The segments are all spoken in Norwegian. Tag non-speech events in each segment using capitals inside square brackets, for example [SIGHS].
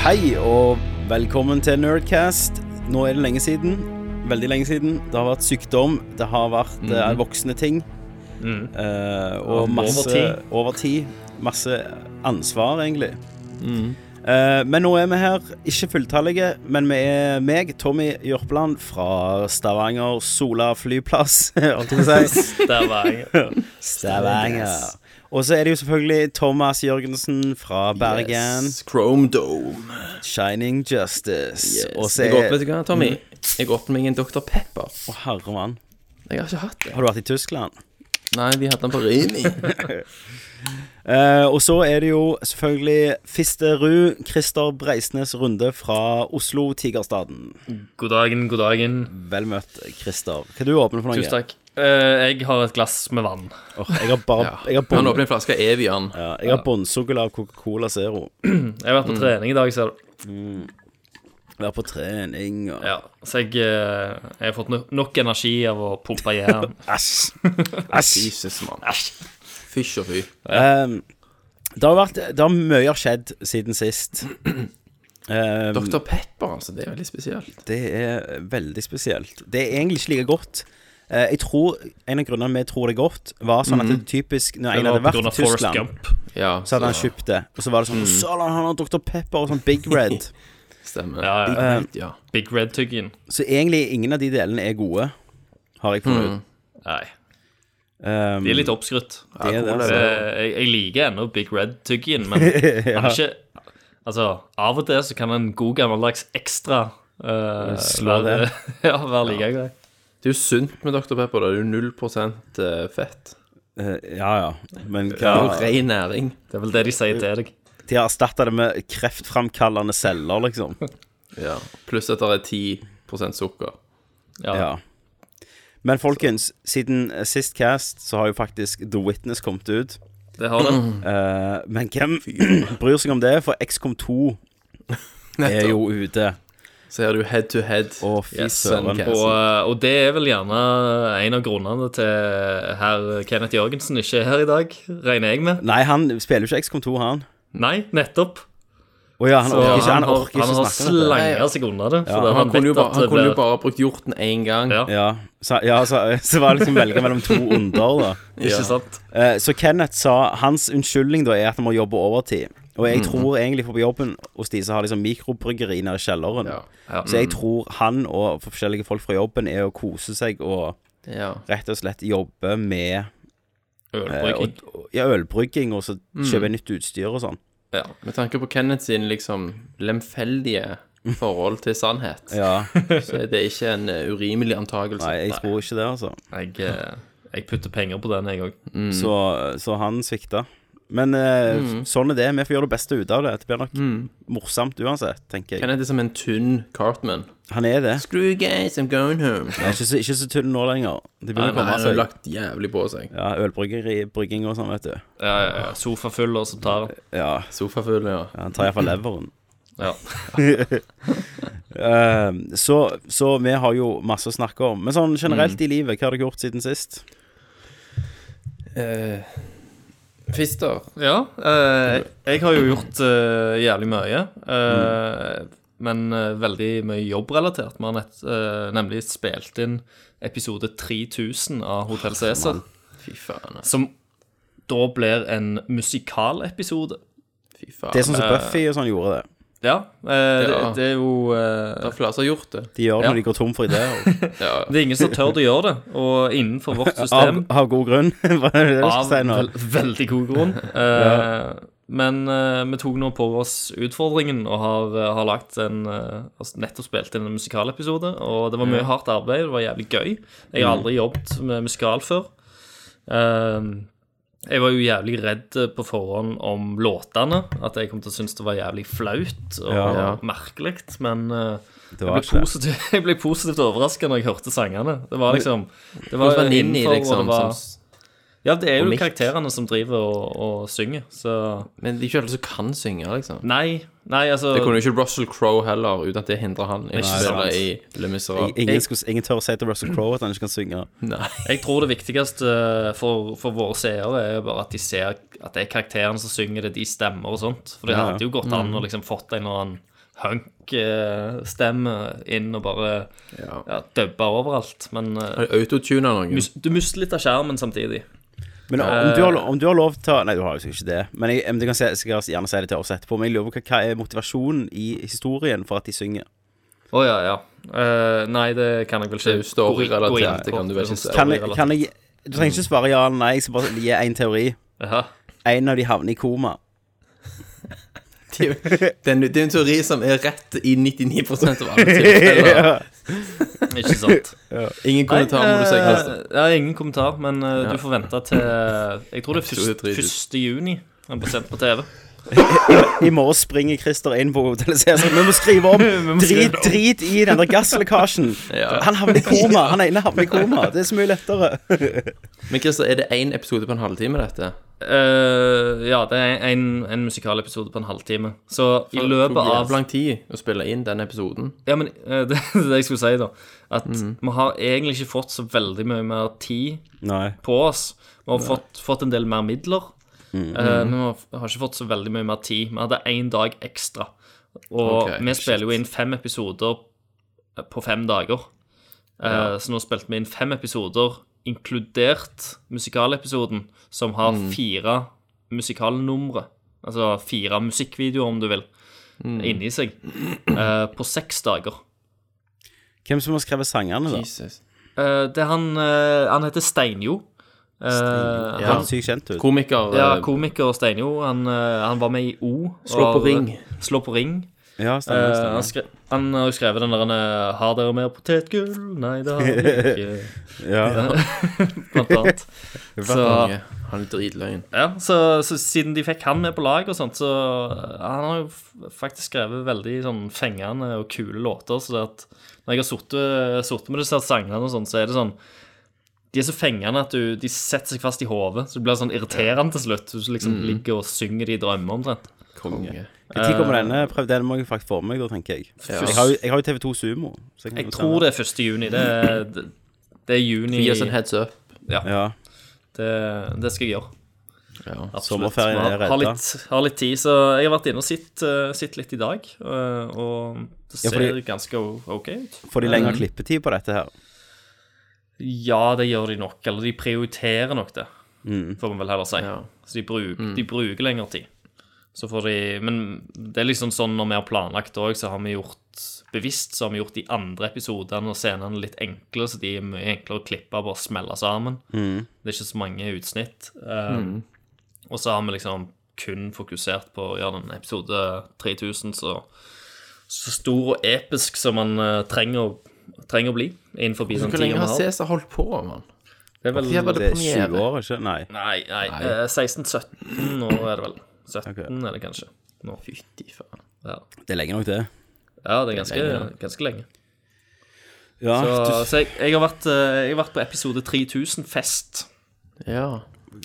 Hei og velkommen til Nerdcast. Nå er det lenge siden. Veldig lenge siden. Det har vært sykdom, det har vært eh, voksne ting. eh, og Ja, masse over over tid. Masse ansvar, egentlig. Eh, men nå er vi her, ikke fulltallige, men vi er meg, Tommy Jørpeland fra Stavanger Sola flyplass, [LAUGHS] holdt jeg på å si. Stavanger. Stavanger. Og så er det jo selvfølgelig Thomas Jørgensen fra Bergen. Yes, Chrome Dome. Shining Justice. Og så jeg går, vet er du hva, Tommy? Jeg går opp meg en Dr. Pepper. Å, herre mann. Jeg har ikke hatt det. Har du vært i Tyskland? Nei, de hadde den på Rim. Rimi. [LAUGHS] Eh, og så er det jo selvfølgelig Fisterud, Christer Breisnes Runde fra Oslo, Tigerstaden. God dagen, god dagen. Vel møtt, Christer. Hva du åpner for noe? Tusen takk. Eh, jeg har et glass med vann. Åh, jeg har bare Jeg har, Han bon, åpner en flaske Evian. ja, jeg har båndsukkel av Coca-Cola Zero. Jeg har vært på trening i dag, ser du. Vært på trening og Ja, så jeg, eh, jeg har fått no nok energi av å pumpe [LAUGHS] jern. [LAUGHS] Æsj! Jesus, mann. Fysj og fy. Ehm, det har vært Det har mye har skjedd siden [CLEARS THROAT] sist. Ehm, Dr. Pepper, altså. Det er veldig spesielt. Det er veldig spesielt. Det er egentlig ikke like godt. Eh, jeg tror En av grunnene vi tror det er godt, var sånn at det typisk Når Mm. Det en hadde var på vært i grunn av Forrest Tyskland, Gump. Mm. Ja, så hadde han kjøpt det. Og så var det sånn Sala, han har Dr. Pepper og sånn Big Red. [LAUGHS] Stemmer. Ja, ja. Big Red, ja. Big Red-tyggingen. så egentlig ingen av de delene er gode, har jeg funnet ut. Nei, Um, Mm. de er litt oppskrytt. det er Eh, det. jeg, jeg liker ennå Big [LAUGHS] Red-tyggingen, men han er ikke Altså, av og til så kan en god gammeldags ekstra eh, Slå være, det. [LAUGHS] ja, være like grei. Det er jo sunt med Dr. Pepper. Det er jo 0 eh, fett. Eh, ja, ja. Men Det er jo hva ren næring. Det er vel det de sier til deg. De har erstatta det med kreftframkallende celler, liksom. Ja. Pluss at det er 10 sukker. Ja. Ja. Men folkens, siden eh, sist cast så har jo faktisk The Witness kommet ut. Det har [CLEARS THROAT] den. Eh, men hvem [CLEARS THROAT] bryr seg om det? For XCOM 2 er jo ute. Så her er det jo head to head. Å, fy Yes, søren. Suncat. Og, eh, og det er vel gjerne en av grunnene til herr Kenneth Jørgensen ikke er her i dag, regner jeg med. Nei, han spiller jo ikke XCOM 2, han. Nei, nettopp. Å ja, han orker ikke, han har- orker han ikke har snakke om det. slanga seg unna det. For han, han, kunne jo vet bare, at han det kunne jo blir bare brukt hjorten én gang. Ja. Ja, så, ja, så, så var det liksom å velge mellom to onder, da. Ikke sant? Eh, så Kenneth sa hans unnskyldning da er at han må jobbe overtid. Og jeg tror egentlig for på jobben hos de som har liksom mikrobryggeri nede i kjelleren. Ja. Ja. Så jeg tror han og forskjellige folk fra jobben er å kose seg og Ja. rett og slett jobbe med Eh, Ølbrygging. og, og- ja, ølbrygging og så kjøpe nytt utstyr og sånn. Ja. Med tanke på Kenneth sin liksom lemfeldige forhold til sannhet, [LAUGHS] Ja, så er det ikke en eh, urimelig antakelse. nei, jeg tror ikke det, altså. Jeg, eh, jeg putter penger på den, jeg òg. Så, så han svikta. Men eh, Mm. sånn er det. Vi får gjøre det beste ut av det. Det blir nok morsomt uansett, tenker jeg. Kenneth er som en tynn Cartman. Han er det. Screw guys, I'm going home. Han er ikke så, ikke så tynn nå lenger. Det begynner å Nei, nei, komme han har seg. lagt jævlig på seg. Ja, ølbryggeri, brygging og sånn, vet du. Ja, ja, ja. Sofafuller som tar den. Ja, Sofafull, ja. han tar iallfall leveren. [CLEARS THROAT] Ja. [LAUGHS] Eh, så, så vi har jo masse å snakke om. Men sånn generelt Mm. i livet, hva har dere gjort siden sist? Eh, Fister. ja eh, jeg har jo gjort eh, jævlig mye. eh, Men eh, veldig mye jobbrelatert. Vi har nett, eh, nemlig spilt inn episode 3000 av Hotell Cæsar. Fy faen. ass. Som da blir en musikalepisode. Fy faen. Det er sånn eh, som Buffy og sånn gjorde det. Ja, eh, det, Ja. det er jo eh, Det er flere som har gjort det. De gjør det Ja. når de går tom for ideer. Ja. Det er ingen som tør å gjøre det. Og innenfor [LAUGHS] vårt Av, system av god grunn? [LAUGHS] Var det det du av skulle si nå? vel- veldig god [LAUGHS] grunn. Eh, Men eh, vi tok nå på oss utfordringen og har, eh, har lagt en eh, altså Nettopp spilt inn en musikalepisode, og det var mye hardt arbeid. Det var jævlig gøy. Mm. Jeg har aldri jobbet med musikal før. Eh, jeg var jo jævlig redd på forhånd om låtene. At jeg kom til å synes det var jævlig flaut og Ja. merkelig. Men eh, Det jeg var ble, ikke det. positiv, [LAUGHS] jeg ble positivt overraska når jeg hørte sangene. Det var liksom Det Det var var Ninni, innenfor, liksom. og det var, som, Ja, det er og jo Mick. karakterene som driver og, og synger, så men det er ikke alle som kan synge, liksom. Nei, nei, altså Det kunne jo ikke Russell Crowe heller, uten at det hindrer han i å Nei, spille sant. i Le Miserable. Ingen, skulle, ingen tør å si til Russell Crowe at han ikke kan synge. Nei. Jeg tror det viktigste eh, for, for våre seere er bare at de ser at det er karakterene som synger det, de stemmer og sånt. For det Ja, ja. Mm. hadde jo gått an å liksom fått en eller annen hunk-stemme inn og bare Ja. ja, dubbe overalt. Men eh, Har de autotuna noen? mus- du mister litt av skjermen samtidig. Men om du, har, lo- om du har lov til å Nei, du har jo sikkert ikke det. Men jeg, men du kan se, sikkert gjerne si det til oss etterpå. Men jeg lurer på hva, hva er motivasjonen i historien for at de synger? Å ja, ja. Eh, nei, det kan jeg vel ikke. Det er jo story-relatert, gå inn på. det kan du vel ikke si. Story-relatert. Kan jeg, kan jeg Du trenger ikke svare ja eller nei. Jeg skal bare gi én teori. Jaha. En av de havner i koma. Det er jo- det er en- det er en teori som er rett i 99 av alle tilfeller. Ikke sant. Ingen kommentar må du si, Nei, Christer. eh, ja, ingen kommentar, men eh, du får vente til eh, Jeg tror det er tror det er først, tredje. 1. juni den blir sendt på TV. I morgen springer Christer inn på hotellet og sier sånn [LAUGHS] Vi må skrive om. Drit, drit i den der gasslekkasjen. [LAUGHS] Han havner i koma. Han ene havner i [LAUGHS] koma. Det er så mye lettere. Men Christer, er det én episode på en halvtime, dette? Eh, ja, det er en, en musikalepisode på en halvtime. Så i løpet Tok av jævlig lang tid å spille inn den episoden. Ja, men eh, [LAUGHS] det, det er det jeg skulle si, da. At Mhm. vi har egentlig ikke fått så veldig mye mer tid Nei. på oss. Vi har fått, fått en del mer midler, Mm. eh, men vi har, har ikke fått så veldig mye mer tid. Vi hadde én dag ekstra. Og Ok, vi spiller jo inn fem episoder på fem dager. Eh, Så nå spilte vi inn fem episoder, inkludert musikalepisoden, som har Mm. fire musikalnumre. Altså fire musikkvideoer, om du vil, Mm. inni seg. eh, på seks dager. Hvem som har skrevet sangene, da? Jesus. Eh, det er han eh, Han heter Steinjo. Eh, Ja. Han er sykt kjent ut. Komiker Ja, eh, komiker Steinjo. Han, eh, han var med i O. Slå på og- eh, ring. Slå på ring. Ja, Eh, stemmer, stemmer. han, skre, han har jo skrevet den der eh, 'Har dere mer potetgull?' Nei, det har [LAUGHS] vi ikke. Ja. Blant annet. Så, konge. Han er dritløgn. ja, så, så siden de fikk han med på lag og sånt, så eh, Han har jo f- faktisk skrevet veldig sånn fengende og kule låter, så det at når jeg har sittet- sittet med disse sangene og sånn, så er det sånn de er så fengende at du, de setter seg fast i hodet. Så det blir sånn irriterende til slutt. Du liksom Mm. ligger og synger de drømmer omtrent. Konge. Når kommer Eh, denne? Prøv den må jeg faktisk få med meg, da, tenker jeg. Jeg har jo, jeg har jo TV2 Sumo. Så jeg kan Jeg jo tror sende. det er 1. juni. Det er, det, det er juni Gi oss en det, heads up. Ja. det skal jeg gjøre. Ja. Absolutt. Sommerferien er Har, har, redda. litt, har litt tid, så jeg har vært inne og sett, eh, sett litt i dag. eh, Og det Ja, ser fordi- ganske o- OK ut. Får de Mm. lengre klippetid på dette her? Ja, det gjør de nok. Eller de prioriterer nok det, får man vel heller si. Ja. Så de bruker, de bruker lengre tid. Så får de, men det er liksom sånn når vi har planlagt òg, så har vi gjort bevisst så har vi gjort de andre episodene og scenene litt enkle, så de er mye enklere å klippe og bare smelle sammen. Det er ikke så mange utsnitt. Eh, Og så har vi liksom kun fokusert på å gjøre den episode 3000 så, så stor og episk som man eh, trenger, å- trenger å bli innenfor den Hvor tida lenge vi har har. Cæsar holdt på, mann? Det er vel Hvorfor var Det det er premiere? 20 år, ikke? Nei. Nei, nei. eh, 16-17 nå er det vel. 17 er det kanskje. Nå. Fytti faen. Ja. Det er lenge nok, det. ja, det er ganske, ganske lenge. Ja, Så, Ah, du, så jeg, jeg, har vært, eh, jeg har vært på episode 3000-fest. Ja.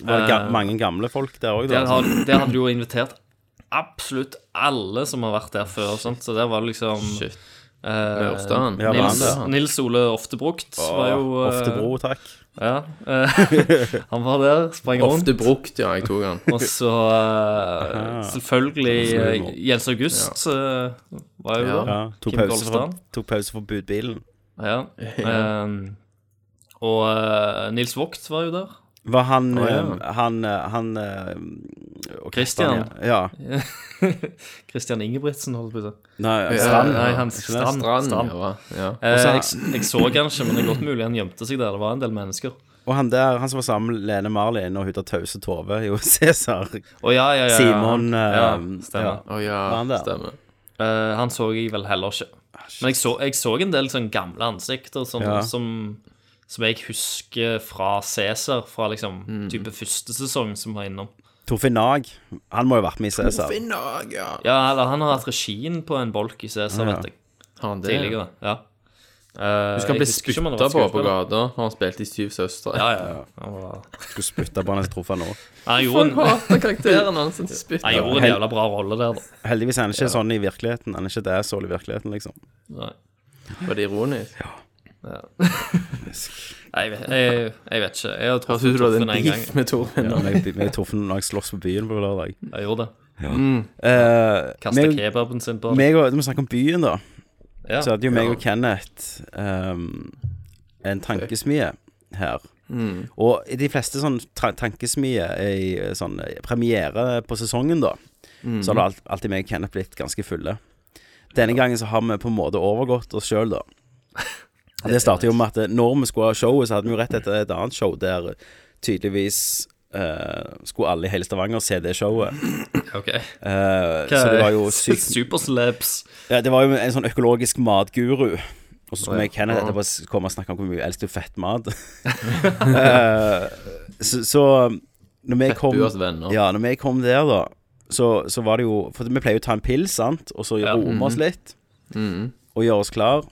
var det ga eh, mange gamle folk der òg, da? Der, har- der hadde du jo invitert absolutt alle som har vært der før. Sant? Så der var det liksom Shit. eh, Ørstein. Ja, Nils, var han Nils Ole Oftebrukt var jo eh, Oftebro, takk. Ja, eh, [LAUGHS] han var der, sprang rundt. Ofte brukt, ja. Jeg tok han. Og så eh, selvfølgelig eh, Jens August eh, var jo Ja. der. Ja, tok Kim pause, for, Kolstad. tok pause for budbilen. [LAUGHS] Ja. Ehm, og eh, Nils Vogt var jo der. Var han ja. eh, Han, eh, han eh, og Christian. Christian, Ja. Ja. [LAUGHS] Christian Ingebrigtsen, holdt jeg på å si. Nei, Strand. Strand. Nei, han Strand. Strand, Strand. ja. ja. Eh, jeg, [LAUGHS] jeg så han ikke, men det er godt mulig han gjemte seg der. Det var en del mennesker. Og han der, han som var sammen med Lene Marlin og hun der tause Tove, jo [LAUGHS] Cæsar. Å ja, ja, ja, ja. Simon han, eh, ja, stemmer. Å han der? ja, stemmer. Eh, han så jeg vel heller ikke. Men jeg så, jeg så en del sånn gamle ansikter sånn, Ja. som, som jeg husker fra Cæsar, fra liksom type første sesong som var innom. Torfinn Nag. Han må jo ha vært med i Cæsar. Finnag, ja. Ja, eller han har hatt regien på en bolk i Cæsar, vet jeg. Har han det? Tidligere. Ja. Eh, Du skal bli spytta på på gata når han spilte i Syv søstre. Ja, ja. ja. Han var- Skulle spytte på han jeg traff han nå. Han Han gjorde en, hater karakteren hans. Han han spytter. gjorde en jævla bra rolle der, da. Heldigvis er han ikke sånn i virkeligheten. Han er ikke det sånn i virkeligheten, liksom. Nei, Var det ironisk? Nei, jeg, vet- jeg, jeg vet ikke. Jeg har Høres ut som truffet du hadde Torfinn en en gang. beef med Torfinn. Ja, men jeg, men jeg traff han når jeg sloss på byen på lørdag. Jeg gjorde det. Eh, Kaste meg- kebaben sin på meg og, Når vi snakker om byen, da, Ja. så hadde jo meg og Kenneth ehm, en tankesmie her. Og i de fleste sånn tra- tankesmier i eh, sånn eh, premiere på sesongen, da, så har det alt, alltid meg og Kenneth blitt ganske fulle. Denne gangen så har vi på en måte overgått oss sjøl, da. Og Det startet jo med at eh, når vi skulle ha showet, så hadde vi jo rett etter et annet show der eh, tydeligvis eh, skulle alle i hele Stavanger se det showet. Ok. Eh, [LAUGHS] så det var jo sykt Supersleps. ja, det var jo en sånn økologisk matguru. Og så skulle Å, ja. vi i Kenneth etterpå s- komme og snakke om hvor mye vi elsker [LAUGHS] fettmat. Eh, så, så når vi kom Fettbuers venner. Ja, når vi kom der, da, så, så var det jo For vi pleier jo å ta en pils, sant, og så Ja. Mm. roe oss litt. Og gjøre oss klar.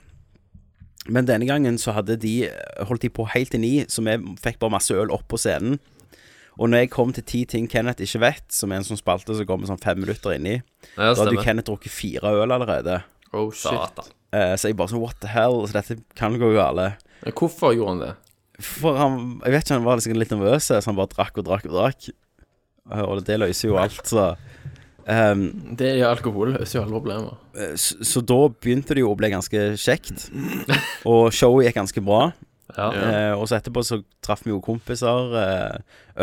Men denne gangen så hadde de holdt de på helt til ni, så vi fikk bare masse øl opp på scenen. Og når jeg kom til ti ting Kenneth ikke vet, som er en sånn spalte som kommer sånn fem minutter inni, da Ja, hadde jo stemmer. Kenneth drukket fire øl allerede. Oh shit. Satan. Eh, så jeg bare sånn What the hell? Så dette kan gå gale. Men Hvorfor gjorde han det? For han Jeg vet ikke, han var sikkert litt nervøs, så han bare drakk og drakk og drakk. Eh, og det løser jo alt, så. Ehm, Det er alkohol løser jo alle problemer. eh, så, så da begynte det jo å bli ganske kjekt. Og showet gikk ganske bra. Ja. Eh, og så etterpå så traff vi jo kompiser. eh,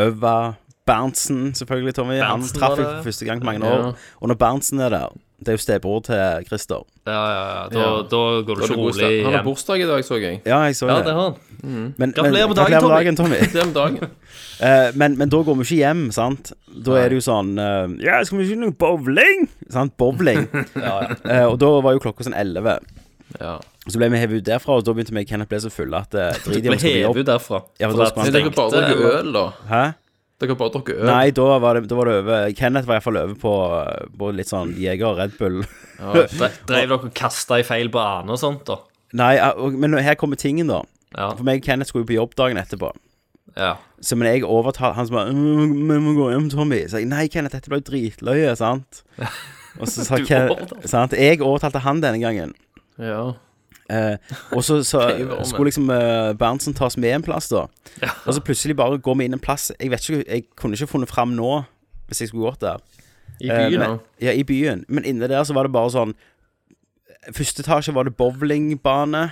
Øva. Berntsen, selvfølgelig, Tommy. han Berntsen traff var jeg det. for første gang på mange Ja. år. Og når Berntsen er der Det er jo stebror til Christer. Ja, ja, ja. Da, Ja. da går det Var det ikke god rolig start? Han har igjen. bursdag i dag, så jeg. Ja, jeg så Ja, det. det har han. Men- men- Gratulerer med dagen, gratulerer Tommy. dagen, Tommy. Det er om dagen. Eh, men, men da går vi ikke hjem, sant? Da er det jo sånn eh, Ja, skal vi ikke noe bowling? Sant? [LAUGHS] Bowling. Eh, og da var jo klokka sånn 11. Ja. Så ble vi hevet ut derfra, og da begynte vi og Kenneth ble så fulle at eh, Du drit i om vi ble skal på hevet jobb. ut derfra. Ja, for For da at sprang Men Tenkte, dere bare stengte, drukker øl, da. Hæ? Dere bare drukker øl. Nei, da var, det, da var det over. Kenneth var iallfall over på, på litt sånn Jeger og Red Bull. [LAUGHS] Dre- Drev dere og kasta i feil bane og sånt, da? Nei, eh, og, men her kommer tingen, da. Ja. For meg og Kenneth skulle jo på jobb dagen etterpå. ja. Så men jeg overtalte Han som bare «Mm, 'Vi må gå hjem, Tommy.' Så jeg 'Nei, Kenneth, dette ble jo dritløye', [LAUGHS] sant? Og så sa Du Kenneth overtalte. sant? Jeg overtalte han denne gangen. Ja. Eh, og så, så [LAUGHS] Det er jo varme. skulle liksom eh, Berntsen tas med en plass, da. Og så plutselig bare går vi inn en plass Jeg vet ikke, jeg kunne ikke funnet fram nå hvis jeg skulle gått der. I Eh, byen, da. men, ja, i byen. Men inne der så var det bare sånn Første etasje var det bowlingbane,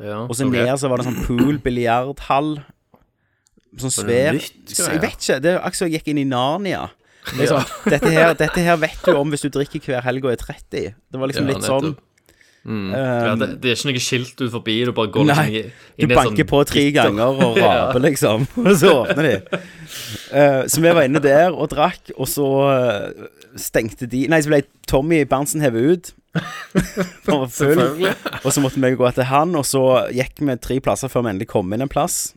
Ja. og så ned så var det sånn pool, biljardhall. Sånn svær skal så Jeg jeg. vet ikke. Det er akkurat som jeg gikk inn i Narnia. Det er sånn, dette, her, dette her vet du om hvis du drikker hver helg og er 30. Det var liksom Ja, litt sånn. nettopp. eh, ja det, det er ikke noe skilt ut forbi, du bare går Nei, liksom i- Du inn i banker på tre ganger [LAUGHS] og raper, liksom. [LAUGHS] Og så åpner de. Eh, så vi var inne der og drakk, og så eh, stengte de Nei, så ble Tommy Berntsen [LAUGHS] hevet ut. Han var full. Og så måtte vi gå etter han, og så gikk vi tre plasser før vi endelig kom inn en plass.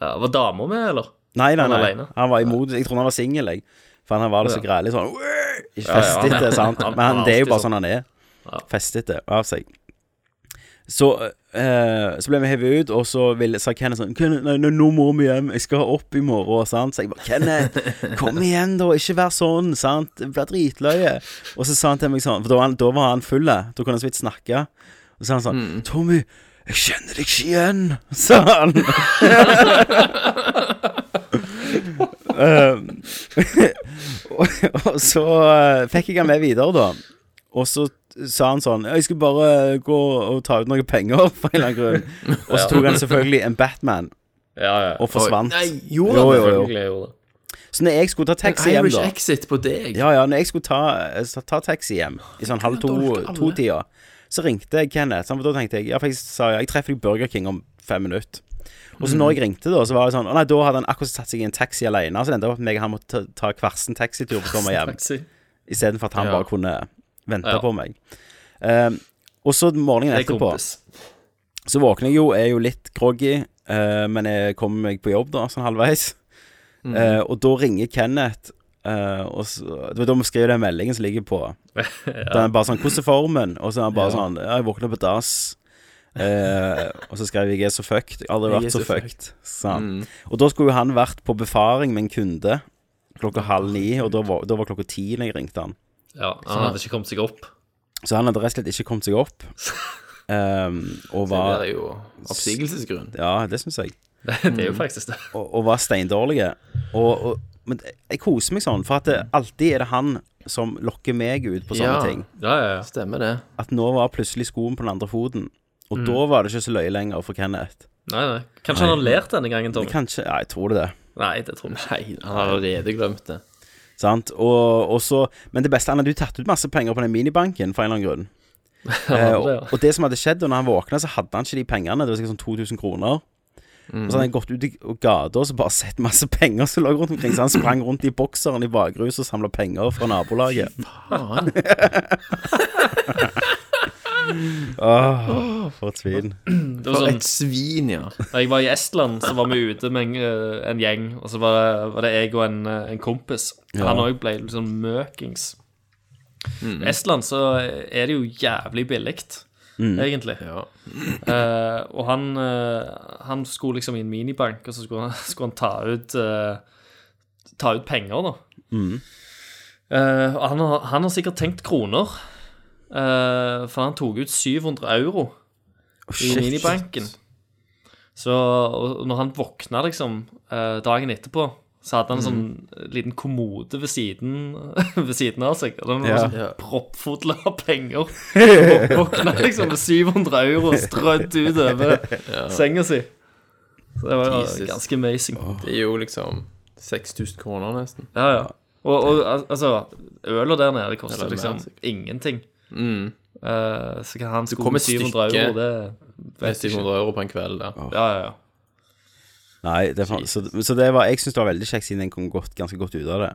Ja, var dama med, eller? Nei, nei, Han nei. alene? Han var imot Jeg trodde han var singel, jeg. For han var da så grælig sånn «Wee!» Festete, sant. Han- Men han, han er det er jo alltid bare sånn sånn. han er. Festete av seg. Så, eh, så ble vi hevet ut, og så ville, sa Kenneth sånn «Kenneth, nei, nei, 'Nå må vi hjem. Jeg skal opp i morgen.' Sant? Så jeg bare 'Kenneth, kom igjen, da. Ikke vær sånn.' Sant? Det blir dritløye. Og så sa han til meg sånn For da var han, da var han full. Da kunne han så vidt snakke. Og så sa han sånn Mm. 'Tommy, jeg kjenner deg ikke igjen', [LAUGHS] sa han. [LAUGHS] Um, og, [LAUGHS] og så eh, fikk jeg han med videre, da. Og så sa han sånn Jeg skulle bare gå og ta ut noen penger, [LAUGHS] for en eller annen [LAUGHS] grunn. Og så tok han selvfølgelig en Batman Ja, ja. og forsvant. Nei, gjorde Jo, jo, han det? jo. Selvfølgelig gjorde det. Så når jeg skulle ta En taxi hjem, Irish da exit på deg. Ja, ja, når jeg skulle ta, eh, ta- ta taxi hjem i sånn halv dolke alle. to-tida, så ringte jeg Kenneth. sant, for Da tenkte jeg Ja, for jeg sa ja, jeg treffer deg i Burger King om fem minutter. Og så når Mm. jeg ringte, da, så var det sånn Å nei, da hadde han akkurat satt seg i en taxi alene. Så det endte opp med at jeg og han måtte ta, ta kvarsen taxitur for å [LAUGHS] komme hjem. Taxi. Istedenfor at han Ja. bare kunne vente Ja. på meg. Ehm, og så morgenen Det er etterpå kompis. så våkner jeg jo, er jo litt groggy, eh, men jeg kommer meg på jobb da, sånn halvveis. Eh, og da ringer Kenneth, eh, og så, det var da vi skriver den meldingen som ligger på. Da er han bare sånn 'Hvordan er formen?' Og så er han bare sånn 'Ja, jeg våkner på dass'. Eh, og så skrev jeg 'Jeg er så fucked'. Jeg har aldri Jeg er vært så, så fucked. sa han. Og da skulle jo han vært på befaring med en kunde klokka halv ni, og da var, da var klokka ti når jeg ringte han. Ja, Sånn. han hadde ikke kommet seg opp. [LAUGHS] Så han hadde rett og slett ikke kommet seg opp. Ehm, og Det var er jo oppsigelsesgrunn. Ja, det syns jeg. Det er jo faktisk det. og, og var steindårlige. Og, og, men jeg koser meg sånn, for at det alltid er det han som lokker meg ut på sånne Ja. ting. Ja, ja, ja. Stemmer det. At nå var plutselig skoen på den andre foten. Og da var det ikke så løye lenger for Kenneth. Nei, nei. Kanskje han har lært denne gangen, Tom? Kanskje, ja, jeg tror det. Nei, det tror jeg ikke. Nei, han har allerede glemt det. Sant? Og, og så, men det beste Han hadde jo tatt ut masse penger på den minibanken for en [LAUGHS] eller annen grunn. Eh, og, det, ja. og det som hadde skjedd da når han våkna, så hadde han ikke de pengene. Det var sikkert sånn 2000 kroner. Mm. Og så hadde han gått ut i gata og så bare sett masse [LAUGHS] penger som lå rundt omkring. Så han sprang rundt i bokseren i bakrus og samla penger fra nabolaget. Faen. [LAUGHS] Åh, for et svin. Det var For sånn, et svin, ja. Da jeg var i Estland, så var vi ute med en, eh, en gjeng, og så var det, var det jeg og en, eh, en kompis. Han òg ble litt sånn møkings. I Estland så er det jo jævlig billig, egentlig. Eh, og han, eh, han skulle liksom i en minibank, og så skulle han, [LAUGHS] skulle han ta ut eh, Ta ut penger, da. Eh, og han, har- han har sikkert tenkt kroner, eh, for han tok ut 700 euro i minibanken. Så og når han våkna liksom eh, dagen etterpå, så hadde han en sånn liten kommode ved siden, [LAUGHS] ved siden av seg. Og den var Ja. sånn proppfull av penger. Og våkna liksom med 700 euro strødd ut over senga si. Så det var eh, Jesus. ganske amazing. [LAUGHS] Det er jo liksom 6000 kroner, nesten. Ja, ja. Og, og al- altså, øla der nede koster Eller mer, liksom sikkert. ingenting. Mm. Eh, så kan han sko kom med et 700 stykke. euro, det Det er vet jeg ikke. 700 euro på en kveld der. Ja, ja, ja. Nei, det er faen- så, så det var, jeg syns det var veldig kjekt, siden en kom godt, ganske godt ut av det.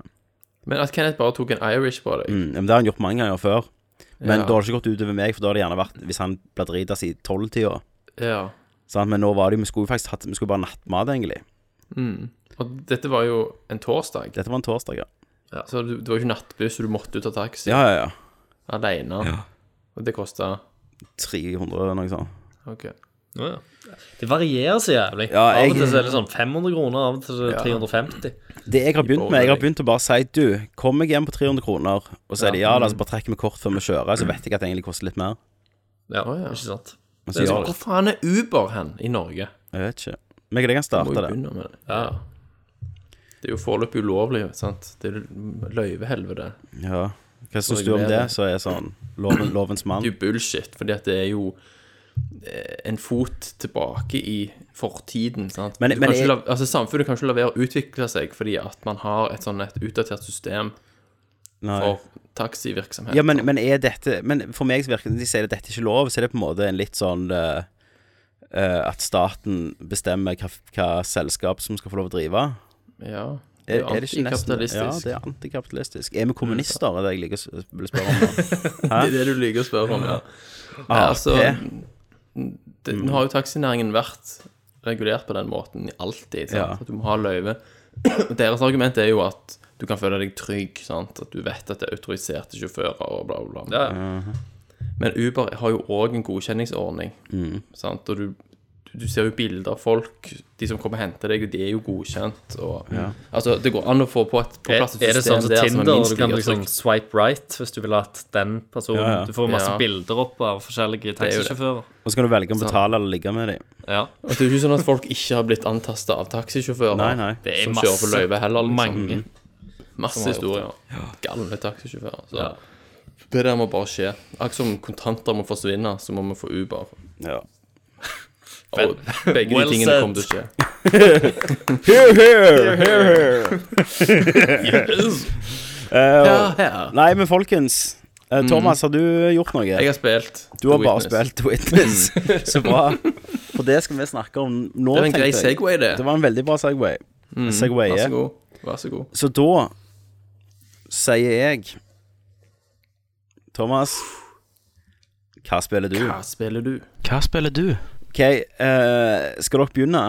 Men at Kenneth bare tok en Irish på deg Mm, men det har han gjort mange ganger før. Men Ja. det har ikke gått utover meg, for da har det gjerne vært hvis han ble drita i tolvtida. Ja. Sant? Men nå var det jo Vi skulle jo faktisk hatt Vi skulle bare nattmat, egentlig. Og dette var jo en torsdag, Dette var en torsdag, ja. så du, det var jo ikke nattbuss, så du måtte jo ta taxi Ja, ja, ja. alene. Og det kosta 300 eller noe sånt. OK. Ja, ja. Det varierer så jævlig. Ja, Av og jeg- til så er det sånn 500 kroner, av og til så er det 350. Det jeg har begynt med, jeg har begynt å bare si du, kom meg hjem på 300 kroner, og så er det ja, la oss bare trekke med kort før vi kjører, så vet jeg at det egentlig koster litt mer. Ja, Å, ja. ikke sant? Men så gjør Hvor det. faen er Uber hen i Norge? Jeg vet ikke. Men jeg kan Må starte jo det. begynne med det. Ja. Det er jo foreløpig ulovlig, sant. Det er jo løyvehelvete. Ja. Hva syns du om det, så er sånn loven, lovens mann? Det er jo bullshit, fordi at det er jo eh, en fot tilbake i fortiden. Sant? Men- Du kan men ikke jeg- la, altså, samfunnet kan ikke la være å utvikle seg fordi at man har et sånn et utdatert system Nei. for taxivirksomhet. Ja, men, men er dette Men for meg så virker det De sier at dette er ikke lov, så er det på en måte en litt sånn eh, eh, At staten bestemmer hva, hva selskap som skal få lov å drive. ja. Er, er det ikke nesten antikapitalistisk. Ja, det er antikapitalistisk. Er vi kommunister, er det jeg liker å s- vil spørre [LAUGHS] om. Ah, nå. Det er det du liker å spørre om, ja. Nei, Ap. altså, det, nå har jo taxinæringen vært regulert på den måten alltid. Sant? Ja. At du må ha løyve. [CLEARS THROAT] Deres argument er jo at du kan føle deg trygg. Sant? At du vet at det er autoriserte sjåfører og bla, bla, bla. Men Uber har jo òg en godkjenningsordning. Mm. Sant? Og du, du ser jo bilder av folk. De som kommer og henter deg, de er jo godkjent. Og, Altså, det går an å få på, et, på Er, plass et system er det sånn som altså der som Tinder, er og minst du kan like liksom trygt. swipe right hvis du vil at den personen Ja, ja. Du får masse Ja. bilder opp av er forskjellige jo det. taxisjåfører. Og så kan du velge Sånn. om å betale eller ligge med dem. Ja. Og det er jo ikke sånn at folk ikke har blitt antasta av taxisjåfører. Nei, nei. Det er som masse. kjører på løyve heller. Liksom. Mange. Masse har gjort historier. Galne taxisjåfører. Så Ja. det der må bare skje. Akkurat som kontanter må forsvinne, så må vi få Uber. Ja. Og begge Well de tingene said. kommer til å skje. [LAUGHS] Eh, Ja, her. Nei, men folkens. eh, Thomas, har du gjort noe? Jeg har spilt. du har The bare Witness. spilt The Witness. [LAUGHS] så bra. For det skal vi snakke om nå, Det var en tenkte grei jeg. Segway, det. Mm. Det var en veldig bra segway. Segwaye. Vær så god. Vær så god. Så da sier jeg Thomas, hva spiller du? Hva spiller du? Hva spiller du? OK, eh, skal dere begynne?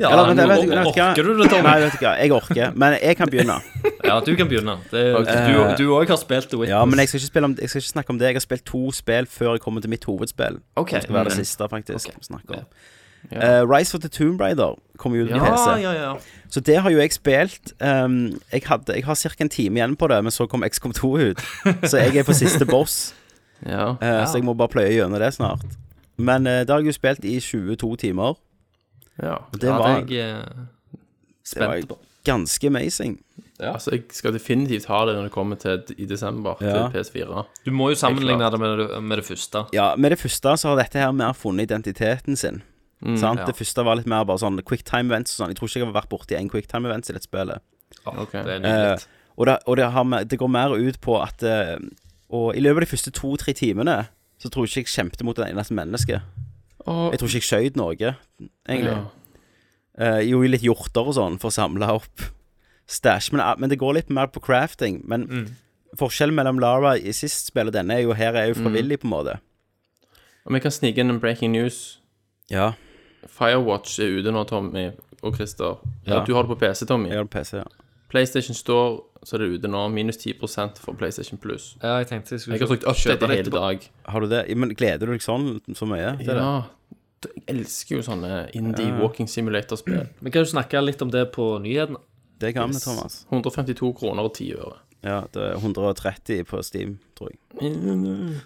Ja, Eller, vent, men vet- vet du hva? Orker du det, Tom? Nei, vet du hva, jeg orker. Men jeg kan begynne. [LAUGHS] Ja, du kan begynne. Det, Eh, du òg har spilt The Witness. Ja, Men jeg skal, ikke spille om, jeg skal ikke snakke om det. Jeg har spilt to spill før jeg kommer til mitt hovedspill. Ok. Det skal være det siste, faktisk. vi snakker om Eh, Rise of the Tomb Raider kommer jo ut på Ja, PC. ja, ja. Så det har jo jeg spilt. ehm, jeg, hadde, jeg har ca. en time igjen på det, men så kom XCOM 2 ut. Så jeg er på siste boss. Ja. Eh, Så jeg må bare pløye gjennom det snart. Men eh, det har jeg jo spilt i 22 timer. ja. Og det var, jeg eh, det var spent jeg på. ganske amazing. Ja. Altså, jeg skal definitivt ha det når det kommer til i desember Ja. til PS4. Du må jo sammenligne klart. det med det, med det første. Ja, Med det første så har dette her mer funnet identiteten sin. sant? Mm, ja. Det første var litt mer bare sånn quicktime events og sånn. Jeg tror ikke jeg har vært borti en quicktime events i dette spillet. Åh, Ok. Det er Eh, nydelig. og det, og det, har, med- det går mer ut på at eh, Og i løpet av de første to-tre timene så tror jeg ikke jeg kjempet mot et eneste menneske. Og, Jeg tror ikke jeg skjøt noe, egentlig. ja. Eh, jo, i litt hjorter og sånn, for å samle opp stæsj. Men, eh, men det går litt mer på crafting. Men forskjellen mellom Lara i sist spill og denne er jo her er jo frivillig, på en måte. Om jeg kan snike inn en breaking news Ja. Firewatch er ute nå, Tommy og Christer. Ja. Ja. Du har det på PC, Tommy. Jeg har PC, ja. PlayStation Store så er det ute nå. Minus 10 for PlayStation Plus. Ja, jeg tenkte jeg skulle Jeg har trykt kjøpe update det hele etterpå. dag. Har du det? Ja, Men gleder du deg sånn så mye? til det? Ja. Jeg elsker jo sånne indie walking simulator-spill. Vi kan jo snakke litt om det på nyhetene. Det kan vi, Thomas. 152 kroner og 10 øre. Ja, det er 130 på Steam, tror jeg.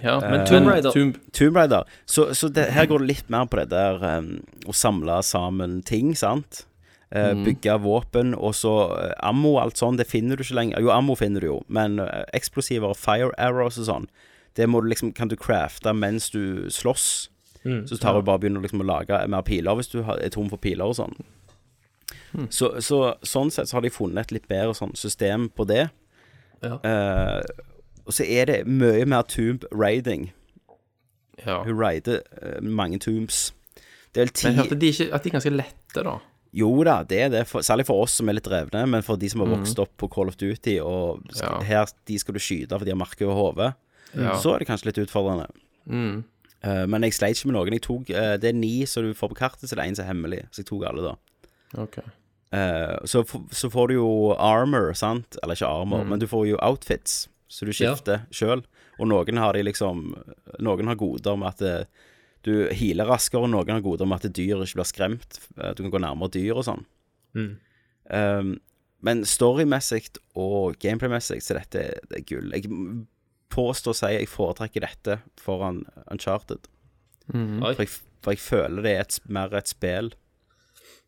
Ja, men Eh, Tomb Raider. Tomb, Tomb Raider. Så, så det, her går det litt mer på det der um, å samle sammen ting, sant? Eh, Bygge våpen, og så eh, ammo og alt sånn, det finner du ikke lenger. Jo, ammo finner du jo, men eh, eksplosiver og fire arrows og sånn, det må du liksom, kan du crafte mens du slåss. så tar du bare og begynner liksom å lage mer piler hvis du har- er tom for piler og sånn. Så, så sånn sett så har de funnet et litt bedre sånn system på det. Ja. Eh, og så er det mye mer tomb raiding. ja. Hun rider eh, mange tombs. Det er vel ti Men jeg hørte de ikke, at de er ganske lette, da. Jo da, det er det. For, særlig for oss som er litt drevne, men for de som har vokst opp på Call of Duty, og sk- Mhm. Ja. her de skal du skyte for de har merke over hodet, Mm. Ja. Mm. så er det kanskje litt utfordrende. Eh, men jeg sleit ikke med noen. Jeg tok, eh, det er ni som du får på kartet, så det er én som er hemmelig. Så jeg tok alle, da. Ok. Eh, så, f- så får du jo armor, sant? Eller ikke armor, men du får jo outfits, så du skifter selv Og noen har de liksom Noen har goder med at eh, du healer raskere, og noen har goder med at dyr ikke blir skremt. eh, Du kan gå nærmere dyr og sånn. Eh, men storymessig og gameplaymessig så dette er- det er gull. Jeg m- påstår å si jeg foretrekker dette foran Uncharted. Oi. For, jeg, f- for jeg føler det er et, s- mer et spill.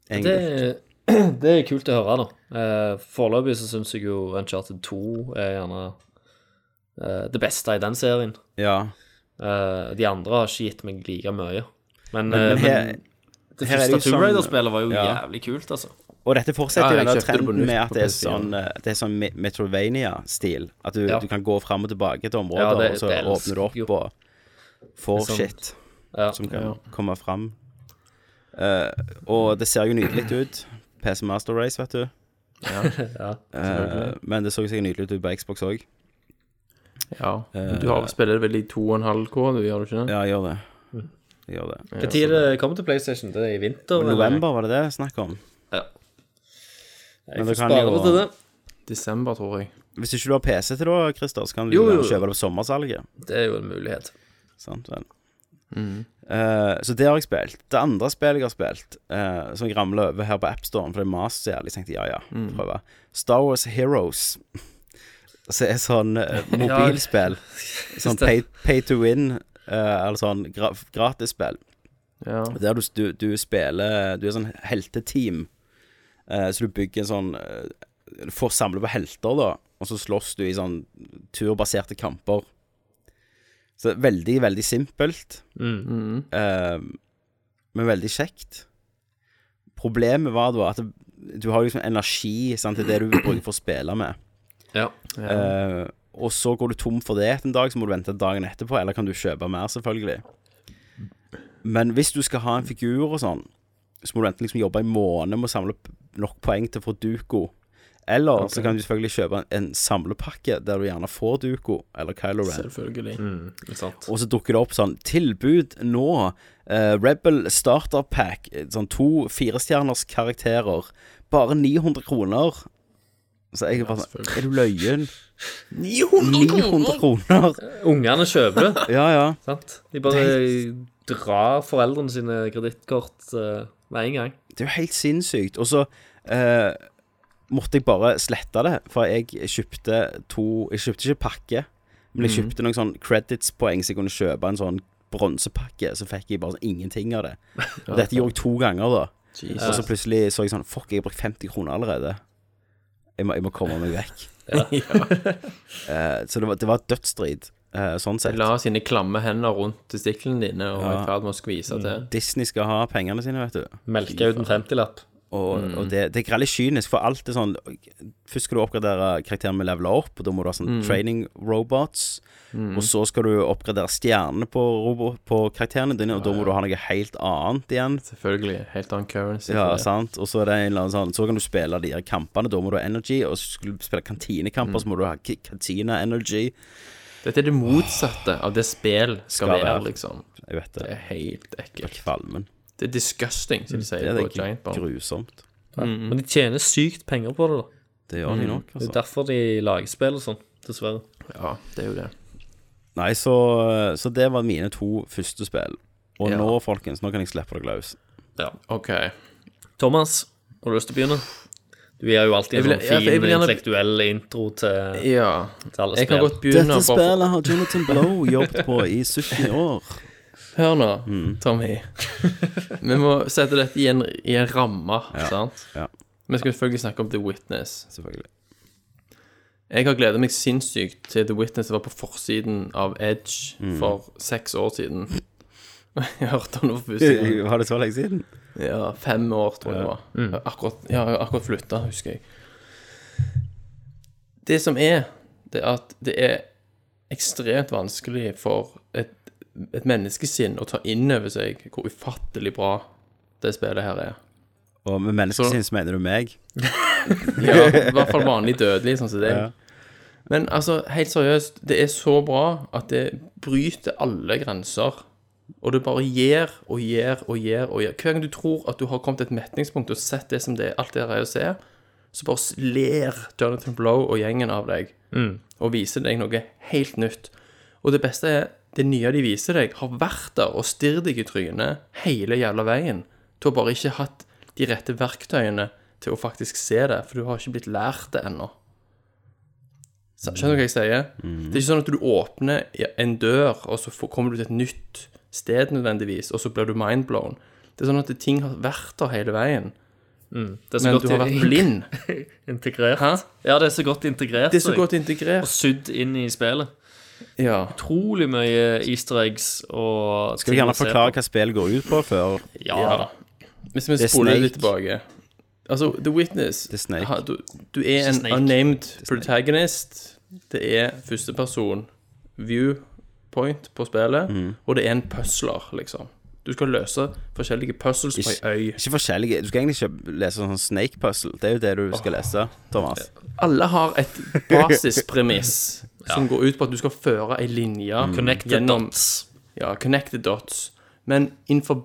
Det, egentlig. [CLEARS THROAT] det er kult å høre, da. Eh, Foreløpig så syns jeg jo Uncharted 2 er gjerne eh, det beste i den serien. Ja. Eh, de andre har ikke gitt meg like mye. Men, Men, eh, men her, men det her er det første jo Tomb sånn- Raider-spillet var jo Ja. jævlig kult, altså. Og dette fortsetter Ja, jo jeg den kjøpte det på trenden nytt med på at det er PS4. sånn, eh, det er sånn Me- Metrovania-stil. At du, Ja. du kan gå fram og tilbake til områder, Ja, det- og så det elsker åpner du opp jeg jo. og får Det er sant. shit Ja. som kan komme fram. Eh, og det ser jo nydelig ut. PC Master Race, vet du. [LAUGHS] Ja. Eh, men det så sikkert nydelig ut på Xbox òg. Ja. Eh, Du har spiller det vel i 2,5K, du gjør du ikke det? Ja, gjør det. Det Gjør det. Når tid det kommer til PlayStation? Det Mm. er i vinter? eller? November var det det snakk om. Ja. Men Jeg det får kan spare jo- meg til det. Desember, tror jeg. Hvis ikke du har PC til da, Christer, så kan du Jo, jo, gjerne jo. kjøpe det på sommersalget. Det er jo en mulighet. Sant vel. Eh, så det har jeg spilt. Det andre spillet jeg har spilt, eh, som jeg ramla over her på AppStoren, for det maste så jævlig, så tenkte jeg ja, ja, prøve. Star Wars Heroes. [LAUGHS] Så er sånn eh, mobilspill. sånn det. pay, pay to win, eh, eller sånn gra gratisspill. Ja. Der du, du, du spiller Du er sånn helteteam. Eh, så du bygger en sånn eh, Du får samle på helter, da, og så slåss du i sånn turbaserte kamper. Så det er veldig, veldig simpelt. Eh, men veldig kjekt. Problemet var da at det- du har liksom energi sant, til det du bruker for å spille med. Ja. Eh, og så går du tom for det en dag, så må du vente dagen etterpå, eller kan du kjøpe mer, selvfølgelig. Men hvis du skal ha en figur og sånn, så må du enten liksom jobbe en måned med å samle opp nok poeng til å få Duko. Eller så kan du selvfølgelig kjøpe en, en samlepakke der du gjerne får Duko eller Kylo Ren. Selvfølgelig. Ikke sant. Og så dukker det opp sånn Tilbud nå eh, Rebel Starter Pack eh, Sånn to firestjerners karakterer Bare 900 kroner Så jeg bare sånn Er du løyen? 900 kroner? Ungene kjøper det, Ja, ja sant? De bare drar foreldrene sine kredittkort eh, med en gang. Det er jo helt sinnssykt. Og så eh, måtte jeg bare slette det, for jeg kjøpte to Jeg kjøpte ikke pakke, men jeg kjøpte noen sånn creditspoeng så jeg kunne kjøpe en sånn bronsepakke, så fikk jeg bare sånn ingenting av det. Og dette gjorde jeg to ganger, da. Og så plutselig så jeg sånn Fuck, jeg har brukt 50 kroner allerede. Jeg må, jeg må komme meg vekk. [LAUGHS] Eh, så det var, det var dødsstrid, eh, sånn sett. La sine klamme hender rundt testiklene dine og er i ferd med å skvise Mm. til. Disney skal ha pengene sine, vet du. Melke ut en 50-lapp. Og, og det, det er veldig kynisk, for alt er sånn Først skal du oppgradere karakteren med leveler opp, og da må du ha sånn training robots. Og så skal du oppgradere stjernene på, robo- på karakterene dine, og da må du ha noe helt annet igjen. Selvfølgelig. Helt annen currency. Ja, for det. sant. Og så er det en eller annen sånn Så kan du spille de her kampene, da må du ha energy. Og så skal du spille kantinekamper, så må du ha ki- kantina-energy. Dette er det motsatte av det spill skal, Skal være, være. liksom. Jeg vet Det det. er helt ekkelt. Kvalmen. Det er disgusting, som de sier Mm, Det er på Giant det Bomb. grusomt. Men de tjener sykt penger på det, da. Det gjør de nok, Det er altså. derfor de lager spill og sånn, dessverre. Ja, det er jo det. Nei, så, så det var mine to første spill. Og Ja. nå, folkens, nå kan jeg slippe dere løs. OK. Thomas, har du lyst til å begynne? Du gir jo alltid Jeg vil- en ja, sånn for fin jeg vil gjerne- intellektuell intro til, Ja. til alle Jeg kan spill. godt begynne bare for- har Jonathan Blow jobbet på i 70 år. Hør nå, Mm. Tommy. [LAUGHS] Vi må sette dette i en, i en ramme, sant? ja. Vi skal selvfølgelig snakke om The Witness. Selvfølgelig. Jeg har gledet meg sinnssykt til The Witness var på forsiden av Edge for seks år siden. [LAUGHS] Jeg hørte om det for første gang. Var det så lenge siden? Ja, fem år, tror jeg det var. Akkurat, ja, jeg har akkurat flytta, husker jeg. Det som er, det er at det er ekstremt vanskelig for et, et menneskesinn å ta inn over seg hvor ufattelig bra det spillet her er. Og med menneskesinn så mener du meg. Ja, i hvert fall vanlig dødelig, sånn som deg. Men altså, helt seriøst, det er så bra at det bryter alle grenser. Og det bare gjør og gjør og gjør og gjør. Hver gang du tror at du har kommet til et metningspunkt og sett det som det, alt det der er å se, så bare ler Jonathan Blow og gjengen av deg og viser deg noe helt nytt. Og det beste er, det nye de viser deg, har vært der og stirret deg i trynet hele jævla veien. Du har bare ikke hatt de rette verktøyene til å faktisk se det, for du har ikke blitt lært det ennå. Så- Skjønner du hva jeg sier? Mm. Det er ikke sånn at du åpner i- en dør, og så får- kommer du til et nytt sted nødvendigvis, og så blir du mindblown. Det er sånn at ting har vært der hele veien, Mm. Det er så men godt du har vært [LAUGHS] blind. integrert. Hæ? Ja, det er så godt integrert. Det er så jeg. godt Og integrert. sydd inn i spillet. Ja. Utrolig mye easter eggs og Skal vi gjerne forklare hva spillet går ut på før Ja, Ja da. da. Hvis vi er spoler Snake. litt tilbake Altså, The Witness er Snake. ha- du, du er en Snake. unnamed protagonist. Det er førsteperson viewpoint på spillet, Mm. og det er en pusler, liksom. Du skal løse forskjellige puzzles på ei øy. Ikke forskjellige Du skal egentlig ikke lese sånn Snake Puzzle. Det er jo det du skal lese, Thomas. Alle har et [LAUGHS] basispremiss som går ut på at du skal føre ei linje Connected gjennom Mm. dots. ja, connected dots. Men innenfor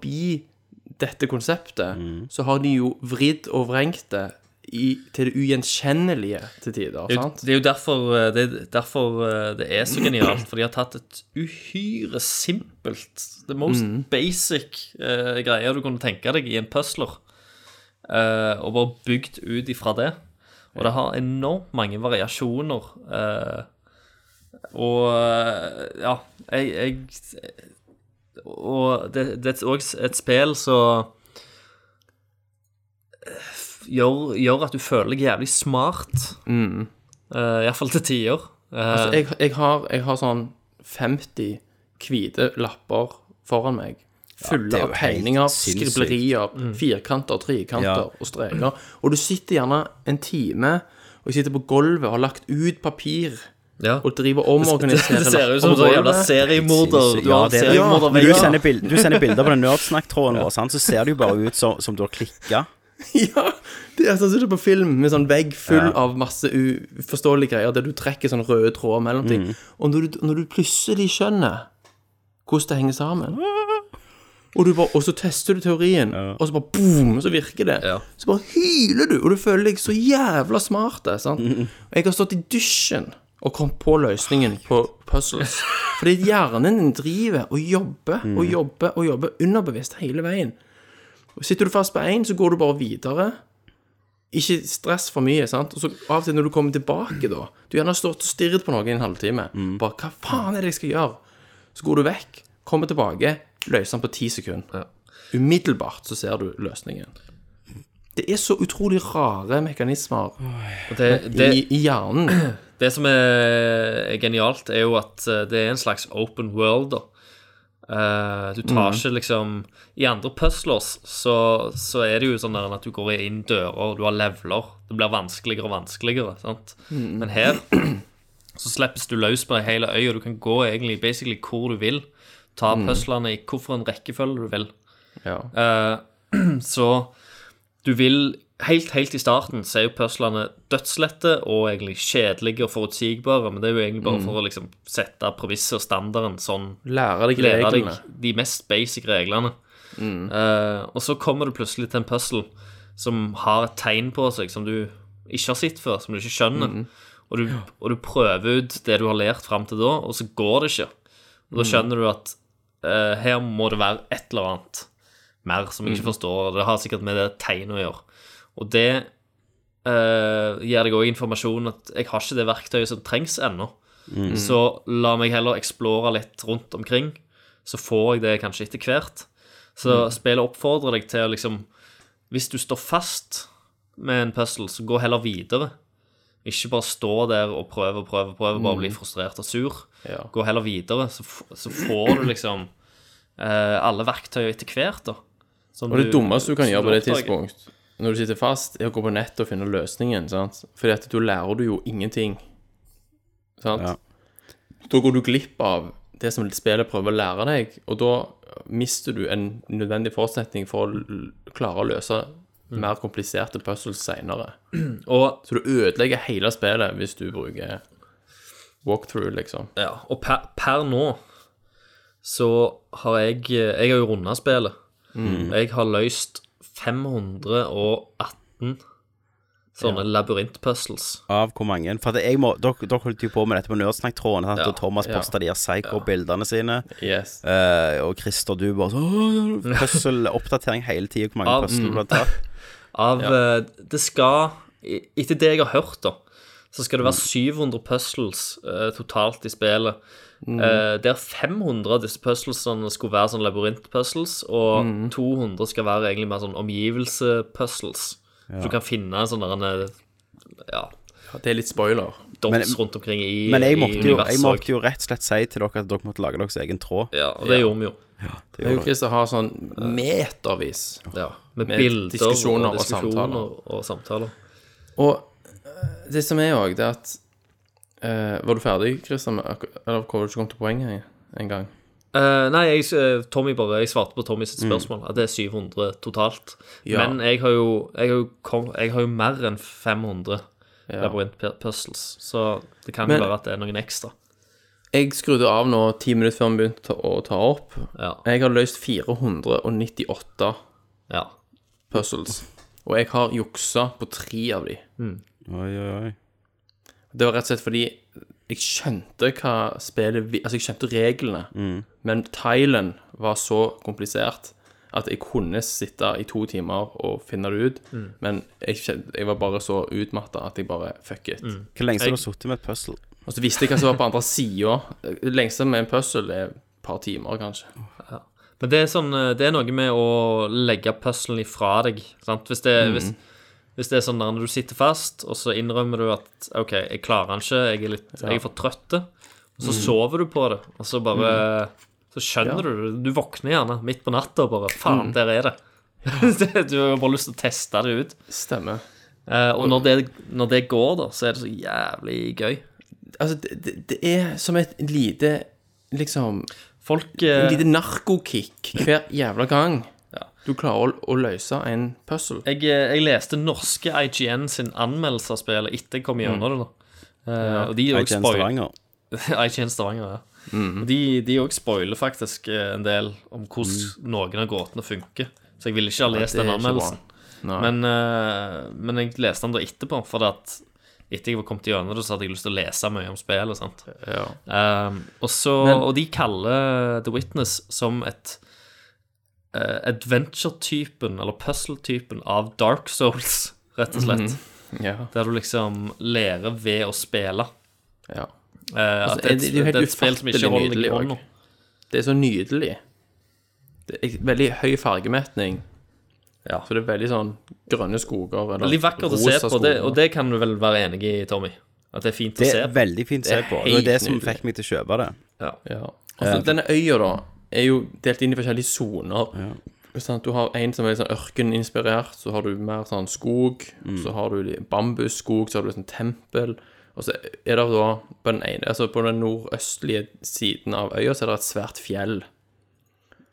dette konseptet Mm. så har de jo vridd og vrengt det i, til det ugjenkjennelige til tider. Det er jo- sant? det er jo derfor, eh, det er, derfor eh, det er så genialt, for de har tatt et uhyre simpelt The most basic uh, greie du kunne tenke deg i en puzzler, eh, og bare bygd ut ifra det. Og det har enormt mange variasjoner. eh, og eh, ja, jeg, jeg Og det, det er også et spill som eh, gjør, gjør at du føler deg jævlig smart. Mm. Uh, Iallfall til tider. Eh, Altså, jeg, jeg, har, jeg har sånn 50 hvite lapper foran meg. Fulle det er jo av helt tegninger, sinnssykt. skriblerier, firkanter, trekanter Ja. og streker. Og du sitter gjerne en time og sitter på gulvet og har lagt ut papir ja. og driver omorganiserer Det ser ut som lapper en på sånn jævla gulvet. seriemorder. Du har det er- seriemorder Når du vegger. sender, bild, du sender bilder på den nerdsnakk-tråden vår, sant, så ser det jo bare ut som, som du har klikka. [LAUGHS] Ja, det er sånn som det er på film, med sånn vegg full av masse uforståelige greier, der du trekker sånn røde tråder mellom ting. Og når du, når du plutselig skjønner hvordan det henger sammen, og, du bare, og så tester du teorien, og så bare boom, så virker det. Ja. Så bare hyler du, og du føler deg så jævla smart. det, Sant? Og jeg har stått i dusjen og kommet på løsningen på puzzles. Fordi hjernen din driver og jobber og jobber og jobber underbevisst hele veien. Og Sitter du fast på én, så går du bare videre. Ikke stress for mye. sant? Og så Av og til når du kommer tilbake, da Du gjerne har stått og stirret på noe i en halvtime. Bare 'Hva faen er det jeg skal gjøre?' Så går du vekk, kommer tilbake, løser den på ti sekunder. Umiddelbart så ser du løsningen. Det er så utrolig rare mekanismer Og det, det, i, i hjernen. det som er er genialt, er jo at eh, det er en slags open world, da. Eh, du tar ikke liksom I andre puzzlers så, så er det jo sånn der at du går inn dører, og du har leveler. Det blir vanskeligere og vanskeligere. sant? Men her så slippes du løs på ei hel øy, og du kan gå egentlig basically hvor du vil. Ta puzzlene i hvilken rekkefølge du vil. [CLEARS THROAT] Ja. Eh, så du vil Helt, helt i starten så er jo puzzlene dødslette og egentlig kjedelige og forutsigbare, men det er jo egentlig bare for å liksom sette premisset og standarden sånn Lære deg lære deg reglene. de mest basic reglene. Eh, og så kommer du plutselig til en puzzle som har et tegn på seg som du ikke har sett før, som du ikke skjønner. Og, du, og du prøver ut det du har lært fram til da, og så går det ikke. Og da skjønner du at eh, her må det være et eller annet mer som jeg ikke forstår. og Det har sikkert med det tegnet å gjøre. Og det eh, gir deg òg informasjon at jeg har ikke det verktøyet som trengs ennå. Mm. Så la meg heller eksplore litt rundt omkring, så får jeg det kanskje etter hvert. Så Mm. spillet oppfordrer deg til å liksom Hvis du står fast med en puzzle, så gå heller videre. Ikke bare stå der og prøve og prøve, og prøve bare bli frustrert og sur. Mm. Ja. Gå heller videre, så, f så får du liksom eh, alle verktøy etter hvert, da. Som Og det du- dummeste du kan som gjøre på det oppdager. tidspunkt, når du sitter fast, er å gå på nettet og finne løsningen. sant? Fordi at da lærer du jo ingenting. Sant? Ja. Da går du glipp av det som spillet prøver å lære deg, og da mister du en nødvendig forutsetning for å l- klare å løse mer kompliserte puzzles [CLEARS THROAT] seinere. Og, Så du ødelegger hele spillet hvis du bruker walkthrough, liksom. ja, og per, per nå så har jeg Jeg har jo runda spillet. Og jeg har løst 518 sånne labyrintpuzzles. Av hvor mange? For at jeg må, dere, dere holdt jo på med dette på Nerdsenakk-tråden. sant? Ja, Og Thomas ja. posta de her psycho-bildene sine. Yes. eh, og Christer, du bare sånn Puzzle-oppdatering hele tida. Hvor mange Av- Mm. puzzle du har tatt. Av eh, Det skal i- Etter det jeg har hørt, da, så skal det være 700 puzzles eh, totalt i spillet. Eh, der 500 av disse puzzlesene skulle være sånn labyrintpuzzles, og 200 skal være egentlig mer sånn omgivelsepuzzles. Så Du kan finne sånne derne, ja, Det er litt spoiler. Men- dots rundt omkring i, Men jeg i måtte, jo, jeg universet måtte også. jo rett og slett si til dere at dere måtte lage deres egen tråd. Ja, og det gjorde vi jo. Det Jeg og gjorde dere. Christer har sånn metervis Ja, med, Med bilder diskusjoner og og diskusjoner samtaler. og, samtaler. Og eh, det som er òg, det er at eh, Var du ferdig, Christian? med akkur- Eller kom du ikke kom til poenget en- en gang? Eh, nei, jeg, eh, Tommy bare, jeg svarte på Tommy Mm. sitt spørsmål. At det er 700 totalt. Ja. Men jeg har jo, jeg har jo, kom, jeg har jo mer enn 500 Ja. labyrintpuzzles, så det kan Men- jo være at det er noen ekstra. Jeg skrudde av nå ti minutter før vi begynte ta- å ta opp. Ja. Jeg har løst 498 ja. puzzles. Og jeg har juksa på tre av de. Oi, oi, oi. Det var rett og slett fordi jeg skjønte hva spillet vi- Altså, jeg skjønte reglene, men Thailand var så komplisert at jeg kunne sitte i to timer og finne det ut, men jeg, kjente, jeg var bare så utmatta at jeg bare fuck it. Hvor lenge skal du ha sittet med et puzzle? Og så visste jeg hva som var på andre sida. Det lengste med en puzzle er et par timer, kanskje. Men det er, sånn, eh, det er noe med å legge puzzlen ifra deg. Sant? Hvis, det, hvis, hvis det er sånn der når du sitter fast, og så innrømmer du at OK, jeg klarer den ikke, jeg er, litt, jeg er for trøtt. Og så sover du på det, og så bare Så skjønner du det. Du våkner gjerne midt på natta og bare Faen, der er det. [LAUGHS] du har jo bare lyst til å teste det ut. Stemmer. Eh, og når det, når det går, da, så er det så jævlig gøy. Altså, det, det, det er som et lite liksom Folk Et eh, lite narkokick hver jævla gang du klarer å, å løse en puzzle. jeg, eh, jeg leste norske IGN sin anmeldelse av spillet etter jeg kom Mm. gjennom det. da. Eh, og de er jo Jeg kjenner spoil- Stavanger. IGN Stavanger, [LAUGHS] ja. Mm. Og De, de også spoiler faktisk eh, en del om hvordan noen av gåtene funker. Så jeg ville ikke ha Mm. lest det den er ikke bra. anmeldelsen. Nei. Men, eh, men jeg leste den da etterpå, for det at etter jeg var kommet gjennom det, så hadde jeg lyst til å lese mye om spillet. sant? Ja. Um, og, så, og de kaller The Witness som et eh, adventure-typen, eller puzzle-typen, av Dark Souls, rett og slett. Mhm. ja. Der du liksom lærer ved å spille. ja. Eh, Altså, at det, er er det- et- det er jo det helt er et spill som ikke ufattelig holder deg i nydelig hånda. Det er så nydelig. Det er veldig høy fargemetning. Ja. Så det er veldig sånn grønne skoger eller Veldig vakkert å rosa se på, det, skoger. og det kan du vel være enig i, Tommy? At det er fint å Det se er på. veldig fint å se Det er på. Det var det helt som nydelig. fikk meg til å kjøpe det. Ja. Altså, denne øya, da, er jo delt inn i forskjellige soner. Sånn at du har en som er litt sånn ørkeninspirert, så har du mer sånn skog, så har du litt bambusskog, så har du sånn tempel. Og så er det da på den ene, altså på den nordøstlige siden av øya, så er det et svært fjell.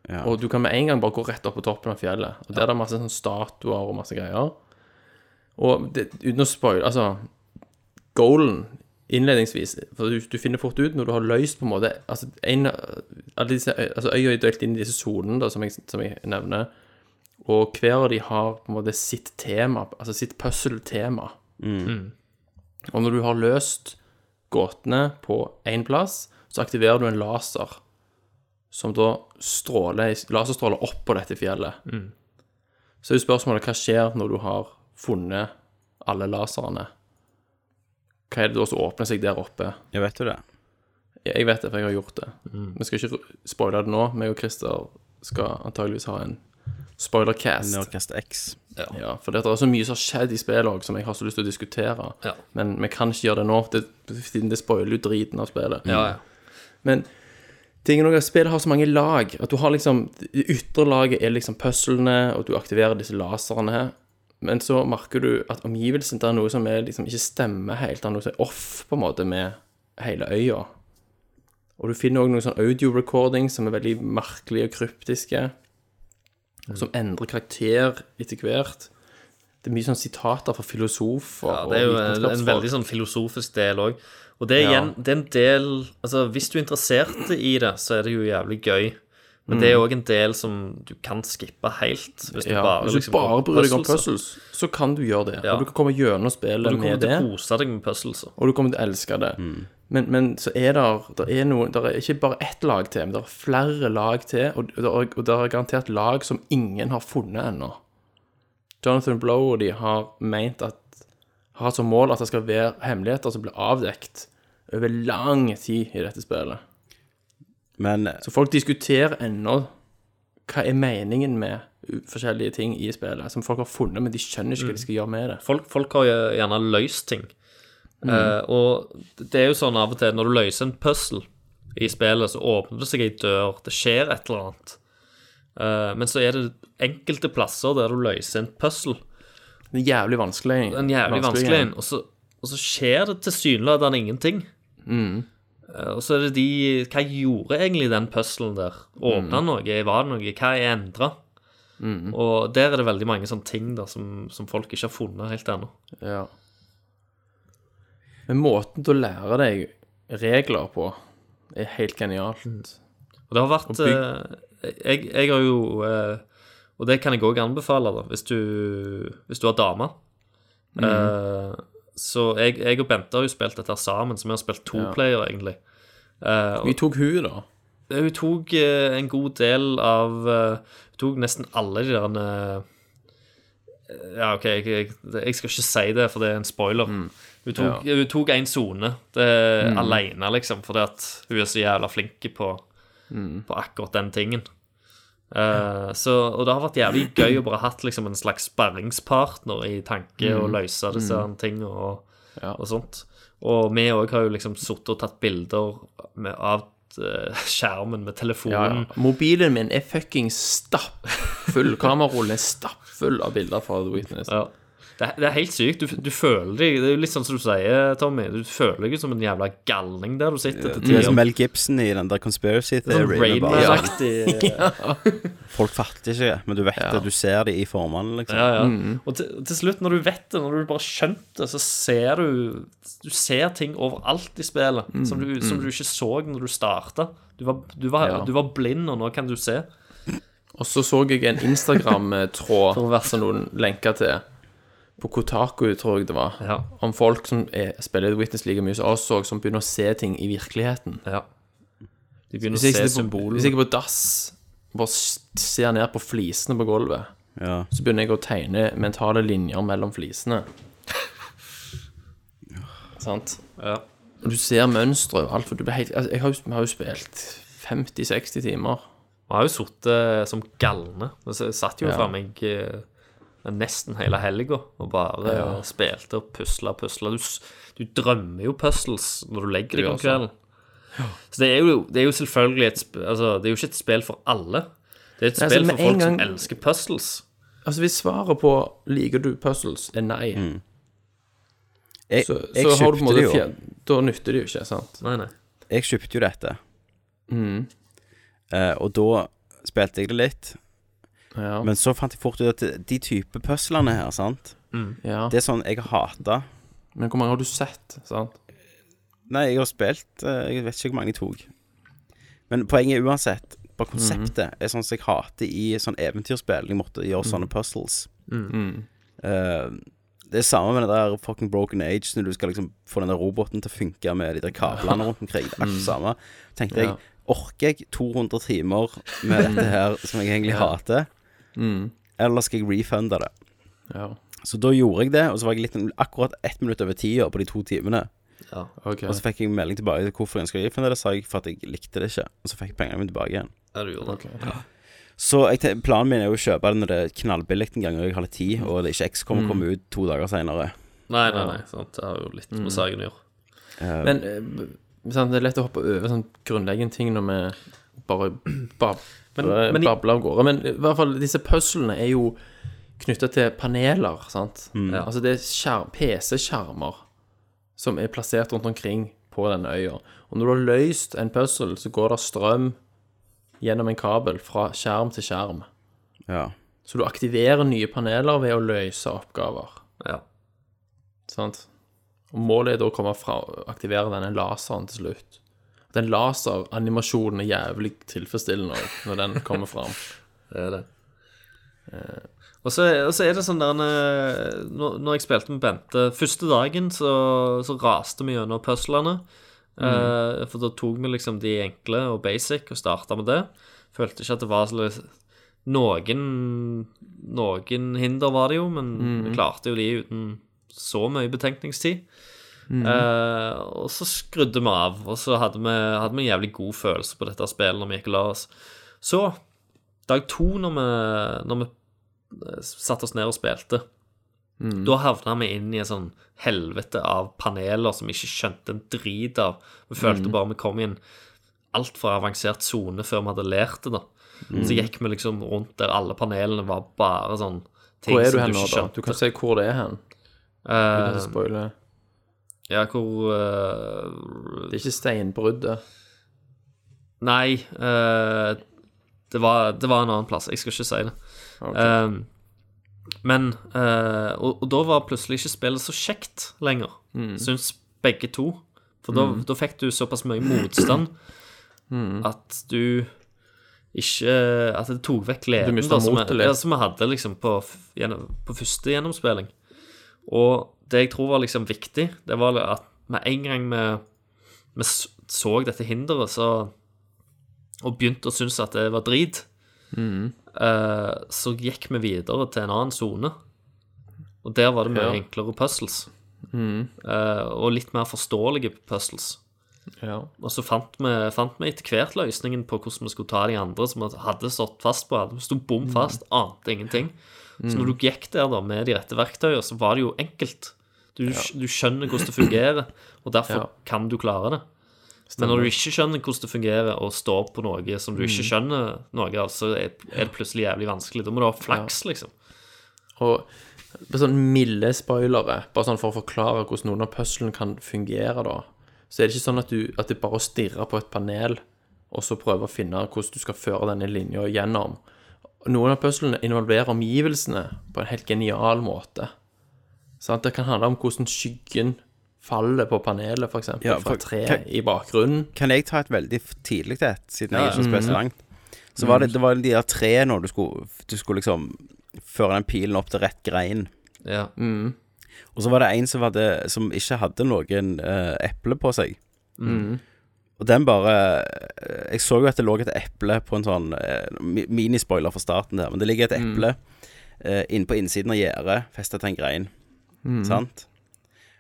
Ja. Og du kan med en gang bare gå rett opp på toppen av fjellet. Og der er det masse sånn statuer og masse greier. Og det, uten å spoile Altså, goalen innledningsvis For du, du finner fort ut når du har løst på en måte Altså, en, alle disse, øy- altså øya er delt inn i disse sonene, da, som jeg, som jeg nevner. Og hver av de har på en måte sitt tema, altså sitt puzzle-tema. Og når du har løst gåtene på én plass, så aktiverer du en laser som da stråler, laserstråler opp på dette fjellet. Så er jo spørsmålet hva skjer når du har funnet alle laserne? Hva er det da som åpner seg der oppe? Jeg vet jo det. Jeg vet det, for jeg har gjort det. Mm. Vi skal ikke ru- spoile det nå. Meg og Christer skal antageligvis ha en spoilercast. Nerdcast X. Ja, for det er så mye som har skjedd i spillet også, som jeg har så lyst til å diskutere. Ja. Men vi kan ikke gjøre det nå, det, siden det spoiler jo driten av spillet. Ja, ja. Men tingen er at spillet har så mange lag. At du har liksom Det ytre laget er liksom puzzlene, og du aktiverer disse laserne her. Men så merker du at omgivelsen det er noe som er liksom ikke stemmer helt. Det er noe som er off på en måte med hele øya. Og du finner òg noen sånn audio recordings som er veldig merkelige og kryptiske. Mm. Som endrer karakter etter hvert. Det er mye sånn sitater fra filosofer. Ja, det er jo og en, en vitenskapsfolk. veldig sånn filosofisk del òg. Og det er igjen det er en del Altså, hvis du er interessert i det, så er det jo jævlig gøy. Men det er òg en del som du kan skippe helt. Hvis du Mm. Ja, bare, hvis du liksom, bare bryr deg om puzzles, puzzles, så kan du gjøre det. Ja. Og du kan komme gjennom Du spillet kommer med til det, å kose deg med puzzles. og du kommer til å elske det. Mm. Men, men så er der, der er noe, der er ikke bare ett lag til, men der er flere lag til, og der, er- og der er garantert lag som ingen har funnet ennå. Jonathan Blow og de har ment at har som mål at det skal være hemmeligheter som blir avdekt over lang tid i dette spillet. Men eh, Så folk diskuterer ennå hva er meningen med u- forskjellige ting i spillet, som folk har funnet, men de skjønner ikke hva Mm. de skal gjøre med det. Folk, folk har jo gjerne løst ting. Mm. Eh, og det er jo sånn av og til når du løser en puzzle i spillet, så åpner det seg ei dør, det skjer et eller annet. Eh, men så er det enkelte plasser der du løser en puzzle. Det er jævlig vanskelig. en jævlig vanskelig en, og, så- og så skjer det tilsynelatende ingenting. Eh, Og så er det de Hva gjorde egentlig den puzzlen der? Åpna noe? Var det noe? Hva er endra? Og der er det veldig mange sånne ting da, som, som folk ikke har funnet helt ennå. Ja. Men måten til å lære deg regler på er helt genialt. Mm. Og det har vært byg- eh, jeg, jeg har jo eh, Og det kan jeg òg anbefale, da, hvis du, hvis du har dame. Eh, så jeg, jeg og Bente har jo spilt dette her sammen, så vi har spilt to player, egentlig. Eh, og Vi tok hun da. Hun tok eh, en god del av eh, Hun tok nesten alle de der eh, Ja, OK, jeg, jeg, jeg skal ikke si det, for det er en spoiler. Mm. Hun tok, hun tok en sone mm. aleine, liksom, fordi at hun er så jævla flink på, Mm. på akkurat den tingen. Eh, så, og det har vært jævlig gøy å bare hatt liksom, en slags sparringspartner i tanke å løse disse her tingene og, Mm. Ja. og sånt. Og vi òg har jo liksom sittet og tatt bilder med, av eh, skjermen med Ja, ja. telefonen. Mm. Mobilen min er fucking stappfull. Kamerarullen er stappfull av bilder fra The Witness. Ja. Det, er- det er helt sykt. Du, du føler deg Det er jo litt sånn som du sier, Tommy. Du føler deg jo som en jævla galning der du sitter til det er som tider. Mel Gibson i den der conspiracy Mm, Sånn theory. med bare- Ja. Rainman-aktig. Folk fatter ikke, men du vet det. Du ser det i formene, liksom. [LAUGHS] Ja, [LAUGHS] ja. Mm. Og til, til slutt, når du vet det, når du bare skjønte det, så ser du Du ser ting overalt i spillet Mm. som, du, som du ikke så når du starta. Du var, du, var, Ja. du var blind, og nå kan du se. Og så så jeg en Instagram-tråd [LAUGHS] For å som være- noen lenker til. På Kotaku, tror jeg det var. Ja. Om folk som er, spiller The Witness like mye som oss, og som begynner å se ting i virkeligheten. Ja. De begynner Hvis å jeg se sitter på, hvis symbolene. jeg er på dass, bare s- ser ned på flisene på gulvet, Ja. så begynner jeg å tegne mentale linjer mellom flisene. Sant? Ja. Og Du ser mønstre og alt, for du blir helt altså, Jeg har jo, vi har jo spilt 50-60 timer. Vi har jo sittet som eh, galne. Men så satt jo Ja. fra meg eh, men nesten hele helga og bare spilte og pusla og pusla. Du, s- du drømmer jo puzzles når du legger deg om kvelden. Så det er, jo, det er jo selvfølgelig et sp- altså, Det er jo ikke et spill for alle. Det er et Nei, spill altså, med for folk en som gang- elsker puzzles. Altså, hvis svaret på 'liker du puzzles' er Eh, nei, Mm. Jeg, så, jeg, så har du på en kjøpte det måte jo. fjern... Da nytter det jo ikke, sant? Nei, nei. jeg kjøpte jo dette. Eh, og da spilte jeg det litt. Ja. Men så fant jeg fort ut at de type puzzlene her, sant ja. Det er sånn jeg hater. Men hvor mange har du sett, sant? Nei, jeg har spilt eh, Jeg vet ikke hvor mange jeg tok. Men poenget er uansett Bare konseptet er sånn som jeg hater i sånn eventyrspill. Jeg måtte gjøre sånne puzzles. Eh, det er samme med det der fucking Broken Age, når du skal liksom få den der roboten til å funke med de der kablene rundt omkring. Det er akkurat det samme. Tenkte jeg, orker jeg 200 timer med dette her som jeg egentlig hater? Eller skal jeg refunde det? Mm. Ja. Så da gjorde jeg det, og så var jeg litt, akkurat ett minutt over tida på de to timene. OK. Og så fikk jeg melding tilbake til hvorfor jeg ønska å det, sa jeg for at jeg likte det ikke. Og så fikk jeg pengene mine tilbake igjen. Ja, du gjorde det. Ok. Så jeg, te- planen min er jo å kjøpe det når det er knallbillig en gang og jeg har litt tid, og det ikke X kommer å komme ut to dager seinere. Nei, nei, nei. Sant? Det har jo litt Mm. med saken å gjøre. Men eh, b- sant, det er lett å hoppe over sånn grunnleggende ting når vi bare bab [CLEARS THROAT] Men- men i- babler av gårde. Men i hvert fall disse puzzlene er jo knytta til paneler, sant. Ja. Altså det er skjerm- PC-skjermer som er plassert rundt omkring på denne øya. Og når du har løst en puzzle, så går det strøm gjennom en kabel fra skjerm til skjerm. Ja. Så du aktiverer nye paneler ved å løse oppgaver. Ja. Sant? Og målet er da å komme fra aktivere denne laseren til slutt. Den laseranimasjonen er jævlig tilfredsstillende også, når den kommer fram. Det er det. Eh, Og så, og så er det sånn der eh, når, når jeg spilte med Bente Første dagen så, så raste vi gjennom puzzlene. Eh, for da tok vi liksom de enkle og basic og starta med det. Følte ikke at det var så litt- noen, noen hinder var det jo, men vi klarte jo de uten så mye betenkningstid. Mhm. Eh, og så skrudde vi av, og så hadde vi, hadde vi en jævlig god følelse på dette spillet når vi gikk og la oss. Så, dag to, når vi, når vi eh, satte oss ned og spilte. Mhm. Da havna vi inn i en sånn helvete av paneler som vi ikke skjønte en drit av. Vi følte Mhm. bare vi kom i en altfor avansert sone før vi hadde lært det. da. Mhm. Så gikk vi liksom rundt der alle panelene var bare sånn ting Hvor er du som hen du nå, ikke da? Um, Du skjønte. kan si hvor det er hen. Eh, Uten å spoile. ja, hvor eh, Det er ikke steinbruddet. Nei, eh, det, var, det var en annen plass. Jeg skal ikke si det. Ehm, men eh, og, og da var plutselig ikke spillet så kjekt lenger, Mm. syns begge to. For da, da fikk du såpass mye motstand Mm. at du ikke At det tok vekk gleden mistet da, som, motet jeg- litt. ja, som vi hadde liksom på, f- gjennom, på første gjennomspilling. Og det jeg tror var liksom viktig, det var at med en gang vi, vi s- så dette hinderet, så og begynte å synes at det var drit, eh, så gikk vi videre til en annen zone. Og der var det mye Ja. enklere puzzles. Eh, og litt mer forståelige puzzles. Ja. Og så fant vi, fant vi etter hvert løsningen på hvordan vi skulle ta de andre som vi hadde stått fast på. Hadde sto bom fast, ante ingenting. Så når du gikk der da med de rette verktøyene, så var det jo enkelt. Du, du skjønner hvordan det fungerer, og derfor Ja. kan du klare det. Men når du ikke skjønner hvordan det fungerer, og står på noe som du ikke skjønner noe av, så er er det plutselig jævlig vanskelig. Da må du ha flaks, liksom. Og på sånn milde spoilere, bare sånn for å forklare hvordan noen av puzzlene kan fungere, da, så er det ikke sånn at, du, at det bare er å stirre på et panel og så prøve å finne hvordan du skal føre denne linja gjennom. Noen av puzzlene involverer omgivelsene på en helt genial måte. Sant? Det kan handle om hvordan skyggen faller på panelet, f.eks. eksempel Ja, for- fra treet i bakgrunnen. Kan jeg ta et veldig f- tidlig et, siden jeg ikke har spilt så langt? Så var det, det var de der tre når du skulle, du skulle liksom føre den pilen opp til rett grein. Ja. Og så var det en som, hadde, som ikke hadde noen eh, eple på seg. Og den bare eh, Jeg så jo at det lå et eple på en sånn eh, mi- minispoiler fra starten der, men det ligger et eple eh, inne på innsiden av gjerdet, festet til en grein. Sant?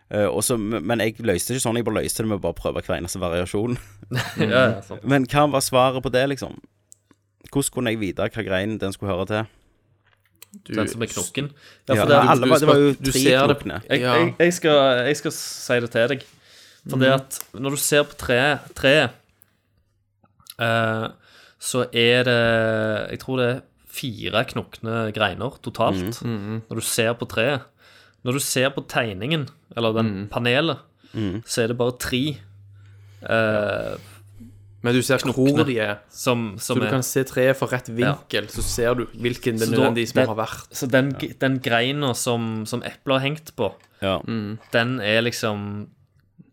Eh, og så- men jeg løste det ikke sånn, jeg bare løste det med å bare prøve hver eneste variasjon. [LAUGHS] [LAUGHS] ja, ja, sant. Men hva var svaret på det, liksom? Hvordan kunne jeg vite hva grein den skulle høre til? Den som er knokken. Ja, for det, er- alle, var- det var jo du tre ser det- knokne. Jeg, Ja. jeg, jeg, skal, jeg skal si det til deg. For det at når du ser på treet, treet eh, så er det Jeg tror det er fire knokne greiner totalt når du ser på treet. Når du ser på tegningen, eller den panelet, så er det bare tre eh, Men du ser hvor de er. som, Så som du er kan se treet fra rett vinkel, så ser du hvilken det Så da- nødvendigvis må det- ha vært. Så den, den greina som, som eplet har hengt på, Ja. den er liksom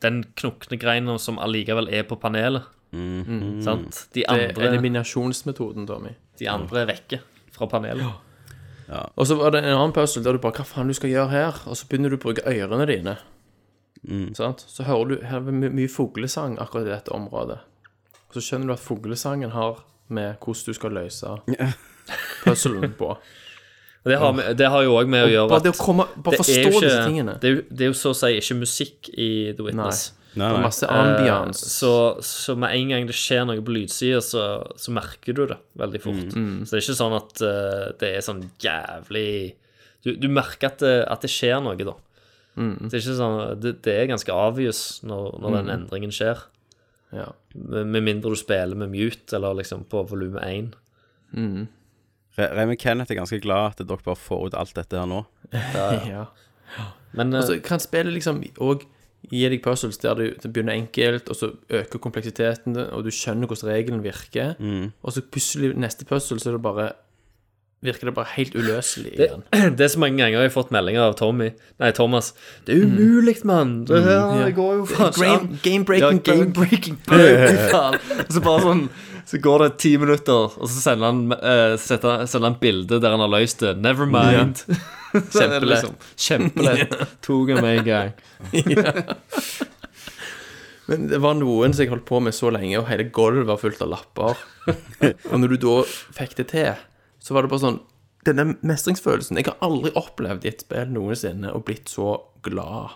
Den knokne greina som allikevel er på panelet. Sant? Mm. Det De er andre, eh, eliminasjonsmetoden, Tommy. de andre er vekke fra panelet. Og så var det en annen puzzle der du bare Hva faen du skal gjøre her? Og så begynner du å bruke ørene dine. Mm. Sant? Så hører du Her er my mye fuglesang akkurat i dette området. Og så skjønner du at fuglesangen har med hvordan du skal løse [LAUGHS] puzzlen [LAUGHS] på. Og Det har, med- det har jo òg med å gjøre Bare at det å komme Bare er forstå jo disse tingene. det, er jo, det er jo så å si ikke musikk i The Witness. Nei, Det er nei. masse Eh, ambiance. Så, så med en gang det skjer noe på lydsida, så, så merker du det veldig fort. Mm, Så det er ikke sånn at eh, det er sånn jævlig Du, du merker at det, at det skjer noe, da. Mm. Det er ikke sånn Det, det er ganske obvious når, når den endringen skjer. Ja. Med, med mindre du spiller med mute, eller liksom på volum 1. Re- Remi Kenneth er ganske glad at dere bare får ut alt dette her nå. [LAUGHS] ja. Men eh, Og så kan spillet liksom òg gi deg puzzles der du det begynner enkelt, og så øker kompleksiteten, og du skjønner hvordan regelen virker, Mm. og så plutselig neste puzzle, så er det bare Virker det bare helt uløselig [LAUGHS] igjen. [CLEARS THROAT] det er så mange ganger jeg har fått meldinger av Tommy Nei, Thomas. 'Det Mm. er umulig, mann! Det her det går jo faen Altså, ikke an.' Game-breaking ja, game breaking bug, fy faen. Og så bare sånn Så går det ti minutter, og så sender han, eh, setter, sender han bilde der han har løst det. Never mind. [LAUGHS] Så er det Kjempelett. liksom, Kjempelett. Tok han med en gang. Men det var noen som jeg holdt på med så lenge, og hele gulvet var fullt av [LAUGHS] lapper. og når du da fikk det til, så var det bare sånn Denne mestringsfølelsen Jeg har aldri opplevd i et spill noensinne og blitt så glad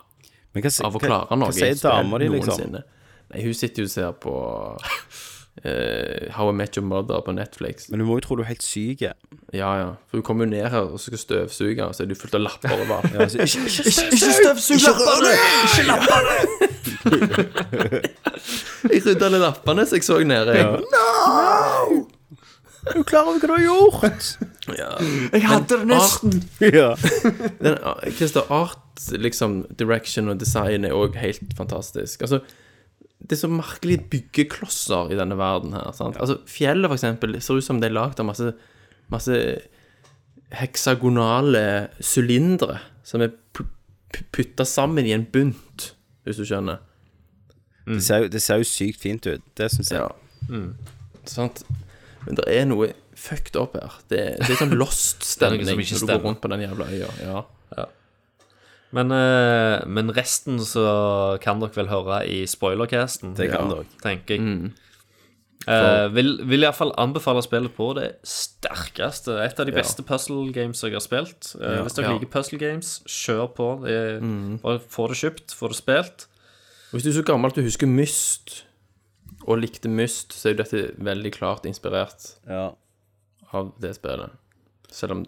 Men hva, s- av å hva- klare noe. Hva sier dama di, liksom? noensinne. Nei, hun sitter jo og ser på [LAUGHS] eh, How I Met Your Mother på Netflix. Men du må jo tro du er helt syk. ja. Ja, ja. For hun kommer jo ned her og skal støvsuge, og så er det jo fullt av lapper [LAUGHS] overalt. Altså, ikke- ikke- Ikke støvsug lappene! Ikke lappene! [LAUGHS] jeg rydda alle lappene som jeg så nede. Jeg. Er du klar over hva du har gjort? jeg hadde det nesten! [LAUGHS] ja. Den, ah, Christer, art, liksom, direction og design er òg helt fantastisk. Altså, det er så merkelige byggeklosser i denne verden her. Sant? Altså, fjellet, for eksempel, ser ut som det er lagd av masse, masse heksagonale sylindere som er putta sammen i en bunt, hvis du skjønner. Mm. Det, ser jo, det ser jo sykt fint ut. Det syns jeg. Ja. Mm. Sant? Men det er noe fucked up her. Det, det er sånn [LAUGHS] lost er noe stemning som når ikke du stemmer. går rundt på den jævla øya. Ja. Men, eh, men resten så kan dere vel høre i spoilercasten. Det kan dere. Tenker jeg. Eh, vil, vil i hvert fall anbefale spillet på det sterkeste. Et av de beste puzzle games jeg har spilt. Eh, hvis dere Ja. liker puzzle games, kjør på. Det, er- Bare få det kjøpt, få det spilt. Hvis du er så gammel at du husker Myst, og likte Myst, så er jo dette veldig klart inspirert Ja. av det spillet. Selv om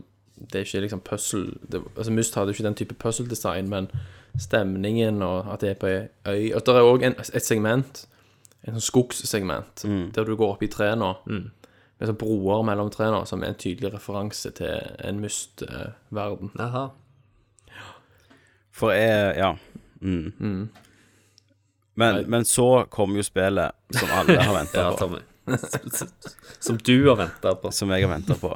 det ikke er liksom puzzle det, Altså Myst hadde jo ikke den type puzzle-design, men stemningen og at det er på ei øy Og det er òg et segment, en sånn skogssegment, Mm. der du går opp i trærne. Med sånne broer mellom trærne, som er en tydelig referanse til en Myst-verden. Aha. For jeg Ja. Mm. Men, men så kom jo spillet som alle har [LAUGHS] venta Ja, på. Tommy. [LAUGHS] Som du har venta på. Som jeg har venta på.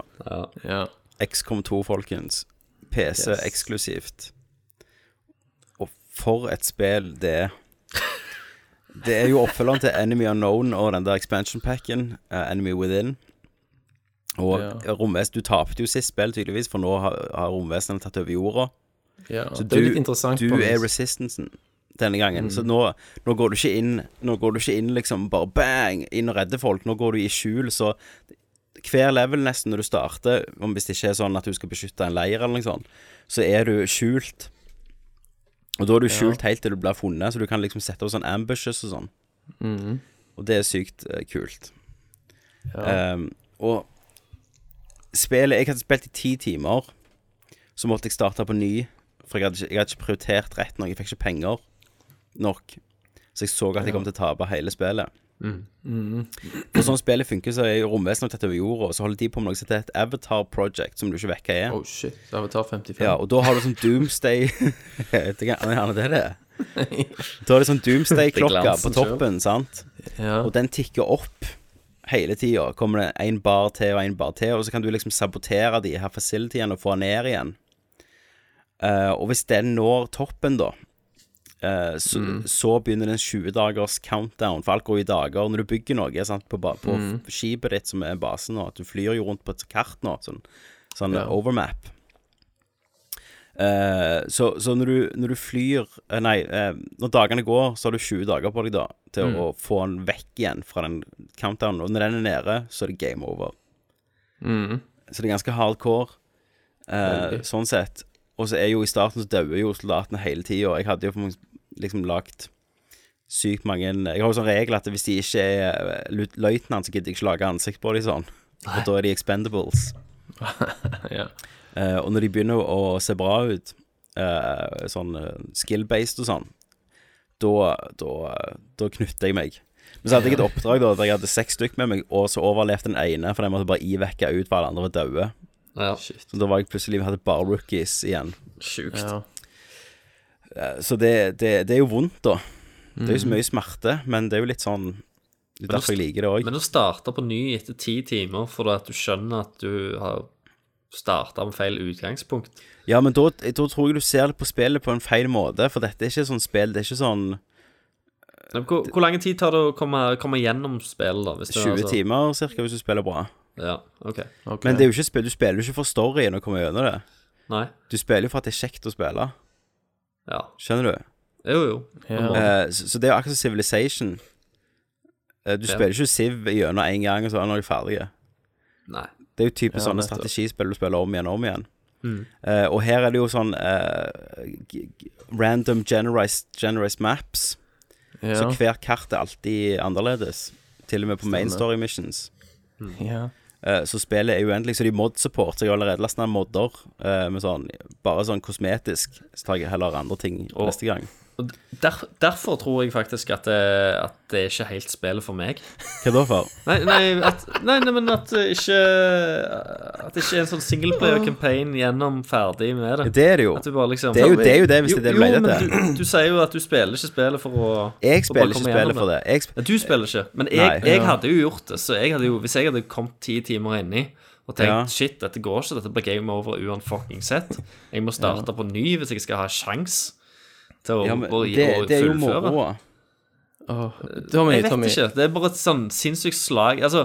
Ja. XCOM 2, folkens. PC Yes. eksklusivt. Og for et spill det er. Det er jo oppfølgeren til Enemy Unknown og den der expansion packen, eh, Enemy Within. Og Ja. romvesen Du tapte jo sist spill, tydeligvis, for nå har, har romvesenene tatt over jorda. ja. Så det er jo litt interessant. du på er Myst. resistansen denne gangen. Så nå, nå går du ikke inn Nå går du ikke inn liksom bare bang, inn og redder folk. Nå går du i skjul, så hver level nesten når du starter, om hvis det ikke er sånn at du skal beskytte en leir eller noe sånt, så er du skjult. Og da er du skjult helt til du blir funnet, så du kan liksom sette opp sånn ambushes og sånn. Mm. Og det er sykt eh, kult. Ehm, og spillet Jeg hadde spilt i ti timer, Så måtte jeg starte på ny, for jeg hadde ikke, jeg hadde ikke prioritert rett nok. Jeg fikk ikke penger nok. Så jeg så at jeg kom til å tape hele spillet. For sånn spillet funker, så er jo romvesenet tatt over jorda, og så holder de på med noe som heter et Avatar Project, som du ikke vet hva er. Oh shit. Avatar 55. Ja, og da har du sånn doomsday [LAUGHS] Det kan gjerne det [LAUGHS] det er. Da er det sånn doomsday-klokka på glansen toppen, sant? Og den tikker opp hele tida. Kommer det én bar til og én bar til, og så kan du liksom sabotere de her facilityene og få den ned igjen. Eh, og hvis den når toppen, da, eh, så, så begynner det en 20 dagers countdown. For alt går i dager når du bygger noe sant? på, ba- på skipet ditt, som er basen nå. At du flyr jo rundt på et kart nå, sånn, sånn overmap. Eh, så så når, du, når du flyr eh, Nei, eh, når dagene går, så har du 20 dager på deg da til å få den vekk igjen fra den countdownen. Og når den er nede, så er det game over. Så det er ganske hardcore eh, sånn sett. Og så er jo i starten så dauer jo soldatene hele tida. Jeg hadde jo for mange- liksom lagt sykt mange Jeg har jo sånn regel at hvis de ikke er eh, løyt- løytnant, så gidder jeg ikke lage ansikt på dem sånn. Og da er de expendables. Ja. Eh, og når de begynner å se bra ut, eh, sånn eh, skill-based og sånn, da, da, da knytter jeg meg. Men så hadde jeg et oppdrag da der jeg hadde seks stykk med meg, og så overlevde den ene, for den måtte bare ivekke ut hva alle andre var daue. Ja. Så da var jeg plutselig hadde bare rookies igjen. Sjukt. Ja. Så det, det, det er jo vondt, da. Det er jo så mye smerte, men det er jo litt sånn Det er derfor jeg liker det òg. Mhm. Men å starte på ny etter ti timer fordi at du skjønner at du har starta med feil utgangspunkt Ja, men da, da tror jeg du ser det på spillet på en feil måte, for dette er ikke sånn spill. Det er ikke sånn Men Hvor, hvor lang tid tar det å komme, komme gjennom spillet, da? Hvis det er 20 altså- timer cirka hvis du spiller bra. Ja, ok. ok. Men det er jo ikke spill, du spiller jo ikke for storyen og kommer gjennom det. Nei. Du spiller jo for at det er kjekt å spille. Ja. Skjønner du? Jo, jo. på en Ja. måte. Eh, så, så det er jo akkurat som Civilization. Eh, du Ja. spiller ikke Siv gjennom én gang, og så er du ferdig. Nei. Det er jo typisk Ja, sånne nettopp. Mm. strategispill du spiller om igjen og om igjen. Eh, og her er det jo sånn eh, g- g- random generized, generized maps. ja. Så hver kart er alltid annerledes. Til og med på main story missions. ja. Eh, så spillet er uendelig. Så de mod-support. Så jeg har allerede lasta ned modder eh, med sånn bare sånn kosmetisk. Så tar jeg heller andre ting neste gang. Og der, derfor tror jeg faktisk at det, at det er ikke helt spillet for meg. Hva da for? Nei, nei, at, nei, nei men at det ikke At det ikke er en sånn singleplayer-campaign gjennom ferdig med det. Det er det jo. At du bare liksom Det er jo det, er jo det hvis det er det du Jo, leter men etter. Du, du sier jo at du spiller ikke spillet for å Jeg for å spiller bare ikke komme spillet gjennom for det. Jeg sp Ja, du spiller ikke, men Nei. jeg, jeg hadde jo gjort det. Så jeg hadde jo, hvis jeg hadde kommet ti timer inni og tenkt Ja. shit, dette går ikke, dette blir game over uanfucking sett. Jeg må starte på ny hvis jeg skal ha sjans til å, ja, men å, det, å det er jo fullføre. moroa. Åh, Tommy, Jeg vet Tommy. ikke. Det er bare et sånn sinnssykt slag. Altså,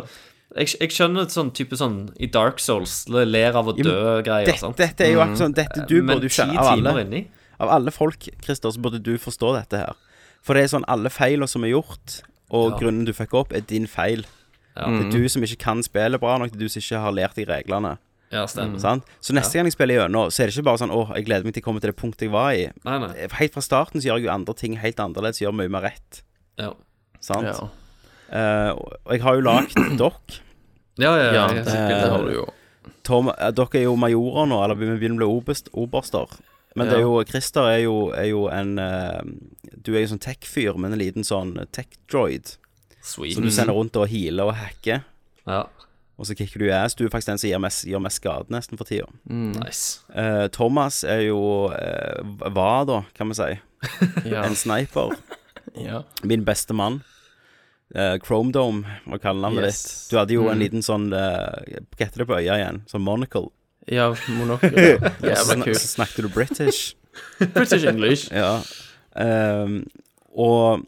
jeg, jeg skjønner et sånn type sånn i Dark Souls, le- ler av å dø-greier. Dette, sant? Eh, dette er jo akkurat sånn Dette du Men burde ti jo kjenne av alle. timer inni Av alle folk, Christer, så burde du forstå dette her. For det er sånn alle feiler som er gjort, og grunnen du fucker opp, er din feil. Det er du som ikke kan spille bra nok, det er du som ikke har lært de reglene. Mm. Ja, stemmer. Mm. Sant? Så neste gang jeg spiller gjennom, så er det ikke bare sånn 'Å, jeg gleder meg til jeg kommer til det punktet jeg var i'. Eh, Nei, nei. Helt fra starten så gjør jeg jo andre ting helt annerledes, gjør mye mer rett. Ja, Sant? Ja. Eh, og og jeg har jo lagd [CLEARS THROAT] dokk. ja, ja. Ja, ja, det, ja. det har du jo. Tom, eh, dere er jo majorer nå, eller vi begynner å bli obest, oberster. Men det er jo, Christer er jo, er jo en eh, Du er jo sånn tech-fyr, men en liten sånn tech-droid. Mhm. Sweet. Som du sender rundt og healer og hacker, Ja, og så kicker du i ass. Du er faktisk den som gir mest, gjør mest skade nesten for tida. nice. Eh, Thomas er jo eh, Var, da, kan vi si. Ja. En [LAUGHS] sniper. ja. Min beste mann. Eh, Chrome Dome var kallenavnet Yes. Mhm. ditt. Du hadde jo en liten sånn eh, Hva heter det på øya igjen? Sånn monocle. ja [LAUGHS] monokkel. Jævla Sn kult. så snakket du british. British English. Ja. Ehm, og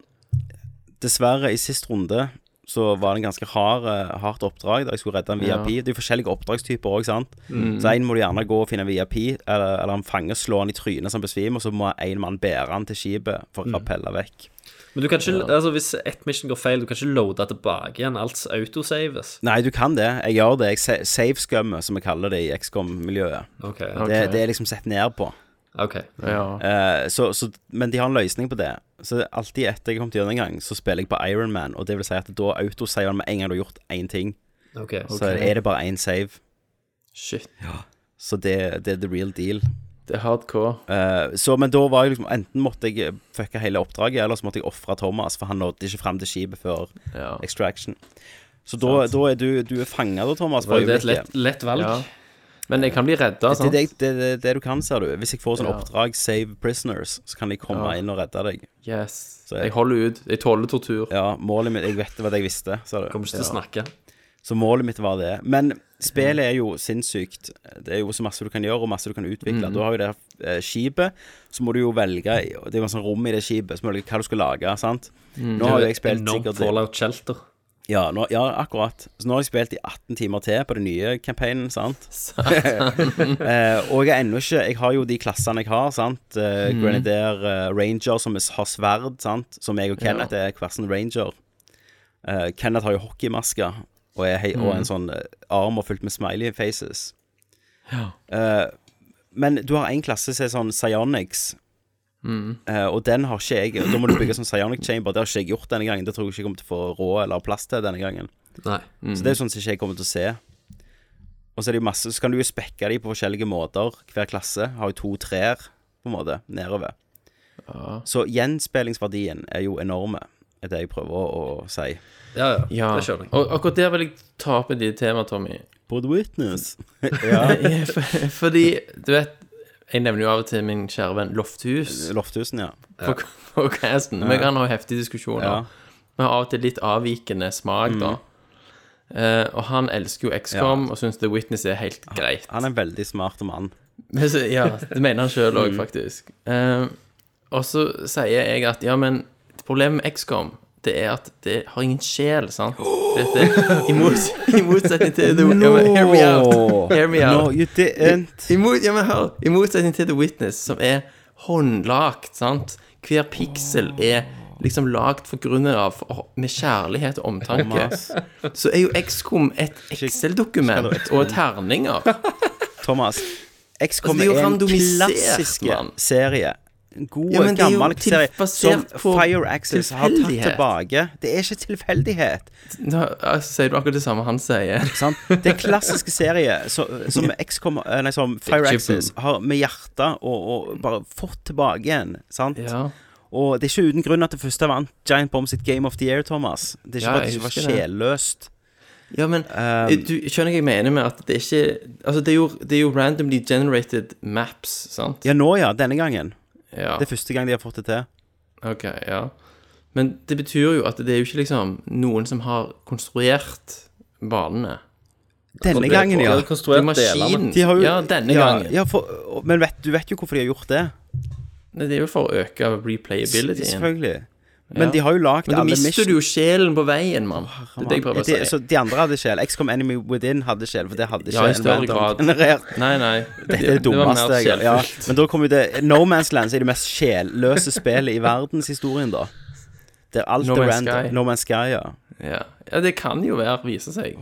dessverre, i sist runde så var det en ganske hard, eh, hardt oppdrag der jeg skulle redde en VIP. Det er jo forskjellige oppdragstyper òg, sant. Så en må du gjerne gå og finne en VIP, eller, eller en fange slå han i trynet så han besvimer, og så må en mann bære han til skipet for å rappelle vekk. Men du kan ikke, altså hvis ett mission går feil, du kan ikke loade tilbake igjen. Alt autosaves. Nei, du kan det. Jeg gjør det. Jeg sa- savescummer, som vi kaller det i XCOM-miljøet. OK. Det, det er liksom sett ned på. ok Ja. Eh, så, så, men de har en løsning på det. Så alltid etter jeg kom til gjennom en gang, så spiller jeg på Ironman. Og det vil si at da autoseier han med en gang du har gjort én ting. ok Så er det bare én save. Shit. Så det, det er the real deal. Det er hardcore. Eh, så, men da var jeg liksom Enten måtte jeg fucke hele oppdraget, eller så måtte jeg ofre Thomas, for han nådde ikke fram til skipet før Ja. Extraction. Så da, da er du, du er fanga da, Thomas. for Det er et øyeblikket. lett, lett valg. Ja. Men jeg kan bli altså. redda, Det er sant? det, jeg- det, det, det du kan, ser du. Hvis jeg får sånn Ja. oppdrag, save prisoners, så kan jeg komme inn og redde deg. Yes. jeg- Jeg holder ut. Jeg tåler tortur. Ja, målet mitt Jeg vet hva jeg visste, sa du. Kommer ikke til å snakke. Så målet mitt var det. Men spillet er jo sinnssykt. Det er jo så masse du kan gjøre, og masse du kan utvikle. Du har jo det eh, skipet, så må du jo velge i- og Det er jo en sånn rom i det skipet, så må du velge hva du skal lage, sant. Nå har jo jeg spilt Enormt sikkert Fallout Shelter. ja, nå, ja, akkurat. Så nå har jeg spilt i 18 timer til på den nye campaignen, sant. [LAUGHS] eh, og jeg er ennå ikke Jeg har jo de klassene jeg har, sant. Eh, Grenadier eh, Ranger, som er- har sverd, sant. Som jeg og Kenneth er hver sin ranger. Eh, Kenneth har jo hockeymaske og, er hei, og en sånn eh, arm og fullt med smiley faces. Eh, men du har én klasse som er sånn psionics. Eh, og den har ikke jeg. og Da må du bygge sånn psionic chamber. Det har ikke jeg gjort denne gangen. Det tror jeg ikke jeg kommer til å få råd eller plass til denne gangen. Nei. Så det er Mhm. sånn som ikke jeg kommer til å se. Og så er det jo masse Så kan du jo spekke de på forskjellige måter. Hver klasse har jo to treer, på en måte, nedover. Så gjenspillingsverdien er jo enorme, er det jeg prøver å si. Ja, ja, Ja. Det skjønner jeg. Og akkurat der vil jeg ta opp et lite tema, Tommy. På The Witness. [LAUGHS] [LAUGHS] Fordi, du vet Jeg nevner jo av og til min kjære venn Lofthus Lofthusen, ja. på, på casten. Men han har jo heftige diskusjoner. Ja. Vi har av og til litt avvikende smak, da. Mm. Eh, og han elsker jo XCOM og syns The Witness er helt Ah, greit. Han er en veldig smart mann. Men så- Ja, det mener han sjøl Mm. òg, faktisk. Eh, og så sier jeg at ja, men problemet med XCOM det er at det har ingen [GASPS] sjel, sant? Dette, i, mot, I motsetning til The ja, men Hear me out. Hear me No, out. you didn't. I, mot, ja, men hør, I motsetning til The Witness, som er håndlagt, sant? Hver piksel er liksom lagd for grunnen av og med kjærlighet og omtanke. Thomas, Så er jo XCOM et Excel-dokument og terninger. Thomas. XCOM Altså, det er jo er en randomisert, klassisk mann. serie. En god, Ja, men det er jo gammel til- serie som basert på Fire Access har tatt tilfeldighet. tilbake. Det er ikke tilfeldighet. Nå altså, sier du akkurat det samme han sier. Sant? Det er klassiske serie så, som, XCOM, eh, nei, som Fire Ikke Axis har med hjertet og, og bare fått tilbake igjen. Sant? Ja. Og det er ikke uten grunn at det første vant Giant Bomb sitt Game of the Year, Thomas. Det er ikke Ja, for at det ikke jeg var Um, husker det. sjelløst. Ja, men Eh, eh, du skjønner hva jeg mener med at det er ikke Altså, det er jo, det er jo randomly generated maps, sant? Ja, nå ja, denne gangen. Ja. Det er første gang de har fått det til. Ok, ja. Men det betyr jo at det er jo ikke liksom noen som har konstruert banene. Denne gangen, De ja. har Det er konstruert delene. maskinen. De har jo- ja, denne ja, gangen. Ja, for, og- men vet, du vet jo hvorfor de har gjort det. Nei, Det er jo for å øke replayabilityen. Selvfølgelig. Men de har jo lagd Men da alle mister missions. du jo sjelen på veien, mann. Det er det jeg prøver å si. Det- Så de andre hadde sjel. XCOM Enemy Within hadde sjel, for det hadde ikke Ja, i en større random grad. generert Nei, nei. Dette er [LAUGHS] det var mer dummeste jeg ja. sjelfullt. Men da kommer jo det No Man's Land som er det mest sjelløse spillet i verdenshistorien, da. Der alt No er Man's random. Sky. No Man's Sky, ja. Ja. ja, det kan jo være, vise seg.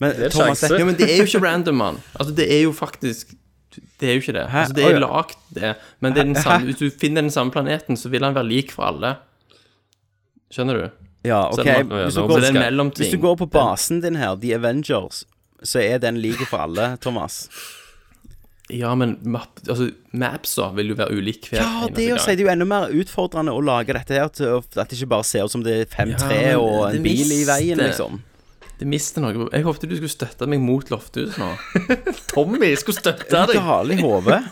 Men er Thomas, sjanse. dette, Ja, men [LAUGHS] det er jo ikke random, mann. Altså, det er jo faktisk Det er jo ikke det. Altså, det Å, er ja. lagt, det. Men det er den samme, hvis du finner den samme planeten, så vil han være lik for alle. Skjønner du? ja, ok Selv om- hvis, så du det er en går, mellomting. hvis du går på basen din her, The Avengers, så er den like for alle, Thomas. Ja, men map, altså, mapsa vil jo være ulik hver Ja, det er jo, så er det jo enda mer utfordrende å lage dette her til å- at det ikke bare ser ut som det er fem Ja, tre men og det en bil i mister. veien, liksom. Det mister noe. Jeg håpte du skulle støtte meg mot [LAUGHS] Lofthus nå. Tommy jeg skulle støtte deg. Gale i hodet.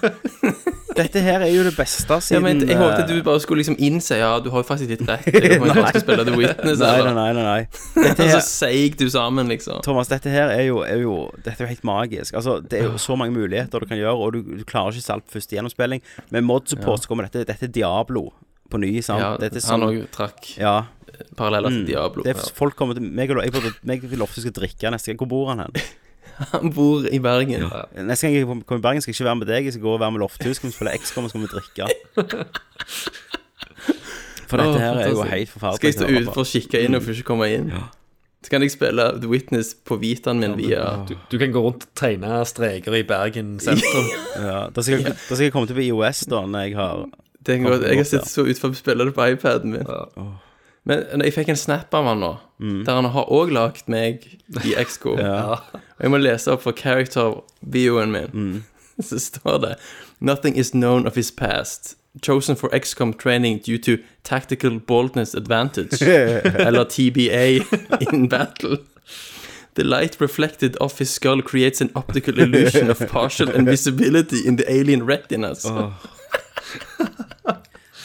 [LAUGHS] Dette her er jo det beste Ja, siden men jeg håpte eh, du bare skulle liksom innse Ja, du har jo faktisk litt [LAUGHS] rett. Jeg kommer ikke til å Altså, spille The Witness, Nei, nei, eller? nei. nei, nei. [LAUGHS] Og så seig du sammen, liksom. Thomas, dette her er jo, er jo Dette er jo helt magisk. Altså, det er jo så mange muligheter du kan gjøre, og du, du klarer ikke salt første gjennomspilling. Med mod support så kommer dette Dette er Diablo på ny, sant? Ja, dette er han sånn, òg trakk ja, Mm. paralleller til Diablo. det er, folk kommer til meg og lo- jeg, burde- meg vil ofte skal drikke neste gang. Hvor bor han hen? Han bor i Bergen. Neste gang jeg kommer i Bergen, skal jeg ikke være med deg. Jeg skal gå og være med Lofthus. Skal vi spille XCOM, og så skal vi drikke. For dette Åh, her er jo fantastisk. helt Skal forferdelig. jeg stå å høre på. utenfor og kikke inn og får ikke komme inn? Så kan jeg spille The Witness på Vitaen min via Du, du kan gå rundt og tegne streker i Bergen [LAUGHS] sentrum. Ja, da, skal jeg, da skal jeg komme til på IOS, da, når jeg har Det kan godt- Jeg har Ja. sett så utenfor og spiller det på iPaden min. Men jeg fikk en snap av han nå. der han har òg lagd meg i XCO. Og jeg må lese opp for character-bioen min. [LAUGHS] Så står det Nothing is known of his past. Chosen for XCOM training due to tactical boldness advantage. eller TBA in battle. The light reflected off his skull creates an optical illusion of partial invisibility in the alien retinas.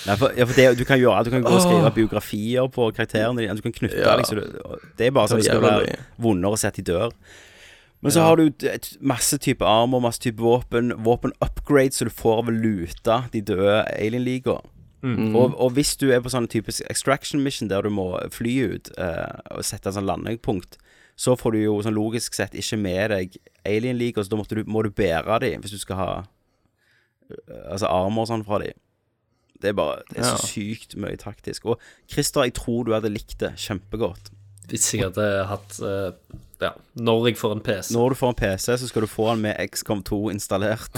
Nei, for, ja, for det, du kan gjøre Du kan gå og skrive biografier på karakterene dine. Du kan knytte Ja. liksom, du- Det er bare sånn det skal jævla være mye. vondere å se at de dør. Men så har du et- et masse type armer, masse type våpen, våpen-upgrades så du får av å lute de døde alien-liga. Mm. Og, og hvis du er på sånn typisk extraction mission der du må fly ut eh, og sette en sånn landepunkt, så får du jo sånn logisk sett ikke med deg alien-liga, så da måtte du, må du bære dem hvis du skal ha eh, Altså armer og sånn fra dem. Det er bare Det er så sykt mye taktisk. Og Christer, jeg tror du hadde likt det kjempegodt. Hvis jeg hadde hatt eh, Ja, når jeg får en PC. Når du får en PC, så skal du få den med XCOM 2 installert.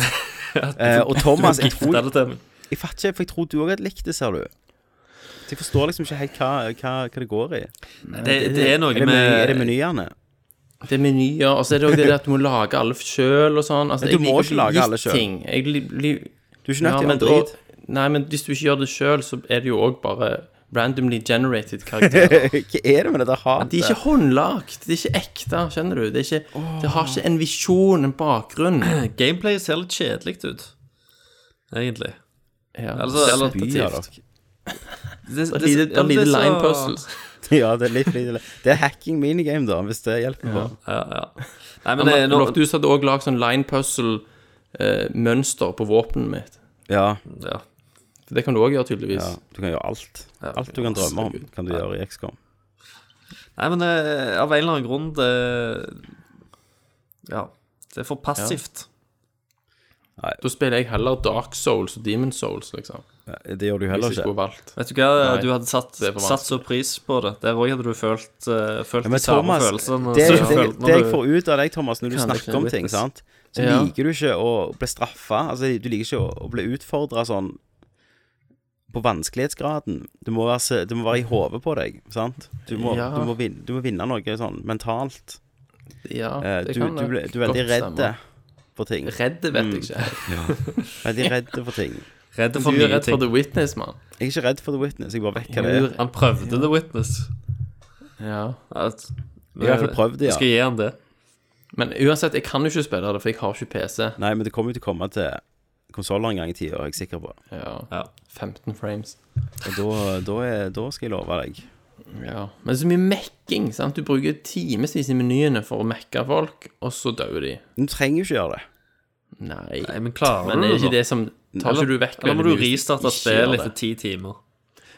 eh, og Thomas, jeg Det tror er det til meg. Jeg fatter ikke, for jeg tror du òg hadde likt det, ser du. Så jeg forstår liksom ikke helt hva, hva, hva det går i. Det, det er Er noe det, meny, er med det menyene? Det er menyer, og så er det også det der at du må lage alle sjøl og sånn. Altså, Men du jeg må liker ikke lage gitt alle selv. ting. Jeg li, li, Du er ikke nødt til å men gjøre drit. da- Nei, men hvis du ikke gjør det sjøl, så er det jo òg bare randomly [LAUGHS] generated karakterer. [LAUGHS] Hva er det med dette hatet? De er ikke håndlagt, de er ikke ekte, skjønner du. Det, er ikke, det har ikke en visjon, [CLEARS THROAT] en bakgrunn. Gameplay ser litt kjedelig ut, egentlig. Ja, Altså, eller Spy av dere. det, og lite, og lite line puzzles. Ja, det er litt lite Det er hacking minigame, da, hvis det hjelper på. Ja, ja. Nei, men det, er Lof- noe Loftus hadde òg lagd sånn line puzzle-mønster på våpenet mitt. Ja. ja. Det kan du òg gjøre, tydeligvis. ja. Du kan gjøre alt. Alt du kan drømme om, kan du gjøre i XCOM. Nei, men eh, av en eller annen grunn det, Ja, det er for passivt. Da spiller jeg heller Dark Souls og Demon Souls, liksom. Det gjør du heller Hvis jeg ikke. skulle valgt. Vet du hva, Nei, du hadde satt, det er for satt så pris på det. Der òg hadde du følt, eh, følt Ja, men de samme Thomas, følelsene. det, som det, du det, følte når jeg du- får ut av deg, Thomas, når du Kan det snakker om ikke ting, witness? sant så Ja. liker du ikke å bli straffa. Altså, du liker ikke å, å bli utfordra sånn på vanskelighetsgraden. Du må være, se- det må være i hodet på deg, sant? Du må, Ja. du, må vinne, du må vinne noe sånn mentalt. Ja, Eh, det du, kan du, nok ble, du er veldig godt redd stemme. for ting. Redd det vet jeg ikke. Veldig redd for ting. Redd for Du er nye redd ting. for The Witness, mann. Jeg er ikke redd for The Witness, jeg bare vekker Du det. er Jeg redd- Han prøvde The Witness. Ja. At, har i hvert fall prøvd det, Skal ja. jeg gi han det? Men uansett, jeg kan jo ikke spille det, for jeg har ikke PC. Nei, men det kommer jo til å komme til konsoller en gang i tida, er jeg sikker på. Ja. Ja. 15 frames. Og da, da, er, da skal jeg love deg. Ja. Men så mye mekking, sant. Du bruker timevis i menyene for å mekke folk, og så dør de. Men du trenger jo ikke gjøre det. Nei. Nei, men klarer Men du er det? ikke nå? det som Tar ikke du vekk Eller må du veldig mye hvis restarte ikke gjør spillet det? etter ti timer?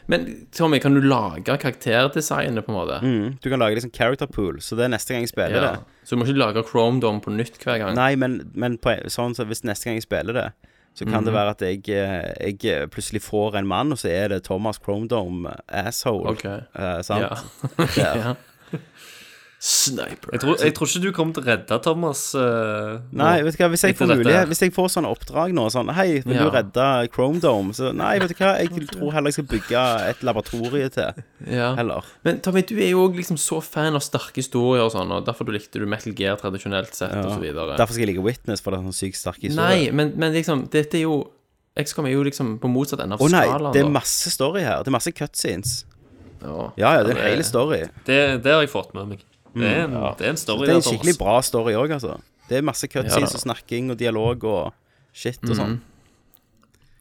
Men Tommy, kan du lage karakterdesignet, på en måte? Mm, du kan lage liksom character pool, så det er neste gang jeg spiller Ja. det. Så du må ikke lage Chromedom på nytt hver gang? Nei, men, men på, sånn så hvis neste gang jeg spiller det, så kan Mhm. det være at jeg, eh, jeg plutselig får en mann, og så er det Thomas Chromedome Asshole. Ok. eh, sant? Ja. [LAUGHS] ja. Sniper. Jeg tror, jeg tror ikke du kommer til å redde Thomas. eh, nå. Nei, vet du hva, hvis jeg Etter får dette- mulighet Hvis jeg får sånne oppdrag nå, sånn Hei, vil Ja. du redde Chromedome? Så nei, vet du hva, jeg tror heller jeg skal bygge et laboratorie til. Ja. Heller. Men Tommy, du er jo òg liksom så fan av sterke historier og sånn, og derfor du likte du Metal Gear tradisjonelt sett, og så videre. Derfor skal jeg like Witness, for det er en sånn sykt sterk historie. Nei, men, men liksom, dette er jo XCOM er jo liksom på motsatt ende av Å nei, skalaen. det er da. masse story her. Det er masse cutscenes. Ja. Ja, ja, det er en hel story. Det, det har jeg fått med meg. Det er en, det er en story. Det er der, en skikkelig Thomas. bra story òg, altså. Det er masse Ja, cutscenes da. og snakking og dialog og shit Mhm. og sånn.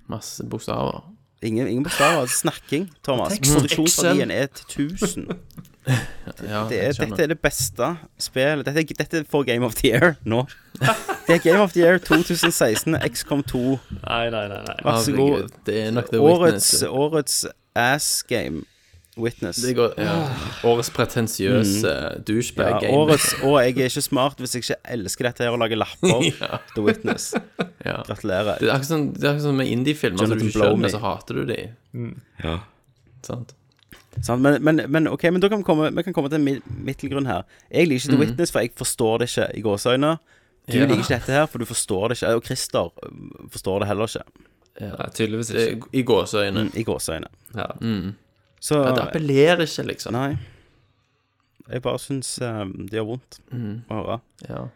Masse bokstaver. Ingen, ingen bokstaver. altså Snakking, Thomas. Tekst, Produksjonsverdien er til 1000. Ja, Det jeg er, skjønner. dette er det beste spillet Dette, er- dette får Game of the Year nå. Det er Game of the Year 2016, XCOM 2. Nei, nei, nei. nei. Vær så god. Herregud, Det er nok The Witness. Årets, årets ass game. Witness. Det går, ja. Årets pretensiøse Ah. Mm. Ja, douchebag-game. årets, og jeg er ikke smart hvis jeg ikke elsker dette her å lage [LAUGHS] lapper. The Witness. Ja. Gratulerer. [LAUGHS] Det er akkurat sånn, det er akkurat sånn med indie-filmer. Altså, Jonathan du ikke Blow Me. skjønner, så hater du de. Sant? Sant? Men, men, men ok, men da kan vi komme, vi kan komme til en mid- middelgrunn her. Jeg liker ikke The Witness, for jeg forstår det ikke i gåseøyne. Du Mhm. Ja. liker ikke dette her, for du forstår det ikke. Og Christer øh, forstår det heller ikke Nei, tydeligvis Det, ikke. er I gåseøyne. i Mm, gåseøyne. Ja. Så Det appellerer ikke, liksom. Nei. Jeg bare syns eh, det gjør vondt Mm. å høre. Ja.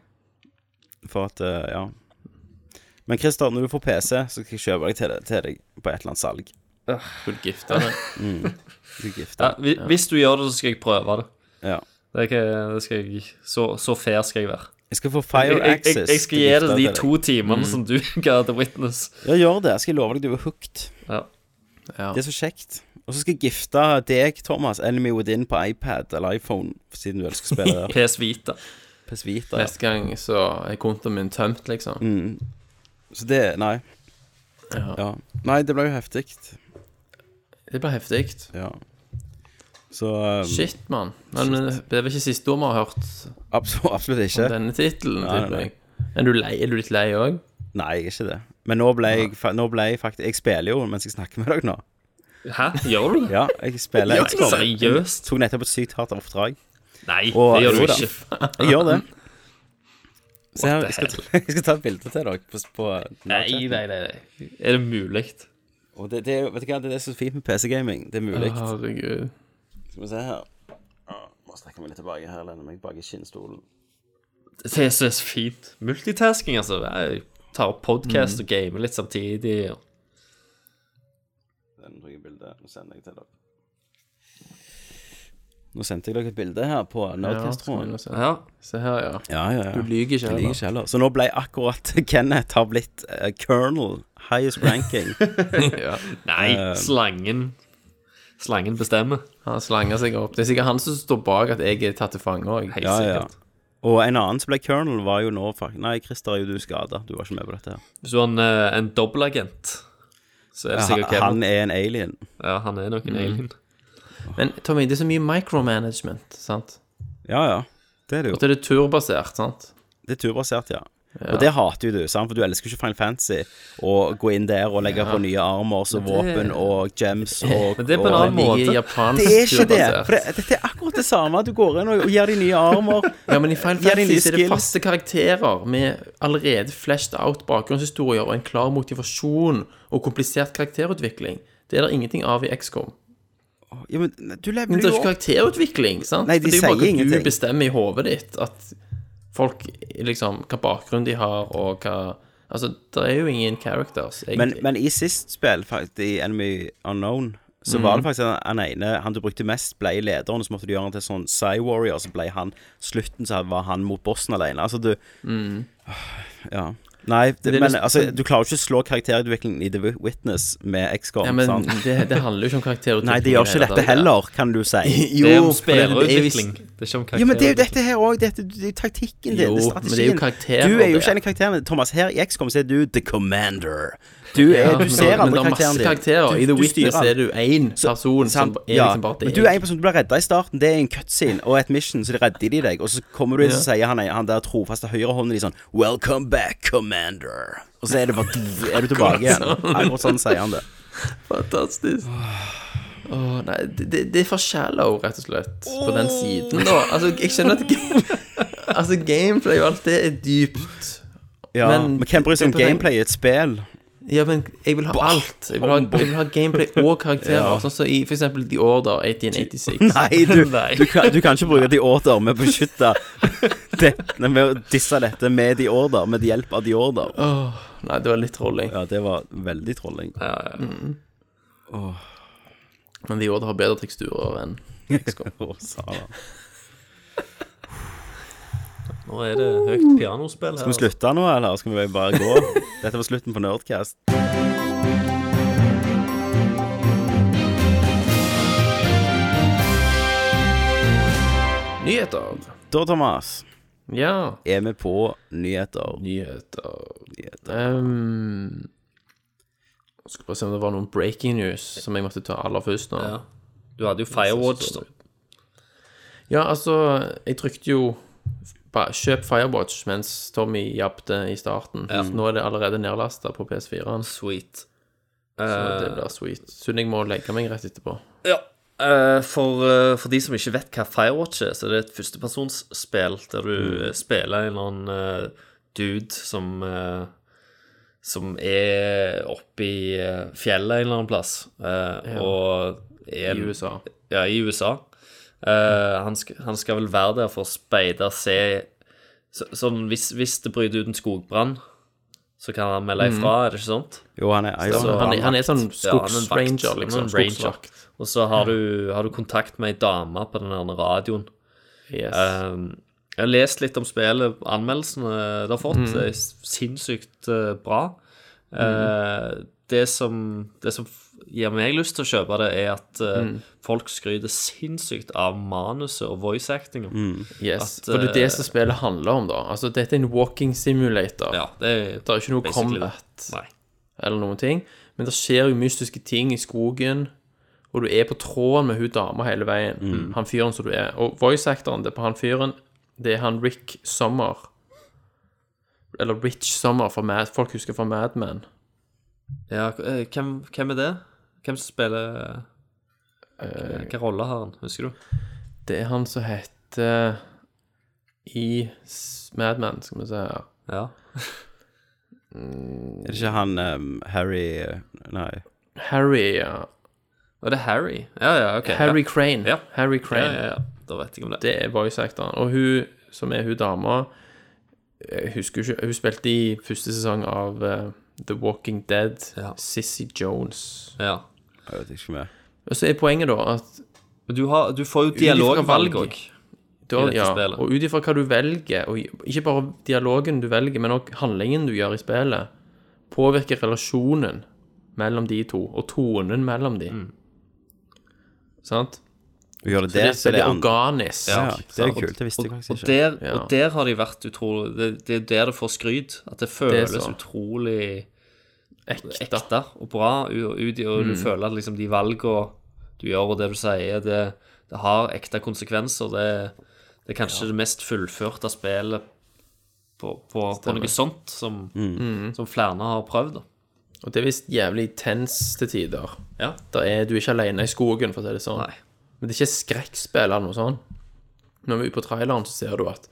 For at, eh, ja Men Christer, når du får PC, så skal jeg kjøpe deg til, det- til deg på et eller annet salg. Skulle gifte deg. Du er Ja, gifta. hvi- hvis du gjør det, så skal jeg prøve det. Ja. det, er ikke, det skal jeg, så, så fair skal jeg være. Jeg skal få Fire Jeg, jeg, Access. jeg, jeg skal gi til det gifta de til deg. to timene som du [LAUGHS] ga The Witness. Ja, gjør det. Jeg skal love deg du er hooked. Ja. Det er så kjekt. Og så skal jeg gifte deg, Thomas, Enemy Within på iPad eller iPhone, siden du elsker å spille [LAUGHS] der. PS Vita. PS Vita. ja. Neste gang så er kontoen min tømt, liksom. Mm. Så det Nei. Ja. Ja. Nei, det ble jo heftig. Det blir heftig. Ja. Så um, Shit, mann. Men eh, det er vel ikke siste ord vi har hørt abso- [LAUGHS] absolutt om ikke. denne tittelen, Nei, tipper nei. jeg. Er du lei? Er du litt lei òg? Nei, jeg er ikke det. Men nå ble jeg, fa- nå ble jeg faktisk Jeg spiller jo mens jeg snakker med dere nå. Hæ, gjør du det? Ja, jeg spiller Ja, XCOM. seriøst? Tok nettopp et sykt hardt oppdrag. Nei, Og- det jo gjør du da. ikke. Jeg gjør det. Se her, the jeg skal, jeg skal ta [LAUGHS] et bilde til dere på, på Nei, nei, nei, nei. Er det mulig? Og det, det, er jo- vet du hva, det er det som er så fint med PC-gaming. Det er mulig. Ah. Herregud. Skal vi se her. Ah, Må strekke meg litt tilbake her, lene meg bak i skinnstolen. Det er så fint. Multitasking, altså. Jeg tar opp Mm. podkast og gamer litt samtidig. og- Den tok jeg bilde og sendte jeg til dere. Nå sendte jeg dere et bilde her på Ja, skal vi Nerdcast-tråden. nå se. Ja. se her, ja. Ja, ja, ja. Du lyver ikke Jeg liker heller. ikke heller. Så nå ble akkurat [LAUGHS] Kenneth har blitt eh, colonel, highest ranking. Ja. Eh. Nei, slangen Slangen bestemmer. Han slanger seg opp. Det er sikkert han som står bak at jeg er tatt til fange òg. ja, ja. Og en annen som ble colonel, var jo nå fak- Nei, Christer, er jo du skada. Du var ikke med på dette. her Hvis du har en, eh, en dobbelagent, så er det sikkert Ha- Kevin. Han Mm. er en alien. Ja, han er nok en alien. Men Tommy, det er så mye micromanagement, sant? Ja, ja. Det er det jo. Og så er det turbasert, sant? Det er turbasert, ja. Og det hater jo du, sant? for du elsker jo ikke Final Fantasy. Å gå inn der og legge på nye armors og våpen og gems og Men det er på en og- annen måte. Like japansk Det er ikke det! turbasert. For det, dette er akkurat det samme. Du går inn og, og gir de nye [LAUGHS] armer. Ja, men i Final Gir de Fantasy nye så er det skills. faste karakterer med allerede fleshed out bakgrunnshistorier og en klar motivasjon og komplisert karakterutvikling. Det er det ingenting av i XCOM. Ja, men du lever Men det jo er jo ikke opp. karakterutvikling, sant? Nei, de det er jo bare sier hva ingenting. du bestemmer i hodet ditt, at folk liksom Hva bakgrunn de har, og hva Altså, det er jo ingen characters, Men, egentlig. men i sist spill, faktisk, i Enemy Unknown, så var Mhm. det faktisk han ene Han du brukte mest, ble lederen, og så måtte du gjøre han til sånn Psy-warrior, så ble han slutten, så var han mot bossen alene. Altså, du [SIGHS] Ja. Nei, det, Mhm. Det er men liksom- altså, du klarer jo ikke å slå karakterutviklingen i The Witness med XCOM. ja, men sant? det, det handler jo ikke om karakterutvikling. Nei, det gjør i ikke hele dette tatt. heller, kan du [LAUGHS] si. Jo, det er om for det- det er jo- spillerutvikling. Det er ikke om karakter. Ja, men det er jo dette her òg. Det er det er taktikken din. Jo, det er men strategien. det er jo karakterer, du er jo det. ikke en av karakterene. Thomas, her i XCOM så er du The Commander. Du, er, Ja, du men ser det- alle Men det er karakteren masse din. karakterer. I The du Witness styrer er du én person som Sant? er liksom bare men du er en person som blir redda i starten. Det er en cutscene og et mission, så de redder de deg. Og så kommer du inn, så sier han, han der trofaste høyrehånden din sånn Welcome back, Commander. Og så er det bare Er du tilbake [LAUGHS] igjen. Akkurat sånn sier han det. Fantastisk. Åh, nei, det, det- det er for shallow, rett og slett, på den siden, da. Altså, jeg [LAUGHS] skjønner at ga- Altså, gameplay og alt det er dypt. Ja, Men- men, hvem bryr seg om det er på den- gameplay i et spill? Ja, men jeg vil ha alt. Jeg vil ha, jeg vil ha gameplay og karakterer. Sånn som i for eksempel The Order 1886. Nei, du, du, kan, du kan ikke bruke de order med å beskytte det, nei, Med å disse dette med de order, med hjelp av de order. Åh, nei, det var litt trolling. Ja, det var veldig trolling. Ja, ja, ja. Men The Order har bedre teksturer enn Å, satan. Nå er det høyt pianospill her. Skal vi slutte nå, eller skal vi bare gå? Dette var slutten på Nerdcast. nyheter. Da, Thomas, Ja. er vi på nyheter. Nyheter Nyheter. Ehm, Jeg skal bare se om det var noen breaking news som jeg måtte ta aller først nå. Ja. Du hadde jo Firewatch, da. Ja, altså, jeg trykte jo ba- Kjøp Firewatch mens Tommy jabbte i starten. Nå er det allerede nedlasta på PS4-en, så Sweet. Eh. det blir sweet. Synd jeg må legge meg rett etterpå. Ja. eh, for, eh, for de som ikke vet hva Firewatch er, så er det et førstepersonsspill der du Mm. eh, spiller en eller annen eh, dude som eh, Som er oppe i eh, fjellet en eller annen plass, eh, og I er en- USA. Ja, i USA. Eh, han, skal, han skal vel være der for å speide se så, Sånn hvis, hvis det bryter ut en skogbrann, så kan han melde ifra, Mm. er det ikke sant? Jo, han er jo Så Han, er- han er sånn Ja, han er en vakt. skogsranger, Han er en liksom. ranger. Skogsvakt. Og så har du, har du kontakt med ei dame på den der radioen. Yes. Ehm, jeg har lest litt om spillet, anmeldelsene det har fått. Mm. Det er sinnssykt eh, bra. Eh, Mm. det, som, det som f- gir meg lyst til å kjøpe det, er at eh, Mm. folk skryter sinnssykt av manuset og voice-actinga. yes. at, For det er eh, det som spillet handler om, da. Altså, dette er en walking simulator. Ja, det er Det er ikke noe Basically, combat Nei. eller noen ting, men det skjer jo mystiske ting i skogen, og du er på tråden med hun dama hele veien. Mm. Han fyren som du er. Og voice-actoren det er på han fyren, det er han Rick Summer. Eller Rich Summer, fra Mad, folk husker fra Mad Men. Ja, eh, hvem, hvem er det? Hvem som spiller uh, Eh. Hvilken rolle har han, husker du? Det er han som heter i S- Mad Men, skal vi se her. Ja. Er det ikke han ehm, Harry eh, Nei. Harry, ja. Og det er Harry. Ja, ja, ok. Harry Crane. Ja. Harry ja. Crane. Ja, ja, ja. Da vet jeg om det. Det er voice-actoren. Og hun som er hun dama Jeg husker jo ikke Hun spilte i første sesong av eh, The Walking Dead. Ja. Sissy Jones. Ja. Jeg vet ikke mer. Og så er poenget, da, at Men du, har, du får jo ifra dialogvalg valg. òg. da, I dette ja, spillet. Og ut ifra hva du velger, og ikke bare dialogen du velger, men òg handlingen du gjør i spillet, påvirker relasjonen mellom de to, og tonen mellom de. Sant? Og gjør det Det det, er så det veldig er andre. organisk. Ja, det er sant. kult. Det visste jeg Og faktisk ikke. der, Ja. og der har de vært utrolig Det, det er der det får skryt. At det føles så. utrolig Ekte. Mm. ekte og bra. u- ut i- Og du føler at liksom de valgene du gjør, og det du sier, det, det har ekte konsekvenser. Det, det er kanskje det mest fullførte spillet på, på, på noe sånt som, Mm. Mm. som flere har prøvd. Da. Og det er visst jævlig tens til tider. Ja. Der er du er ikke alene i skogen, for å si det sånn. Nei. Men det er ikke skrekkspill eller noe sånt. Når vi er ute på traileren, så ser du at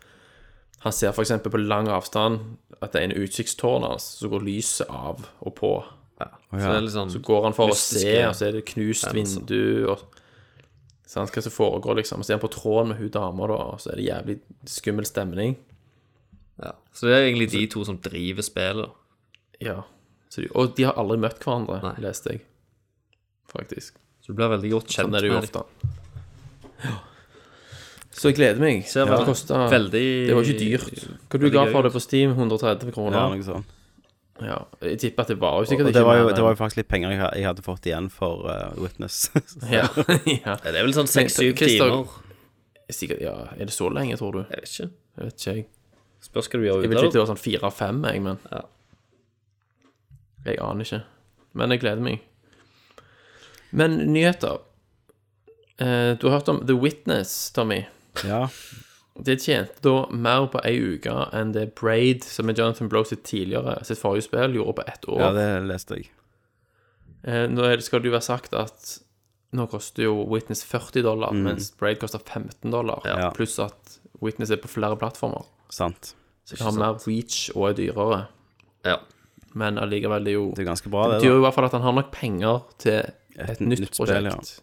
han ser f.eks. på lang avstand at det er en utsiktstårn hans, så går lyset av og på. Så det er litt sånn Så går han for å Mystiske se, og så er det knust vindu og Sant, hva som foregår, liksom. Og så er han på tråden med hun dama, da, og så er det jævlig skummel stemning. ja. Så det er egentlig de to som driver spillet. da. Ja. Så de, og de har aldri møtt hverandre, Nei. leste jeg. Faktisk. Så du blir veldig godt kjent Sånn er det jo med dem. ofte. Ja. Så jeg gleder meg. Ser det veldig- kosta Veldig Det var ikke dyrt. Hva du veldig ga gøy for det på Steam? 130 Ja, kroner? noe sånt. Ja. Jeg tipper at det var jo Og sikkert det var, jo, mer det var jo faktisk litt penger jeg ha- jeg hadde fått igjen for eh, Witness. enn- ja. [LAUGHS] ja. Ja, Det er vel sånn Men, seks-syv Christer- timer. Sikkert, ja. Er det så lenge, tror du? Jeg vet ikke. Jeg vet ikke. Jeg Spørs hva du gjør Jeg ut vil av ikke det. det var sånn fire-fem, jeg, men Ja. Jeg aner ikke. Men jeg gleder meg. Men nyheter. Eh, Du har hørt om The Witness, Tommy. [LAUGHS] ja. Det tjente da mer på ei uke enn det Braid, som er Jonathan Blow sitt tidligere, sitt forrige spill, gjorde på ett år. ja, det leste jeg. Eh, Nå er det- skal det jo være sagt at nå koster jo Witness 40 dollar, mens Braid koster 15 dollar. Mm. Ja. Pluss at Witness er på flere plattformer. Sant. Så det har mer reach og er dyrere. Ja. Men allikevel, det er jo Det er jo ganske bra, Det det. betyr da jo i hvert fall at han har nok penger til et, Et nytt, nytt spill, prosjekt.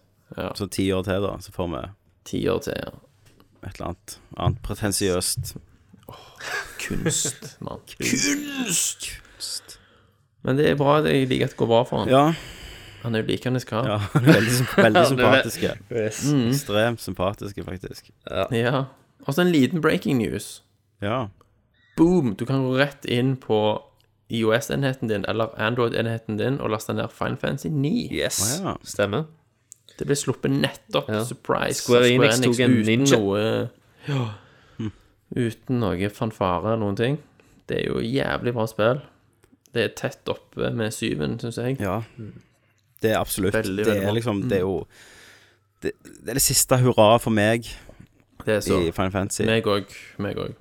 Så ti år til, da, så får vi Ti år til. ja. et eller annet annet pretensiøst. [LAUGHS] Kunst, mann. Kunst! Men det er bra. det- Jeg liker at det går bra for han. Ja. Han er jo likende kar. [LAUGHS] ja [LAUGHS] veldig, symp- veldig sympatiske. Mm. Ekstremt sympatiske, faktisk. Ja. Og så en liten breaking news. Ja. Boom! Du kan gå rett inn på IOS-enheten din eller Android-enheten din og laste ned Final Fantasy 9. Å, Yes. ja. Stemmer. Det ble sluppet nettopp. Ja. Surprise. Square Enix tok en uten ninja. Noe, Hm. Uten noe fanfare eller noen ting. Det er jo jævlig bra spill. Det er tett oppe med syven, syns jeg. Ja. Det er absolutt. Veldig, det veldig er bra. liksom Det er jo det, det er det siste hurra for meg Det er så. i Final Fantasy. Meg òg. Meg òg.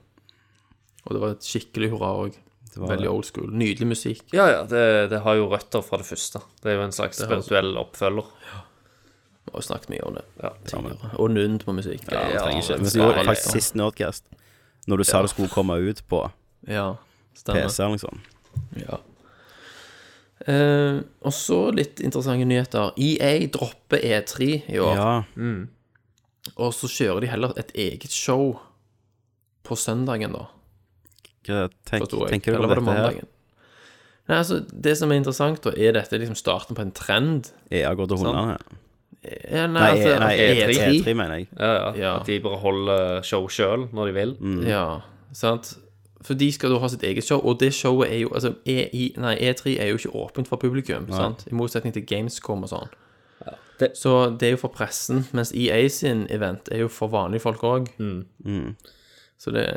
Og det var et skikkelig hurra òg. Det var- Veldig old school. Nydelig musikk. Ja, ja, det, det har jo røtter fra det første. Det er jo en slags spirituell oppfølger. Vi har jo snakket mye om det. Ja. Tidligere. Og nund på musikk. Ja, Ja, vi trenger ikke. det Men så gjorde skal jeg faktisk være. sist Nerdcast, når du sa det skulle komme ut på liksom. Ja, stemmer. PC eller noe sånt. Ja. Eh, og E så litt interessante nyheter. EA dropper E3 i år. Ja. Og så kjører de heller et eget show på søndagen, da. Hva tenk, forstår jeg. tenker du om Eller var det dette her? mandagen? Nei, altså, det som er interessant, da, er dette liksom starten på en trend? EA går til hundene? Ja, nei, Nei, altså, E- nei at E3, E3. E3 mener jeg. Ja, ja. Ja. At de bare holder show sjøl når de vil. Ja, sant? For de skal da ha sitt eget show, og det showet er jo altså EI, nei, E3 er jo ikke åpent for publikum, sant? I motsetning til Gamescom og sånn. det- Så det er jo for pressen, mens EA sin event er jo for vanlige folk òg. Så det,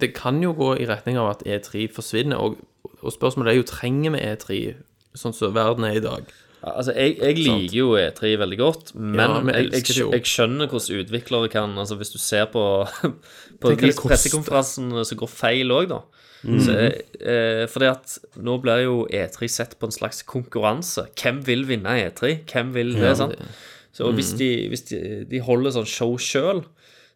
det kan jo gå i retning av at E3 forsvinner, og, og spørsmålet er jo trenger vi E3 sånn som verden er i dag? Altså, jeg, jeg liker jo E3 veldig godt, men Ja, vi jeg, jeg, elsker det jo. jeg skjønner hvordan utviklere kan altså Hvis du ser på, [LAUGHS] Tenk hva på de det koster. Mm. pressekonferansene som går feil òg, da. Så, eh, fordi at nå blir jo E3 sett på en slags konkurranse. Hvem vil vinne E3? Hvem vil det? sant? Så og hvis, de, hvis de, de holder sånn show sjøl,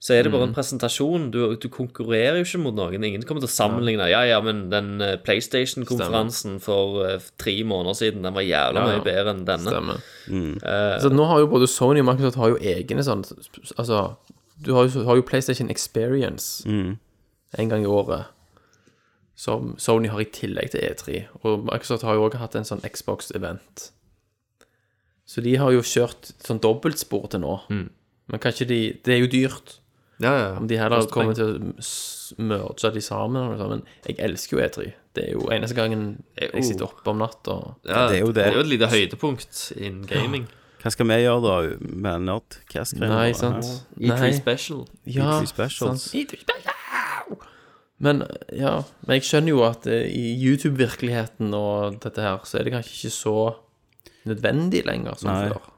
så er det bare en presentasjon. Du, du konkurrerer jo ikke mot noen. Ingen kommer til å sammenligne. Ja, ja, men den eh, PlayStation-konferansen for eh, tre måneder siden, den var jævla Ja, mye bedre enn denne. Stemmer. så nå har jo både Sony og Microsoft har jo egne sånn Altså, du har jo, har jo PlayStation Experience en gang i året. Som Sony har i tillegg til E3. Og Microsoft har jo òg hatt en sånn Xbox-event. Så de har jo kjørt sånn dobbeltspor til nå. Men kanskje de Det er jo dyrt. Ja, ja. Om de heller kommer til å s- merge de sammen. eller noe sånt, Men jeg elsker jo E3. Det er jo eneste gangen jeg sitter oppe om natta. Ja, Det er jo det. et lite høydepunkt innen gaming. Hva skal vi gjøre da med Nerdcast-greiene? Nei, våre? sant. E3 Nei. Special. Ja, E3 specials. sant. E3 special! Men ja, men jeg skjønner jo at eh, i YouTube-virkeligheten og dette her, så er det kanskje ikke så nødvendig lenger som Nei. før.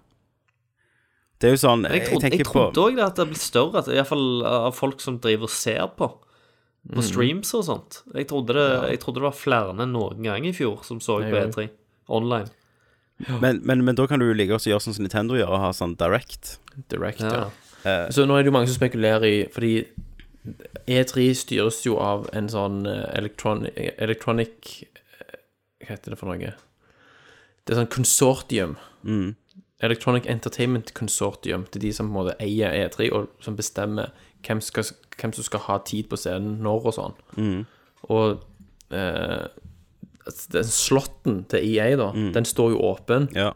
Det er jo sånn Jeg, Jeg trodde, tenker jeg trodde på også det at det har blitt større, at, i hvert fall av folk som driver og ser på. Mm. På streams og sånt. Jeg trodde, det, jeg trodde det var flere enn noen gang i fjor som så på Jeg E3 online. men, men, men da kan du jo like godt gjøre sånn som Nintendo gjør, og ha sånn direct. Direct, Ja. ja. Så nå er det jo mange som spekulerer i Fordi E3 styres jo av en sånn eh, elektron, electronic eh, Hva heter det for noe? Det er sånn konsortium. Mm, Electronic Entertainment Consortium. Det er de som på en måte eier E3, og som bestemmer hvem, skal, hvem som skal ha tid på scenen når og sånn. mm. Og eh, den slåtten til EA, da, Mm. den står jo åpen, Ja,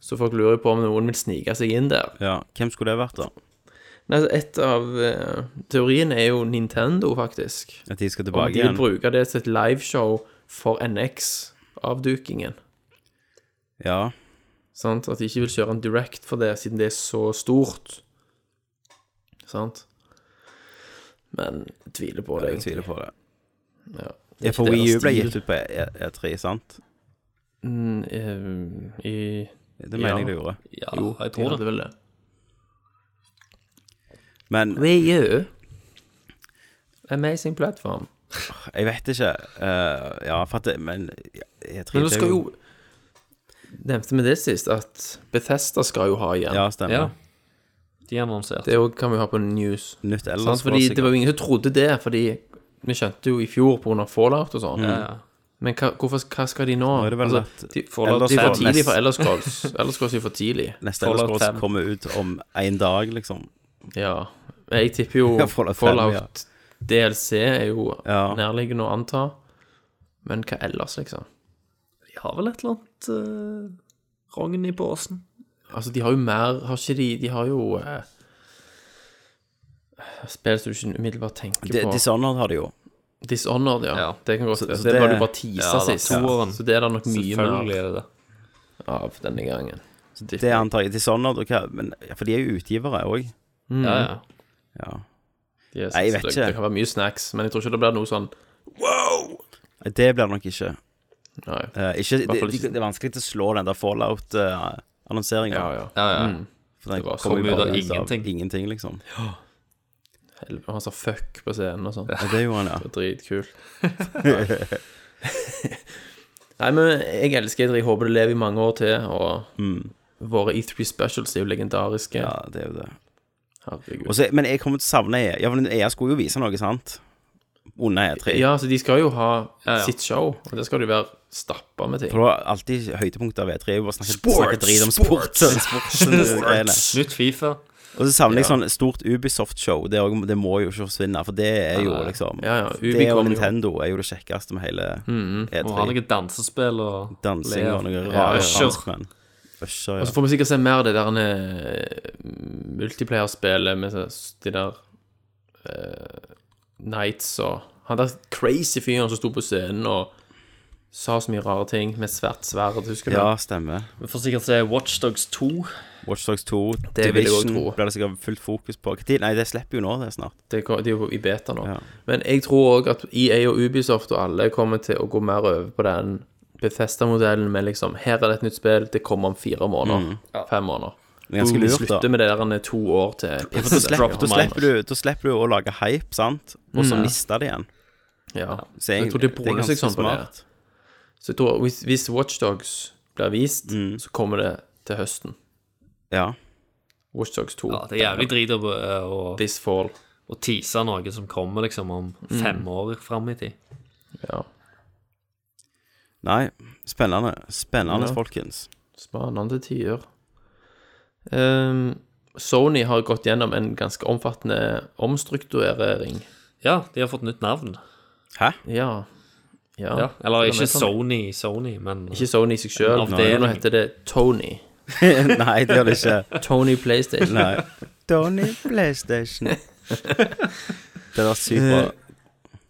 så folk lurer jo på om noen vil snike seg inn der. ja. Hvem skulle det vært, da? Nei, altså, et av eh, teoriene er jo Nintendo, faktisk. At de skal Om tilbake de vil igjen? bruke det til et liveshow for NX-avdukingen. Ja. Sant? At de ikke vil kjøre en direct for det, siden det er så stort. Sant? Men jeg tviler på det. Jeg tviler på det. Ja. Ja, for Ikke Wii U deres ble stil. gitt ut på E- E3, sant? Mm, eh, I Det mener jeg Ja. det gjorde. Ja, Jo, jeg de tror det. hadde vel det. Men Wii U. Amazing platform. jeg vet ikke. eh, ja, for at det, Men E3 Men du det er skal jo Nevnte vi det sist, at Bethesda skal jo ha igjen. Ja, stemmer. Ja. De annonserte. Det òg kan vi ha på news. Nytt Sant? ellers. Fordi var Det var jo ingen som trodde det, fordi vi skjønte jo i fjor pga. fallout og sånn. Ja. Men hva, hvorfor, hva skal de nå? Nå er Mm. det vel at de, Fallout de er for fem- tidlig nest- for Elder Scrolls. [LAUGHS] Elder Scrolls er for tidlig. Neste Fallout Elder Scrolls 5. kommer ut om én dag, liksom. Ja. Men Jeg tipper [LAUGHS] jo Ja, Fallout Fallout, fem, DLC er jo Ja. nærliggende å anta. Men hva ellers, liksom? De har vel et eller annet uh, rogn i posen. Altså, de har jo mer Har ikke de De har jo eh, Spill som du ikke umiddelbart tenker De, på. Dishonored har det jo. Dishonored, ja. Ja. Det kan godt være. så Så Det det- var du bare teasa Ja da, sist. toeren. Så det er det nok mye Selvfølgelig mer er det det. av denne gangen. Det antar jeg. Dishonored og hva men, ja, For de er jo utgivere òg. Ja, ja. Ja. Mm. Yes, Nei, jeg vet så det, ikke. Det kan være mye snacks, men jeg tror ikke det blir noe sånn Det blir det nok ikke. Nei. Eh, ikke det, hvert fall ikke- det er vanskelig å slå den der fallout-annonseringa. Ja, Mm. ja. ja, ja. For den var- kommer kom jo ut bare av ut av ingenting. ingenting, liksom. Helvete, Han sa fuck på scenen og sånn. Ja, det gjorde han, ja. [LAUGHS] Det var dritkult. [LAUGHS] Nei, men jeg elsker det. Jeg håper det lever i mange år til. Og våre E3 specials er jo legendariske. Mm. ja. Det er jo det. Herregud. Og så- men jeg kommer til å savne EA. Ja, men EA skulle jo vise noe, sant? Under E E3. ja, så de skal jo ha ja. sitt show, og det skal det jo være stappa med ting. For det var alltid høydepunktet av E E3 var å snakke, snakke drit om sport. [LAUGHS] Sånn greiene. Nytt Fifa. Og så savner jeg sånn stort Ubisoft-show. Det, er også- det må jo ikke forsvinne, for det er jo liksom Ja, ja, Ubi Det og kommer jo. Mm. Nintendo er jo det kjekkeste med hele E3. Og har noen dansespill og Dansing og noen Ja, rare Usher. franskmenn. Usher, Og ja. så får vi sikkert se mer av det der eh, multiplayer-spillet med så- de der eh, Knights og Han der crazy fyren som sto på scenen og sa så mye rare ting med svært sverd, husker du? ja, stemmer. Vi får sikkert se Watchdogs 2. Watchdogs 2, Det vil jeg også tro. Division blir det sikkert fullt fokus på. Hva tid? Nei, det slipper jo nå, det er snart. Det, ko- de er jo i beta nå. Ja. Men jeg tror òg at EA og Ubisoft og alle kommer til å gå mer over på den Befesta-modellen med liksom Her er det et nytt spill, det kommer om fire måneder. Fem måneder. Mm. Det er ganske Boom, lurt, da. slutter med det der med to år til Ja, for da slipper, da, slipper du, da slipper du å lage hype, sant? Og så mister det igjen. Ja. Så Mm. Jeg tror de broner seg sånn på det. Så jeg tror hvis, hvis Watchdogs blir vist, Mm. så kommer det til høsten. Ja. Watchdogs 2. Ja, det er jævlig drit å, å, This fall. å tease noe som kommer liksom om Mm. fem år fram i tid. Ja. Nei, spennende. Spennende, folkens. Spennende tider. Ehm, Sony har gått gjennom en ganske omfattende omstrukturering. Ja, de har fått nytt navn. Hæ? [LAUGHS] Ja. ja. Ja, Eller Det er ikke sånn. Sony, Sony, men Ikke Sony i seg sjøl. En avdeling. Nå heter det Tony. Nei, det gjør det ikke. Tony PlayStation. [LAUGHS] [LAUGHS] Nei. Donny PlayStation. Det var sykt bra.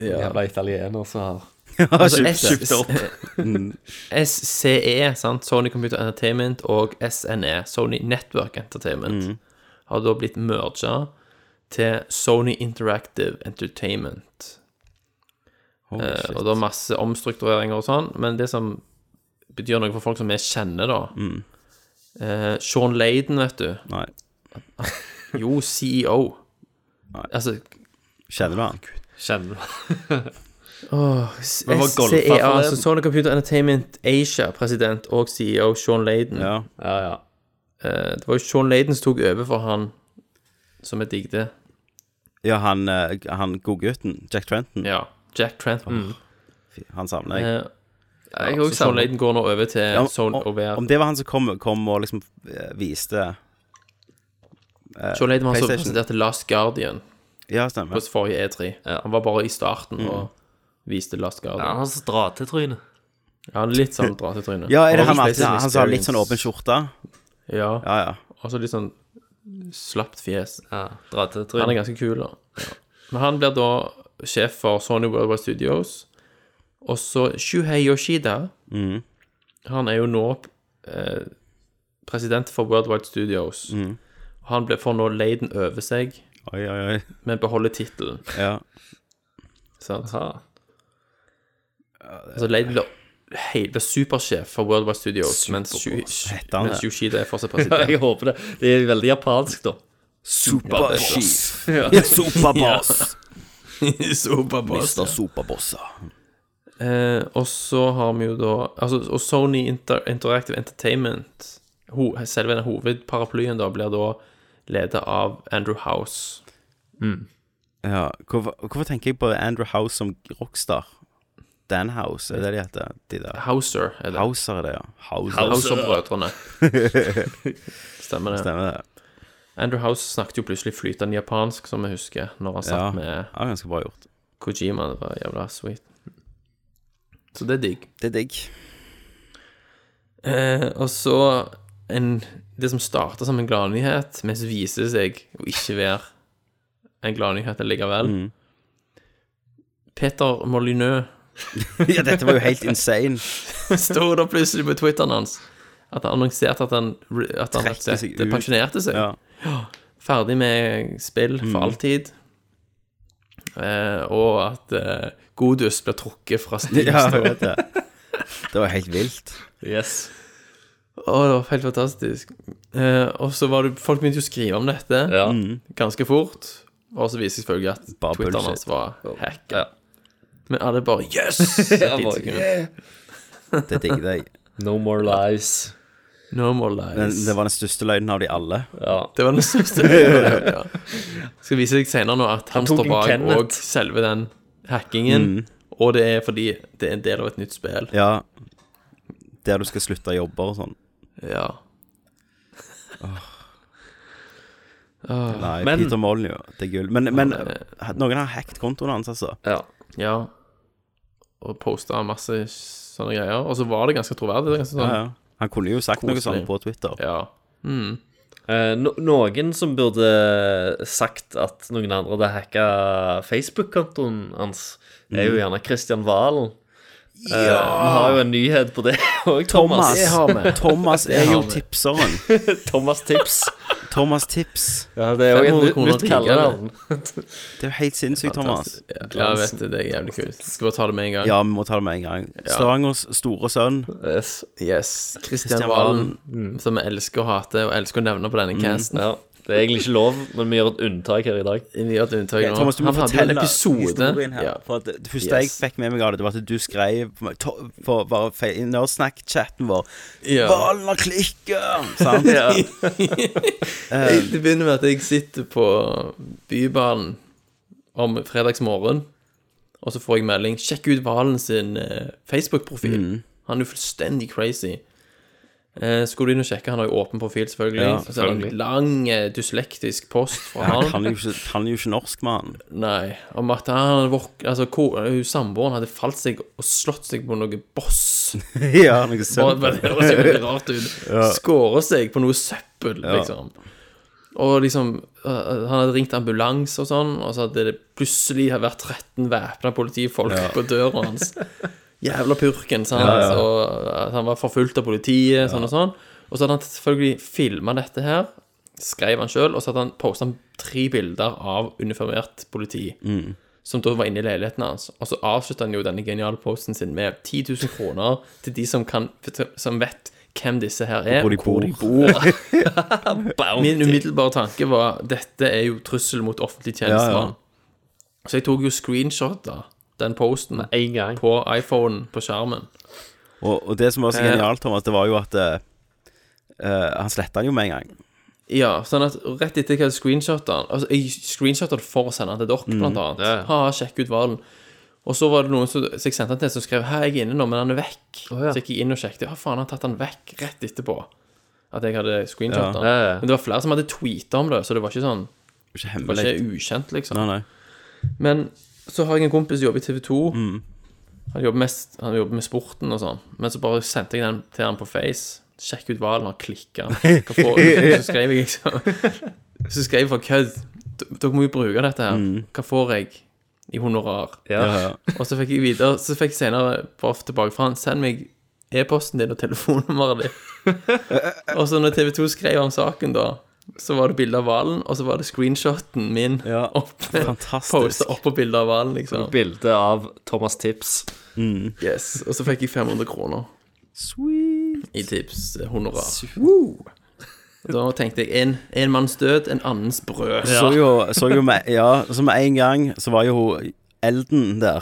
Jævla italiener som har Altså, S- kjøpt opp. Mm. SCE, E, sant? Sony Computer Entertainment, og SNE, Sony Network Entertainment, har da blitt merga til Sony Interactive Entertainment. Holy Eh, Oh, shit. og det er masse omstruktureringer og sånn, men det som betyr noe for folk som vi kjenner, da eh, Sean Laden, vet du. Nei. Jo, CEO. Altså Kjenner du han? Kjenner du var golfa SCE, altså forleden. Sony Computer Entertainment Asia, president og CEO Sean Laden. Ja. Ja, ja. Eh, det var jo Sean Laden som tok over for han som jeg digget. Ja, han, eh, han godgutten. Jack Trenton. Ja. Jack Trenton. Fy, Han savner jeg. Eh, jeg så også Sean savner- Laden går nå over til Ja, Sony om, å være om det var han som kom, kom og liksom eh, viste Sean Laden var han som PlayStation. presenterte Last Guardian Ja, stemmer. på forrige E3. Han var bare i starten Mm. og viste Last Ja, Guardian. Han har så dra til trynet. Ja, litt sånn dra til trynet. Ja, er det Og han med PlayStation han som har litt sånn åpen Experience. skjorte? Ja, Ja, ja. og så litt sånn slapt fjes. Ja, dra til Han er trynet. ganske kul, da. Men han blir da sjef for Sony Worldwide Studios. Og så Shuhei Yoshida. Han er jo nå eh, president for Worldwide Studios. Han ble, får nå Laden over seg, Oi, oi, oi. men beholder tittelen. Ja. sant? Ja. Altså, Laden blir hei- blir supersjef for Worldwide Studios, mens, Shu- Heter han mens det? Yoshida er fortsatt Ja, president. [LAUGHS] Jeg håper det. Det er veldig japansk, da. Superchief. Superboss. Superboss. Mister Superbossa. Eh, og så har vi jo da altså, Og Sony Inter Interactive Entertainment, ho selve den hovedparaplyen, da blir da ledet av Andrew House. Ja, hvorfor, hvorfor tenker jeg på Andrew House som rockstar? Dan House, er det de heter? De der. Houser er det. Houser er det, ja. Houser. [LAUGHS] Houser-brødrene. Stemmer det. Stemmer det. Andrew House snakket jo plutselig flytende japansk, som jeg husker, når han satt Ja, med ja ganske bra gjort. Kojima. Det var jævla sweet. Så det er digg. Det er digg. [LAUGHS] Eh, og så en, det som starter som en gladnyhet, men som viser seg å ikke være en gladnyhet likevel. Mm. Peter Molyneux [LAUGHS] ja, dette var jo helt insane. sto da plutselig på Twitteren hans at han annonserte at han, at han Trekker seg rett og slett ut. pensjonerte seg. Ja. Mm. Ferdig med spill for alltid. Eh, og at eh, Godus ble trukket [LAUGHS] fra Steam. [LAUGHS] ja, jeg vet det. Det var helt vilt. Yes. Å, det var helt fantastisk. Eh, og så var det Folk begynte jo å skrive om dette. Ja. ganske fort. Og så viser det selvfølgelig at Bare Twitteren bullshit. hans var hacka. Ja. Men alle bare [LAUGHS] Yes! Ja, bare, yeah. Det digget jeg. No more lies. No more lies. Men det var den største løgnen av de alle. Ja. det var den største ja. Skal vise deg senere nå at han, tok står en bak Kenneth. og selve den hackingen. Og det er fordi det er en del av et nytt spill. Ja, der du skal slutte jobber og sånn. Ja. Ah. Nei, Men- Peter Molyneux, det er gull. Men, men noen har hacket kontoen hans, altså. Ja. ja. Og posta masse sånne greier. Og så var det ganske troverdig. Det er ganske Ja, sånn, ja. Han kunne jo sagt noe Koselig. sånt på Twitter. ja. Eh, no noen som burde sagt at noen andre hadde hacka Facebook-kontoen hans, er jo gjerne Kristian Valen. Eh, vi har jo en nyhet på det òg, Thomas. Thomas, Thomas er jo tipseren. Thomas Tips. Thomas Tips. Ja, det er jo 500 et nytt- kroner nytt kallenavn. Det er jo helt sinnssykt, Thomas. ja. ja, jeg vet det. Det er jævlig kult. Skal bare ta det med en gang. Ja, vi må ta det med en gang. Stavangers store sønn. Yes. yes. Kristian Christian Mm. Valen, mm, som vi elsker å hate og elsker å nevne på denne casten. Ja, det er egentlig ikke lov, men vi gjør et unntak her i dag. Vi gjør et unntak nå. Thomas, du må Han hadde jo en fortelle episode. historien her. Ja. For at det første jeg Yes. fikk med meg av det, det var at du skrev på meg- to- for bare fe- i Nerdsnack-chatten vår Ja. Valen har klikket! [LAUGHS] Sant? Jeg- Det begynner med at jeg sitter på Bybanen om fredagsmorgen, og så får jeg melding 'Sjekk ut Valen sin eh, Facebook-profil'. Mm. Han er jo fullstendig crazy. Eh, så går du inn og sjekker. Han har jo åpen profil, selvfølgelig. Ja, Så er det en lang eh, dyslektisk post fra Han han. kan jo ikke, han er jo ikke norsk, mann. [LAUGHS] Nei, om at han våk- altså, ko- hun samboeren hadde falt seg og slått seg på noe boss. ja, noe Bare, sønt. bare, det høres jo veldig rart ut. Skåret seg på noe søppel, liksom. Og liksom øh, Han hadde ringt ambulanse og sånn, og så hadde det plutselig vært 13 væpna politifolk på døra hans. Jævla purken, sant. Og at han var forfulgt av politiet, sånn og sånn. Og så hadde han selvfølgelig filma dette her, skrev han sjøl, og så hadde han posta tre bilder av uniformert politi. Mm. Som da var inne i leiligheten hans. Og så avslutta han jo denne geniale posten sin med 10 000 kroner til de som, kan, som vet hvem disse her er, hvor de hvor de bor. Min umiddelbare tanke var dette er jo trussel mot offentlig tjenestemann. Så jeg tok jo screenshot av den posten Én gang. på iPhonen på skjermen. Og, og det som var så genialt, Thomas, det var jo at eh, eh, Han sletta den jo med en gang. Ja, sånn at rett etter jeg hadde screenshotet han Altså, jeg screenshotet det for å sende den til dere, blant annet. Ha, sjekk ut hvalen. Og så var det noen som så jeg sendte han til som skrev Her, jeg er inne nå, men han er vekk. Så jeg gikk inn og sjekket. Ja, faen, han har tatt han vekk rett etterpå. At jeg hadde screenshotet han. Ja, ja. Men det var flere som hadde tweetet om det, så det var ikke sånn Det var Ikke Det var hemmelig. ikke ukjent, liksom. Nei, nei. Men så har jeg en kompis som jobber i TV 2. Han, jobber mest, han jobber med sporten og sånn. Men så bare sendte jeg den til han på Face. Sjekk ut hvalen, han klikka. Hva får jeg? Så skrev jeg liksom Så skrev jeg for kødd. D- Dere må jo bruke dette her. Hva får jeg i honorar? Ja. Og så fikk jeg videre Så fikk jeg senere bare tilbake fra han Send meg e-posten din og telefonnummeret [LAUGHS] ditt. og så når TV 2 skrev om saken, da, så var det bilde av hvalen, og så var det screenshoten min Ja, oppe. fantastisk. Posta oppå bildet av hvalen, liksom. Bilde av Thomas Tips. Yes. Og så fikk jeg 500 kroner Sweet. i tips eh, honorar. Og Da tenkte jeg en, en manns død, en annens brød. Så jo, så jo med, ja, så med en gang så var jo hun Elden der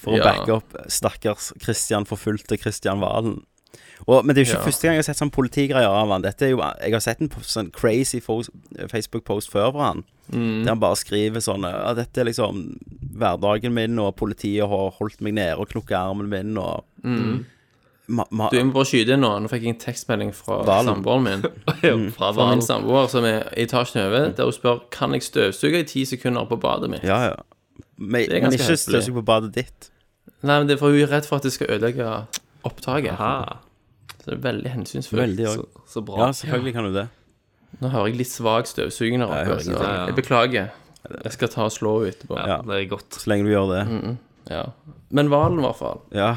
for å Ja. backe opp stakkars Christian forfulgte Christian Valen. Og, men det er jo ikke Ja. første gang jeg har sett sånn politigreier av han. Dette er jo, Jeg har sett en po- sånn crazy fo- Facebook-post før fra han, der han bare skriver sånn ja, 'Dette er liksom hverdagen min, og politiet har holdt meg nede og knukket armen min', og ma, ma, Du, jeg må bare skyte inn nå. Nå fikk jeg en tekstmelding fra Valen. [LAUGHS] samboeren min. Fra Fra min Valen. samboer som er i etasjen over, der hun spør Kan jeg støvsuge i ti sekunder på badet mitt. Ja, ja. Men, er men ganske ikke høflig. støvsug på badet ditt. Nei, men det er for hun er redd for at det skal ødelegge opptaket. Så det er veldig hensynsfullt. Veldig òg. Så bra. Ja, selvfølgelig kan du det. Nå hører jeg litt svak støvsuging der hører oppe. så ingenting. Jeg beklager. Jeg skal ta og slå henne etterpå. Ja, det er godt. [LAUGHS] Så lenge du gjør det. Ja. Men hvalen, i hvert fall. Ja.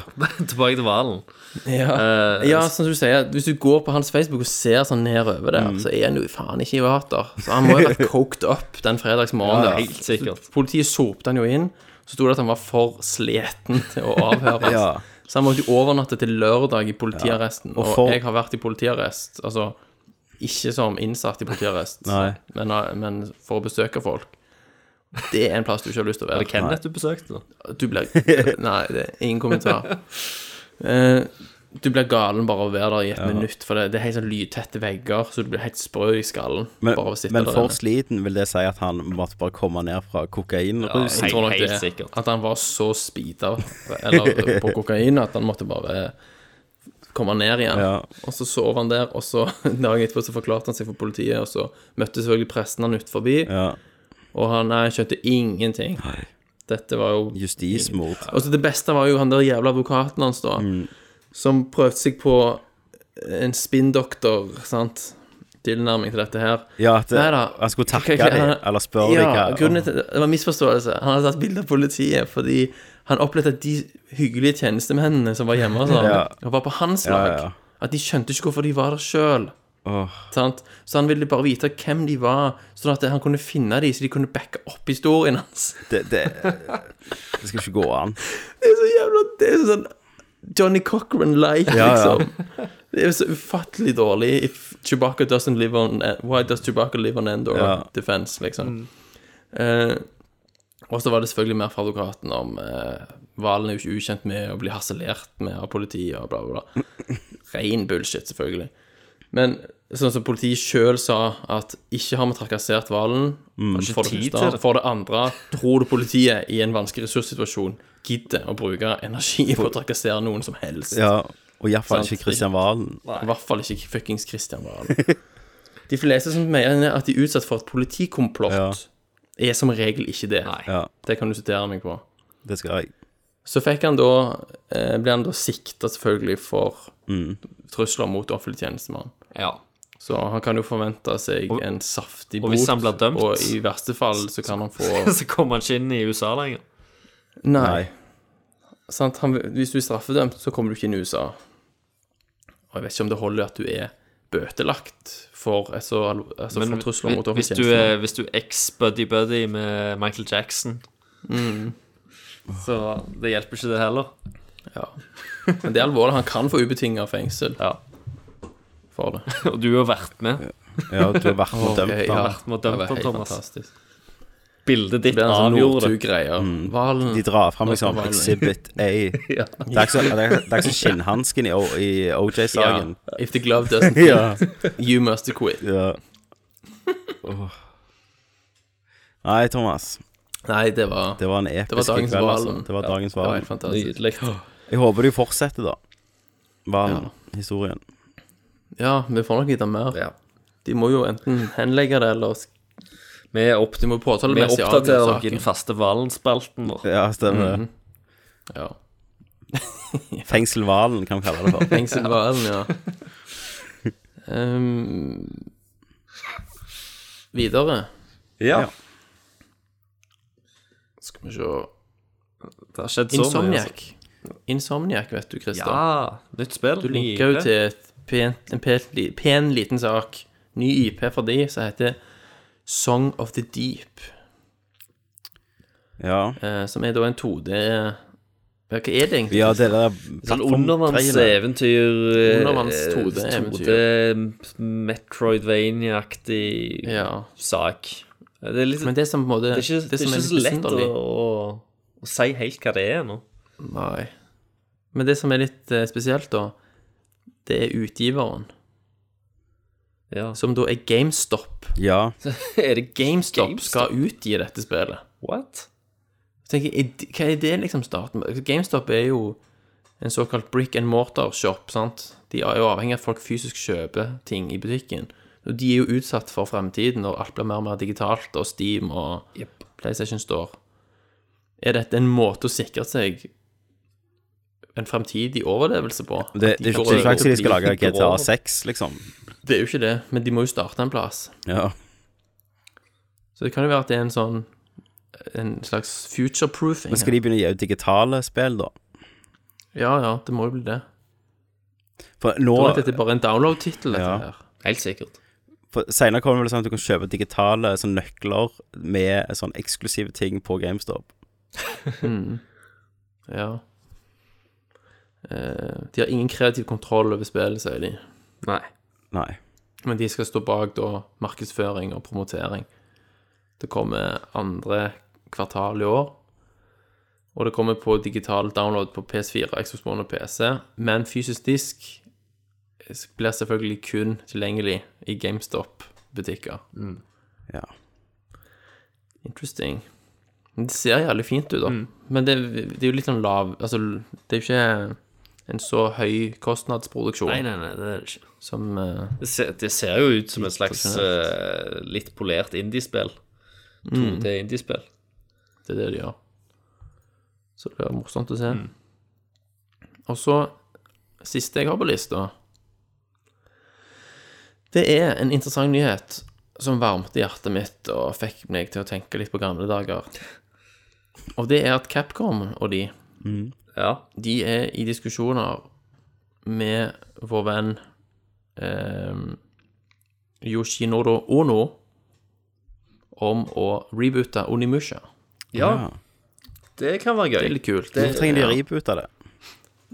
Tilbake til Valen. Ja. Eh, ja, som du sier, hvis du går på hans Facebook og ser sånn nedover der, så er han jo faen ikke i vater. Så han må jo ha vært coked up den fredagsmorgenen. der. Helt sikkert. Politiet sopte han jo inn. Så sto det at han var for sliten til å [LAUGHS] avhøres. Ja. Så han måtte jo overnatte til lørdag i politiarresten. Og, for- jeg har vært i politiarrest, altså ikke som innsatt i [LAUGHS] politiarrest, Nei. men, eh, men for å besøke folk. Det er en plass du ikke har lyst til å være. Var det Kenneth du besøkte? Du blir [LAUGHS] Nei, det er ingen kommentar. Eh, du blir galen bare av å være der i et minutt, for det, det er helt sånn lydtette vegger, så du blir helt sprø i skallen. Men, bare av å sitte men der for inne. sliten vil det si at han måtte bare komme ned fra kokainrusen. Jeg tror nok Helt det. sikkert. At han var så speeda eller på kokain at han måtte bare kom han ned igjen. Ja. Og så sov han der, og så [LAUGHS] dagen etterpå så forklarte han seg for politiet, og så møtte selvfølgelig presten han ut forbi, ja. og han nei, skjønte ingenting. Dette var jo Justismord. Og så det beste var jo han der jævla advokaten hans, da, Mm. som prøvde seg på en spinndoktor, sant, tilnærming til dette her. Ja, at eh, Neida. han skulle takke Hva- hva- dem, han- eller spørre ja, dem hva grunnen til det var en misforståelse. Han hadde tatt bilde av politiet fordi han opplevde at de hyggelige tjenestemennene som var hjemme, og sånn, [LAUGHS] Ja. og var på hans Ja, lag. ja. At de skjønte ikke hvorfor de var der sjøl. Åh. Så han ville bare vite hvem de var, sånn at han kunne finne dem, så de kunne backe opp historien hans. det, det, det skal ikke gå an. Det er så jævla Det er sånn Johnny Cochran-like, Ja, ja. liksom. Det er jo så ufattelig dårlig. If Chewbacca doesn't live on eh, Why does Chewbacca live on Endor Ja. defense, liksom. Mm. Eh, og så var det selvfølgelig mer fra advokaten om eh, Valen er jo ikke ukjent med å bli harselert med av politiet og bla, bla, bla. Ren bullshit, selvfølgelig. Men sånn som politiet sjøl sa, at ikke har vi trakassert hvalen. Mm. For, det tid første. til det. for det andre, tror du politiet i en vanskelig ressurssituasjon gidder å bruke energi på å trakassere noen som helst? Ja, og iallfall Sant. ikke Kristian Valen. I hvert fall ikke fuckings Christian Valen. De fleste som mener at de er utsatt for et politikomplott, Ja. er som regel ikke det. Ja, Det kan du sitere meg på. det skal jeg. Så fikk han da eh, Ble han da sikta selvfølgelig for Mm. trusler mot offentlig tjenestemann. Ja. Så han kan jo forvente seg en saftig og hvis han blir dømt, og i verste fall så kan han [LAUGHS] få [LAUGHS] Så kommer han ikke inn i USA lenger. Nei. Sant? Han, hvis du er straffedømt, så kommer du ikke inn i USA. Og jeg vet ikke om det holder at du er bøtelagt for, altså, altså, for trusler mot hvis offentlig du tjenestemann. er, hvis du er eks-buddy-buddy med Michael Jackson Mm. Så det hjelper ikke, det heller. Ja. Men det er alvorlig. Han kan få ubetinga fengsel for det. [LAUGHS] Og du har vært med. Ja, du har vært og dømt Ok, da. ja. Vært med og Det dømt var han, helt Thomas. fantastisk. Bildet ditt Det er en sånn avgjorde det. Northug-greier. Valen Mm. De drar fram Nå liksom skal Valen- Exhibit A. Det er ikke så- det er det er ikke så skinnhansken i, O- i OJ-saken. Ja. If the glove doesn't [LAUGHS] fit, Ja. you must quit. Ja. Åh. Nei, Thomas. Nei, det var Det var en episk Det var dagens kveld, Valen. altså. Det var Ja, dagens Det var Valen. helt fantastisk. Jeg håper du fortsetter, da. Valen. Historien. Ja, vi får nok vite mer. Ja. De må jo enten henlegge det, eller sk- Vi er opp- De må påtale vi mest i oppdaterer dere i saken. den faste Valen-spalten vår. Ja, stemmer. Mhm. det. Ja. Fengsel Valen, kan vi kalle [LAUGHS] det for. Fengsel Valen, ja. Ehm, videre Ja. skal vi se Det har skjedd så mye. altså. Insomniac. Insomniac, vet du, Christer. Ja, nytt spill. Du linker jo til et pent, en pent, li- pen liten sak. Ny IP for de som heter Song of the Deep. Ja, eh, som er da en 2D Ja, Hva er det egentlig? ja det der Sånn plattform- trailer. undervannseventyr eh, Undervanns 2D 2D Metroidvania-aktig Ja. sak. Det er litt Men det som på en måte Det er ikke, det er som ikke så litt lett å, besynderlig- å, å si helt hva det er nå. Nei. Men det som er litt eh, spesielt, da, det er utgiveren, Ja. som da er GameStop. Ja. [LAUGHS] Er det GameStop, GameStop? skal utgi dette spillet. What? Så tenker jeg, er det- Hva er det liksom starten med? GameStop er jo en såkalt brick and mortar-shop, sant? De er jo avhengig av at folk fysisk kjøper ting i butikken. Og de er jo utsatt for fremtiden når alt blir mer og mer digitalt, og Steam og PlayStation Store. Er dette en måte å sikre seg en fremtidig overlevelse på? At Det, de det er ikke det er ikke får lov til sikkert de å skal bli lage grå? GTA 6, liksom. Det er jo ikke det, men de må jo starte en plass. Ja. Så det kan jo være at det er en sånn En slags future-proofing. Men skal de begynne å gi ut digitale spill, da? Ja, ja, det må jo bli det. For Og at nå dette er bare en download-tittel, dette Ja. her. Helt sikkert. for Senere kommer det vel sånn at du kan kjøpe digitale sånn nøkler med sånn eksklusive ting på GameStop. Ja. Eh, de har ingen kreativ kontroll over spillet, sier de. Nei. Nei. Men de skal stå bak da markedsføring og promotering. Det kommer andre kvartal i år. Og det kommer på digital download på PS4, Xbox One og PC. Men fysisk disk blir selvfølgelig kun tilgjengelig i GameStop-butikker. Mm. Ja. Interesting. Mm. Men Det ser jævlig fint ut, da. Men det, det er jo litt sånn lav Altså, det er jo ikke en så høy kostnadsproduksjon Nei, nei, nei, det er det ikke. som eh, Det ser, det ser jo ut som et slags eh, litt polert indiespill. 2D-indiespill. Det er det de gjør. Så det blir morsomt å se. Og så Siste jeg har på lista, det er en interessant nyhet som varmte hjertet mitt og fikk meg til å tenke litt på gamle dager. Og det er at Capcom og de, Ja. de er i diskusjoner med vår venn eh, Yoshinoro Ono om å reboote Onimusha. ja. Det kan være Det er gøy. litt kult. Hvorfor trenger de å ripe ut av det?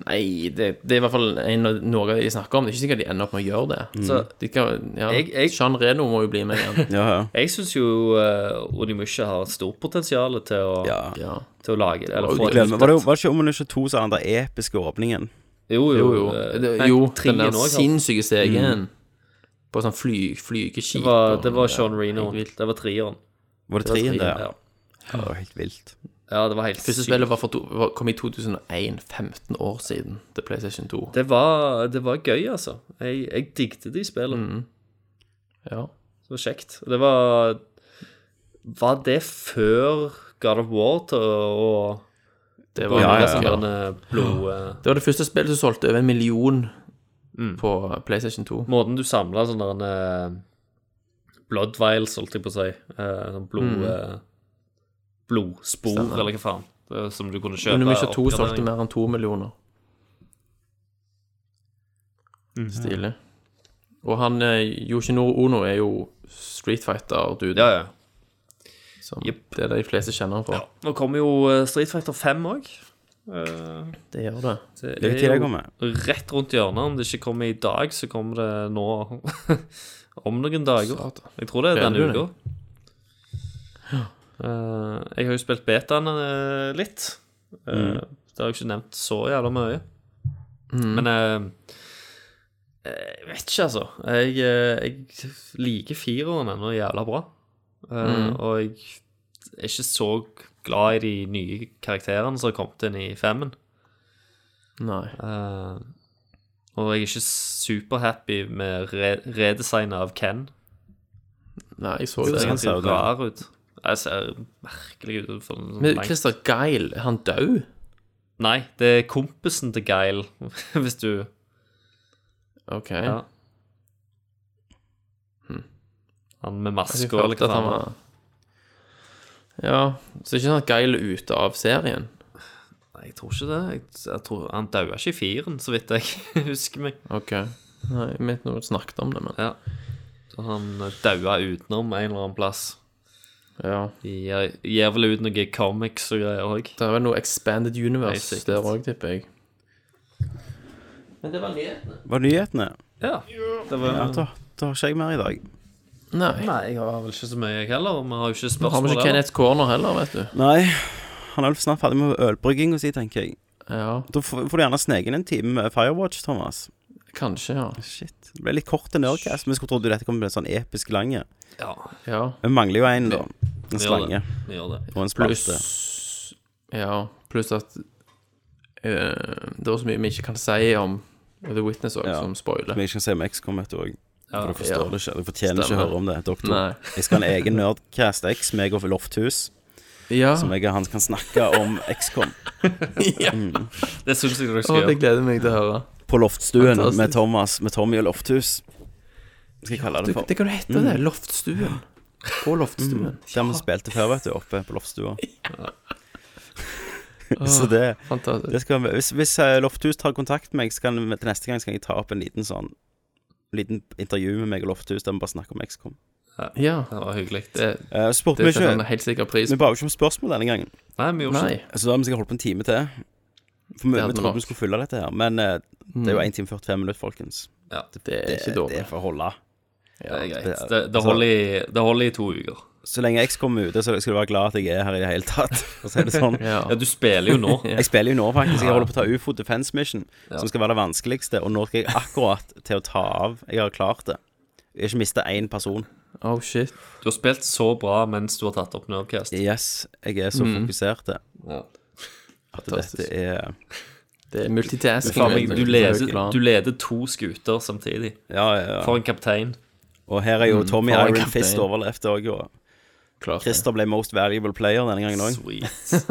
Nei, det, det er i hvert fall en, av- noe de snakker om. Det er ikke sikkert de ender opp med å gjøre det. Mm. Så de kan, ja, Jeg- jeg- Jean Reno må jo bli med [LAUGHS] igjen. Ja, ja. Jeg syns jo uh, Onimusha har et stort potensial til å, ja. ja. til å lage det. Eller Og få Gleder meg. Var det, var det ikke om hun ikke to sånne der episke åpningen? Jo, jo. Jo, jo. eh, Det, nei, jo den trien der også, altså. sinnssyke stegen på sånn fly, flygeskip. Det var, og- det var Sean Reno. helt vilt. Det var trieren. Var det treen der? Ja. Det var helt vilt. ja, det var helt Første sykt. spillet var for to, var, kom i 2001, 15 år siden, til PlayStation 2. Det var, det var gøy, altså. Jeg, jeg digget de spillene. Mm. Ja. Det var kjekt. Og Det var Var det før God of War til å Det, og var, Ja, ja, sånn ja. der, [GASPS] eh, blod... eh, det var det første spillet som solgte over en million på PlayStation 2. Måten du samla sånne der, eh, blood vials, holdt jeg på å si. eh, sånn blod... Mm. eh, blodspor, eller hva faen. Det, som du kunne kjøpe. Men Nummer 22 oppgradering. solgte mer enn 2 millioner. Mhm. Stilig. Og han eh, Yoshinoro Ono er jo Street Fighter-dude. Ja, ja. som- Jep. Det er det de fleste kjenner han for. ja. Nå kommer jo eh, Street Fighter 5 òg. Det gjør det. Det Det er jo tid det kommer. rett rundt hjørnet. Om det ikke kommer i dag, så kommer det nå [LAUGHS] om noen dager. Satan. Jeg tror det er Det er denne det. uka. Eh, jeg har jo spilt betaen eh, litt. Eh, Det har jeg ikke nevnt så jævla mye. Men eh, jeg vet ikke, altså. Jeg, eh, jeg liker fireren ennå jævla bra. Eh, Og jeg er ikke så glad i de nye karakterene som har kommet inn i femmen. Nei. Eh, og jeg er ikke superhappy med re redesignet av Ken. Nei, jeg så Det sånn ser det. han ser ganske jo det. rar ut. Jeg ser merkelig ut. For en sånn Men lang- Christer Geil, er han død? Nei, det er kompisen til Geil, [LAUGHS] hvis du OK. Ja. Han med Jeg maske og følte litt at han sånn. var Ja, så det er ikke sånn at Geil er ute av serien? Nei, jeg tror ikke det. Jeg, jeg tror, han daua ikke i firen, så vidt jeg [LAUGHS] husker meg. OK. Nei, jeg mente noe snakket om det, men Ja. Så han daua utenom en eller annen plass. eh, Ja. De gir- gir vel ut noe comics og greier òg. Det er vel noe Expanded Nei, Universe sikkert. der òg, tipper jeg. Men det var nyhetene. Var det nyhetene? Ja. Det var, Ja, da, da har ikke jeg mer i dag. Nei. Nei, jeg har vel ikke så mye, jeg heller. Vi har jo ikke Har spørsmål. vi ikke heller. Kenneth Corner heller, vet du. Nei, han er vel snart ferdig med ølbrygginga si, tenker jeg. Ja, Da får får du gjerne sneke inn en time med Firewatch, Thomas. kanskje, ja. Shit. Det ble litt kort til Nerdcast. Vi skulle trodd dette kom til en sånn episk lange. Ja, ja. Vi mangler jo en, da. En det. slange vi gjør det. og en spalte. Pluss Ja, pluss at eh, det var så mye vi ikke kan si om The Witness òg, Ja. som spoiler. Men jeg skal se om X kommer etter òg. For du forstår ja. det ikke. Du fortjener ikke å Stemmer. høre om det, doktor. Nei. Jeg skal ha en egen Nerdcast X, meg og Lofthus, Ja, som [LAUGHS] jeg og han kan snakke om XCOM. Det syns jeg dere Å, skal det gjøre. gleder jeg meg til å høre. På Loftstuen Fantastisk. med Thomas, med Tommy og Lofthus. Skal jeg kalle Du, det for. Mm. det kan du hete, det. Loftstuen. Mm. På Loftstuen. Der vi spilte før, vet du, oppe på Loftstua. [LAUGHS] Så det Fantastisk. Det skal, vi- hvis hvis eh, Lofthus tar kontakt med meg, så kan, til neste gang skal jeg ta opp en liten sånn Liten intervju med meg og Lofthus der vi bare snakker om XCOM. Ja. Det var hyggelig. Det, Uh, spurte det vi setter han ikke helt sikkert pris Vi på. ba jo ikke om spørsmål denne gangen, Nei, vi gjorde ikke Nei. det. så da har vi sikkert holdt på en time til. For vi, hadde vi vi trodde vi nok. skulle fylle dette her, men eh, Mm. det er jo 1 time 45 minutter, folkens. Det er ikke Det dårlig. får holde. Det er det- greit. Det, det, altså- holder, i, det holder i to uker. Så lenge X kommer ute, så skal du være glad at jeg er her i det hele tatt, [LAUGHS] for å si det sånn. [LAUGHS] Ja. Ja, du spiller [LAUGHS] jo nå. Jeg spiller jo nå, faktisk. Jeg holder på å ta UFO Defense Mission, som skal være det vanskeligste, og nå skal jeg akkurat til å ta av. Jeg har klart det. Jeg har ikke mista én person. Oh, shit. Du har spilt så bra mens du har tatt opp Nerdcast. Yes, jeg er så fokusert det. At dette Mm. Fantastisk. er Det er multitasking. Faen meg, vet du, leder, du leder to skuter samtidig. Ja, ja, ja. For en kaptein. Og her er jo Mm. Tommy for en Iron kaptein. Fist overlevd òg, og Klart det. Christer ble most valuable player denne gangen òg. [LAUGHS] Sweet.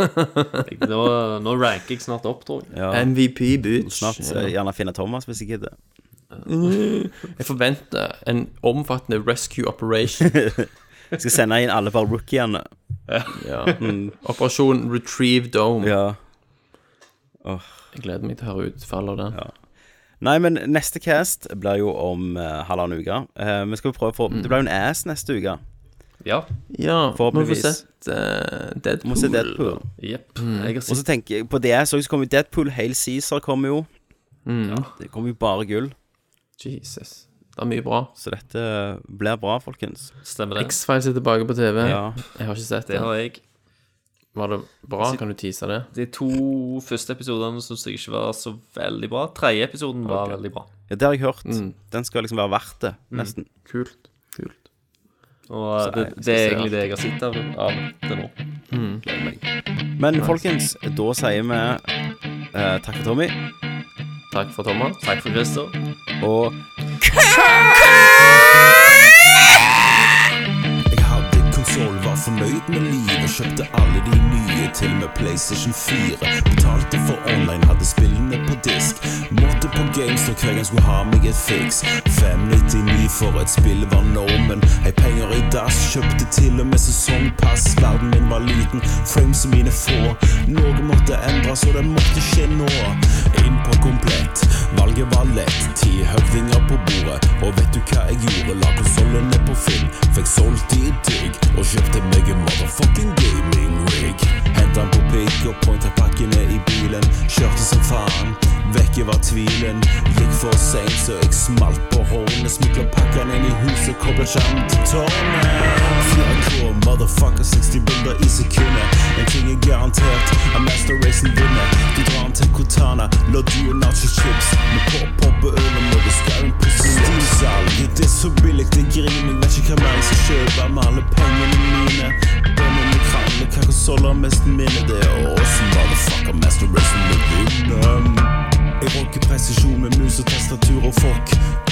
Nå, nå ranker jeg snart opp, tror jeg. Ja. MVP, bitch. Snart så jeg gjerne finne Thomas, hvis jeg gidder. Jeg forventer en omfattende rescue [LAUGHS] operation. Jeg skal sende inn alle bare rookiene. Ja. Mm. Operasjon Retrieve Dome. [LAUGHS] Ja. Jeg gleder meg til å høre utfallet av den. Nei, men neste cast blir jo om eh, halvannen uke. Eh, vi skal prøve å få Det blir jo en ass neste uke. Ja. Ja, Forhåpentligvis. Vi må få sett eh, Deadpool. Må se Deadpool. Jepp. Mm. Jeg har Og sett så tenker jeg på det så kommer jo Deadpool, Hail Caesar kommer jo. Det kommer jo bare gull. Mm. Jesus. Det er mye bra. Så dette eh, blir bra, folkens. stemmer det. X-Files er tilbake på TV. Ja. Jeg har ikke sett Det det. har jeg. Var det bra? Kan du tease det? De to første episodene syns jeg ikke var så veldig bra. Tredje episoden var veldig bra. ja, det har jeg hørt. Den skal liksom være verdt det, nesten. Kult. Kult. Og eh, det, det er egentlig det jeg har sett av, av det nå. Men folkens, da sier vi eh, takk for Tommy, Takk for Thomas. Takk for Christer. og Jeg hadde konsoll, var fornøyd med livet. Kjøpte alle de nye, til og med PlayStation 4. Betalte for online, hadde spillene på disk. Måtte på games når hver gang skulle ha meg et fiks. 599 for et spill var normen. Hei, penger i dass, kjøpte til og med sesongpass. Verden min var liten, frames mine få. Noe måtte endres, og det måtte skje nå. Inn på komplett, valget var lett. Ti høvdinger på bordet, og vet du hva jeg gjorde? La konsollene på Finn, fikk solgt de digg, og kjøpte meg en motherfucking gaming rig. Hentet den på pikk og pointa pakkene i bilen, kjørte som faen, vekke var tvilen. Gikk for seint, så jeg smalt på hornet, smugla pakkene inn i huset, kobla skjermen til tårnet. 4K, motherfucker, 60 bilder i sekundet. En ting er garantert, at Master Racen vinner. Du drar den til Cortana, la du og nacho chips. Med på poppe øl og mugge skauen på Steam-salget. Det er så billig, det griner. Jeg vet ikke hva mer jeg skal kjøpe med alle pengene mine. Bønner med krangler, hva konsoller mest minner det er oss. Motherfucker, Master Racen vil vinne. Jeg rocker presisjon med mus og tastatur og fork.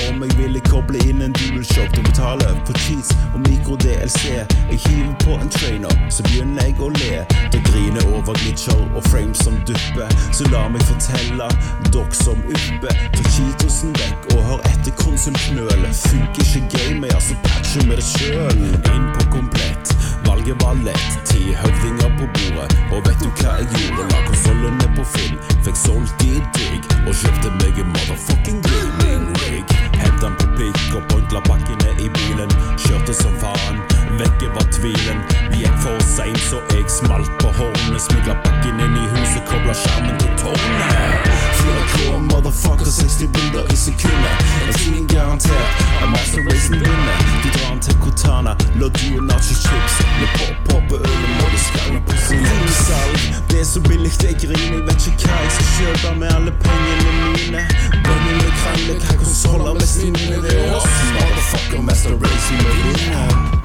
Om jeg ville koble inn en dualshop til å betale for cheats og mikro-DLC. Jeg hiver på en trainer, så begynner jeg å le. Da griner over glitcher og frames som dupper. Så la meg fortelle, dere som uppe. Ta cheatosen vekk og hør etter konsulknøl. Funker ikke gamet, ja, så patcher vi det sjøl. Inn på komplett. Valget var lett, ti høvdinger på bordet. Og vet du hva jeg gjorde? La konsollene på Finn, fikk solgt de digg. Og kjøpte meg en motherfucking gaming rig. Hentet den på pikk og pointla pakkene i bilen. Kjørte som faen, vekke var tvilen. Vi gikk for seint, så jeg smalt på hornet. Smugla pakken inn i huset, kobla skjermen til tårnet. 4K, motherfucker, 60 bilder i sekundet. En ting er garantert, at Master Racen vinner. Du drar den til Cortana, la du og nacho chips. Med pop, poppe øl og måleskallen på sin Rimsalg, det er så billig jeg griner. Jeg vet ikke hva jeg skal kjøpe med alle pengene mine. Bønnene krangler, hva konsoller mest inne det er oss. Motherfucker, Master Racen vil vinne.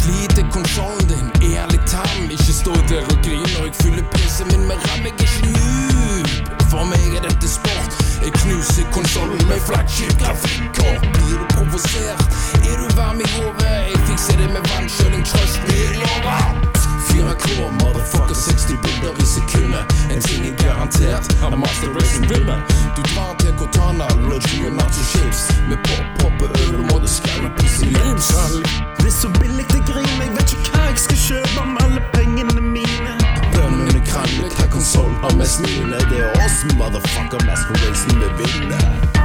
Sliter konsollen din, ærlig tam Ikke stå der og grin når jeg fyller PC-en min med ram Jeg er ikke noob, for meg er dette sport Jeg knuser konsollen med flagship grafikkort Blir du provosert, er du varm i hodet Jeg fikser det med vannkjøling, trøst me, jeg lover 4K, motherfucker, 60 bilder i sekundet En ting er garantert, er Master Racing Rimmer Du drar til Cortana, Logi og Nacho Chips Med pop, poppe, øl og måte skalle på sin livsalg Det er så billig det griner, jeg vet ikke hva jeg skal kjøpe med alle pengene mine. Bønnene krangler, hva konsoll har mest mine? Det er oss, motherfucker, Master Racen vil vinne.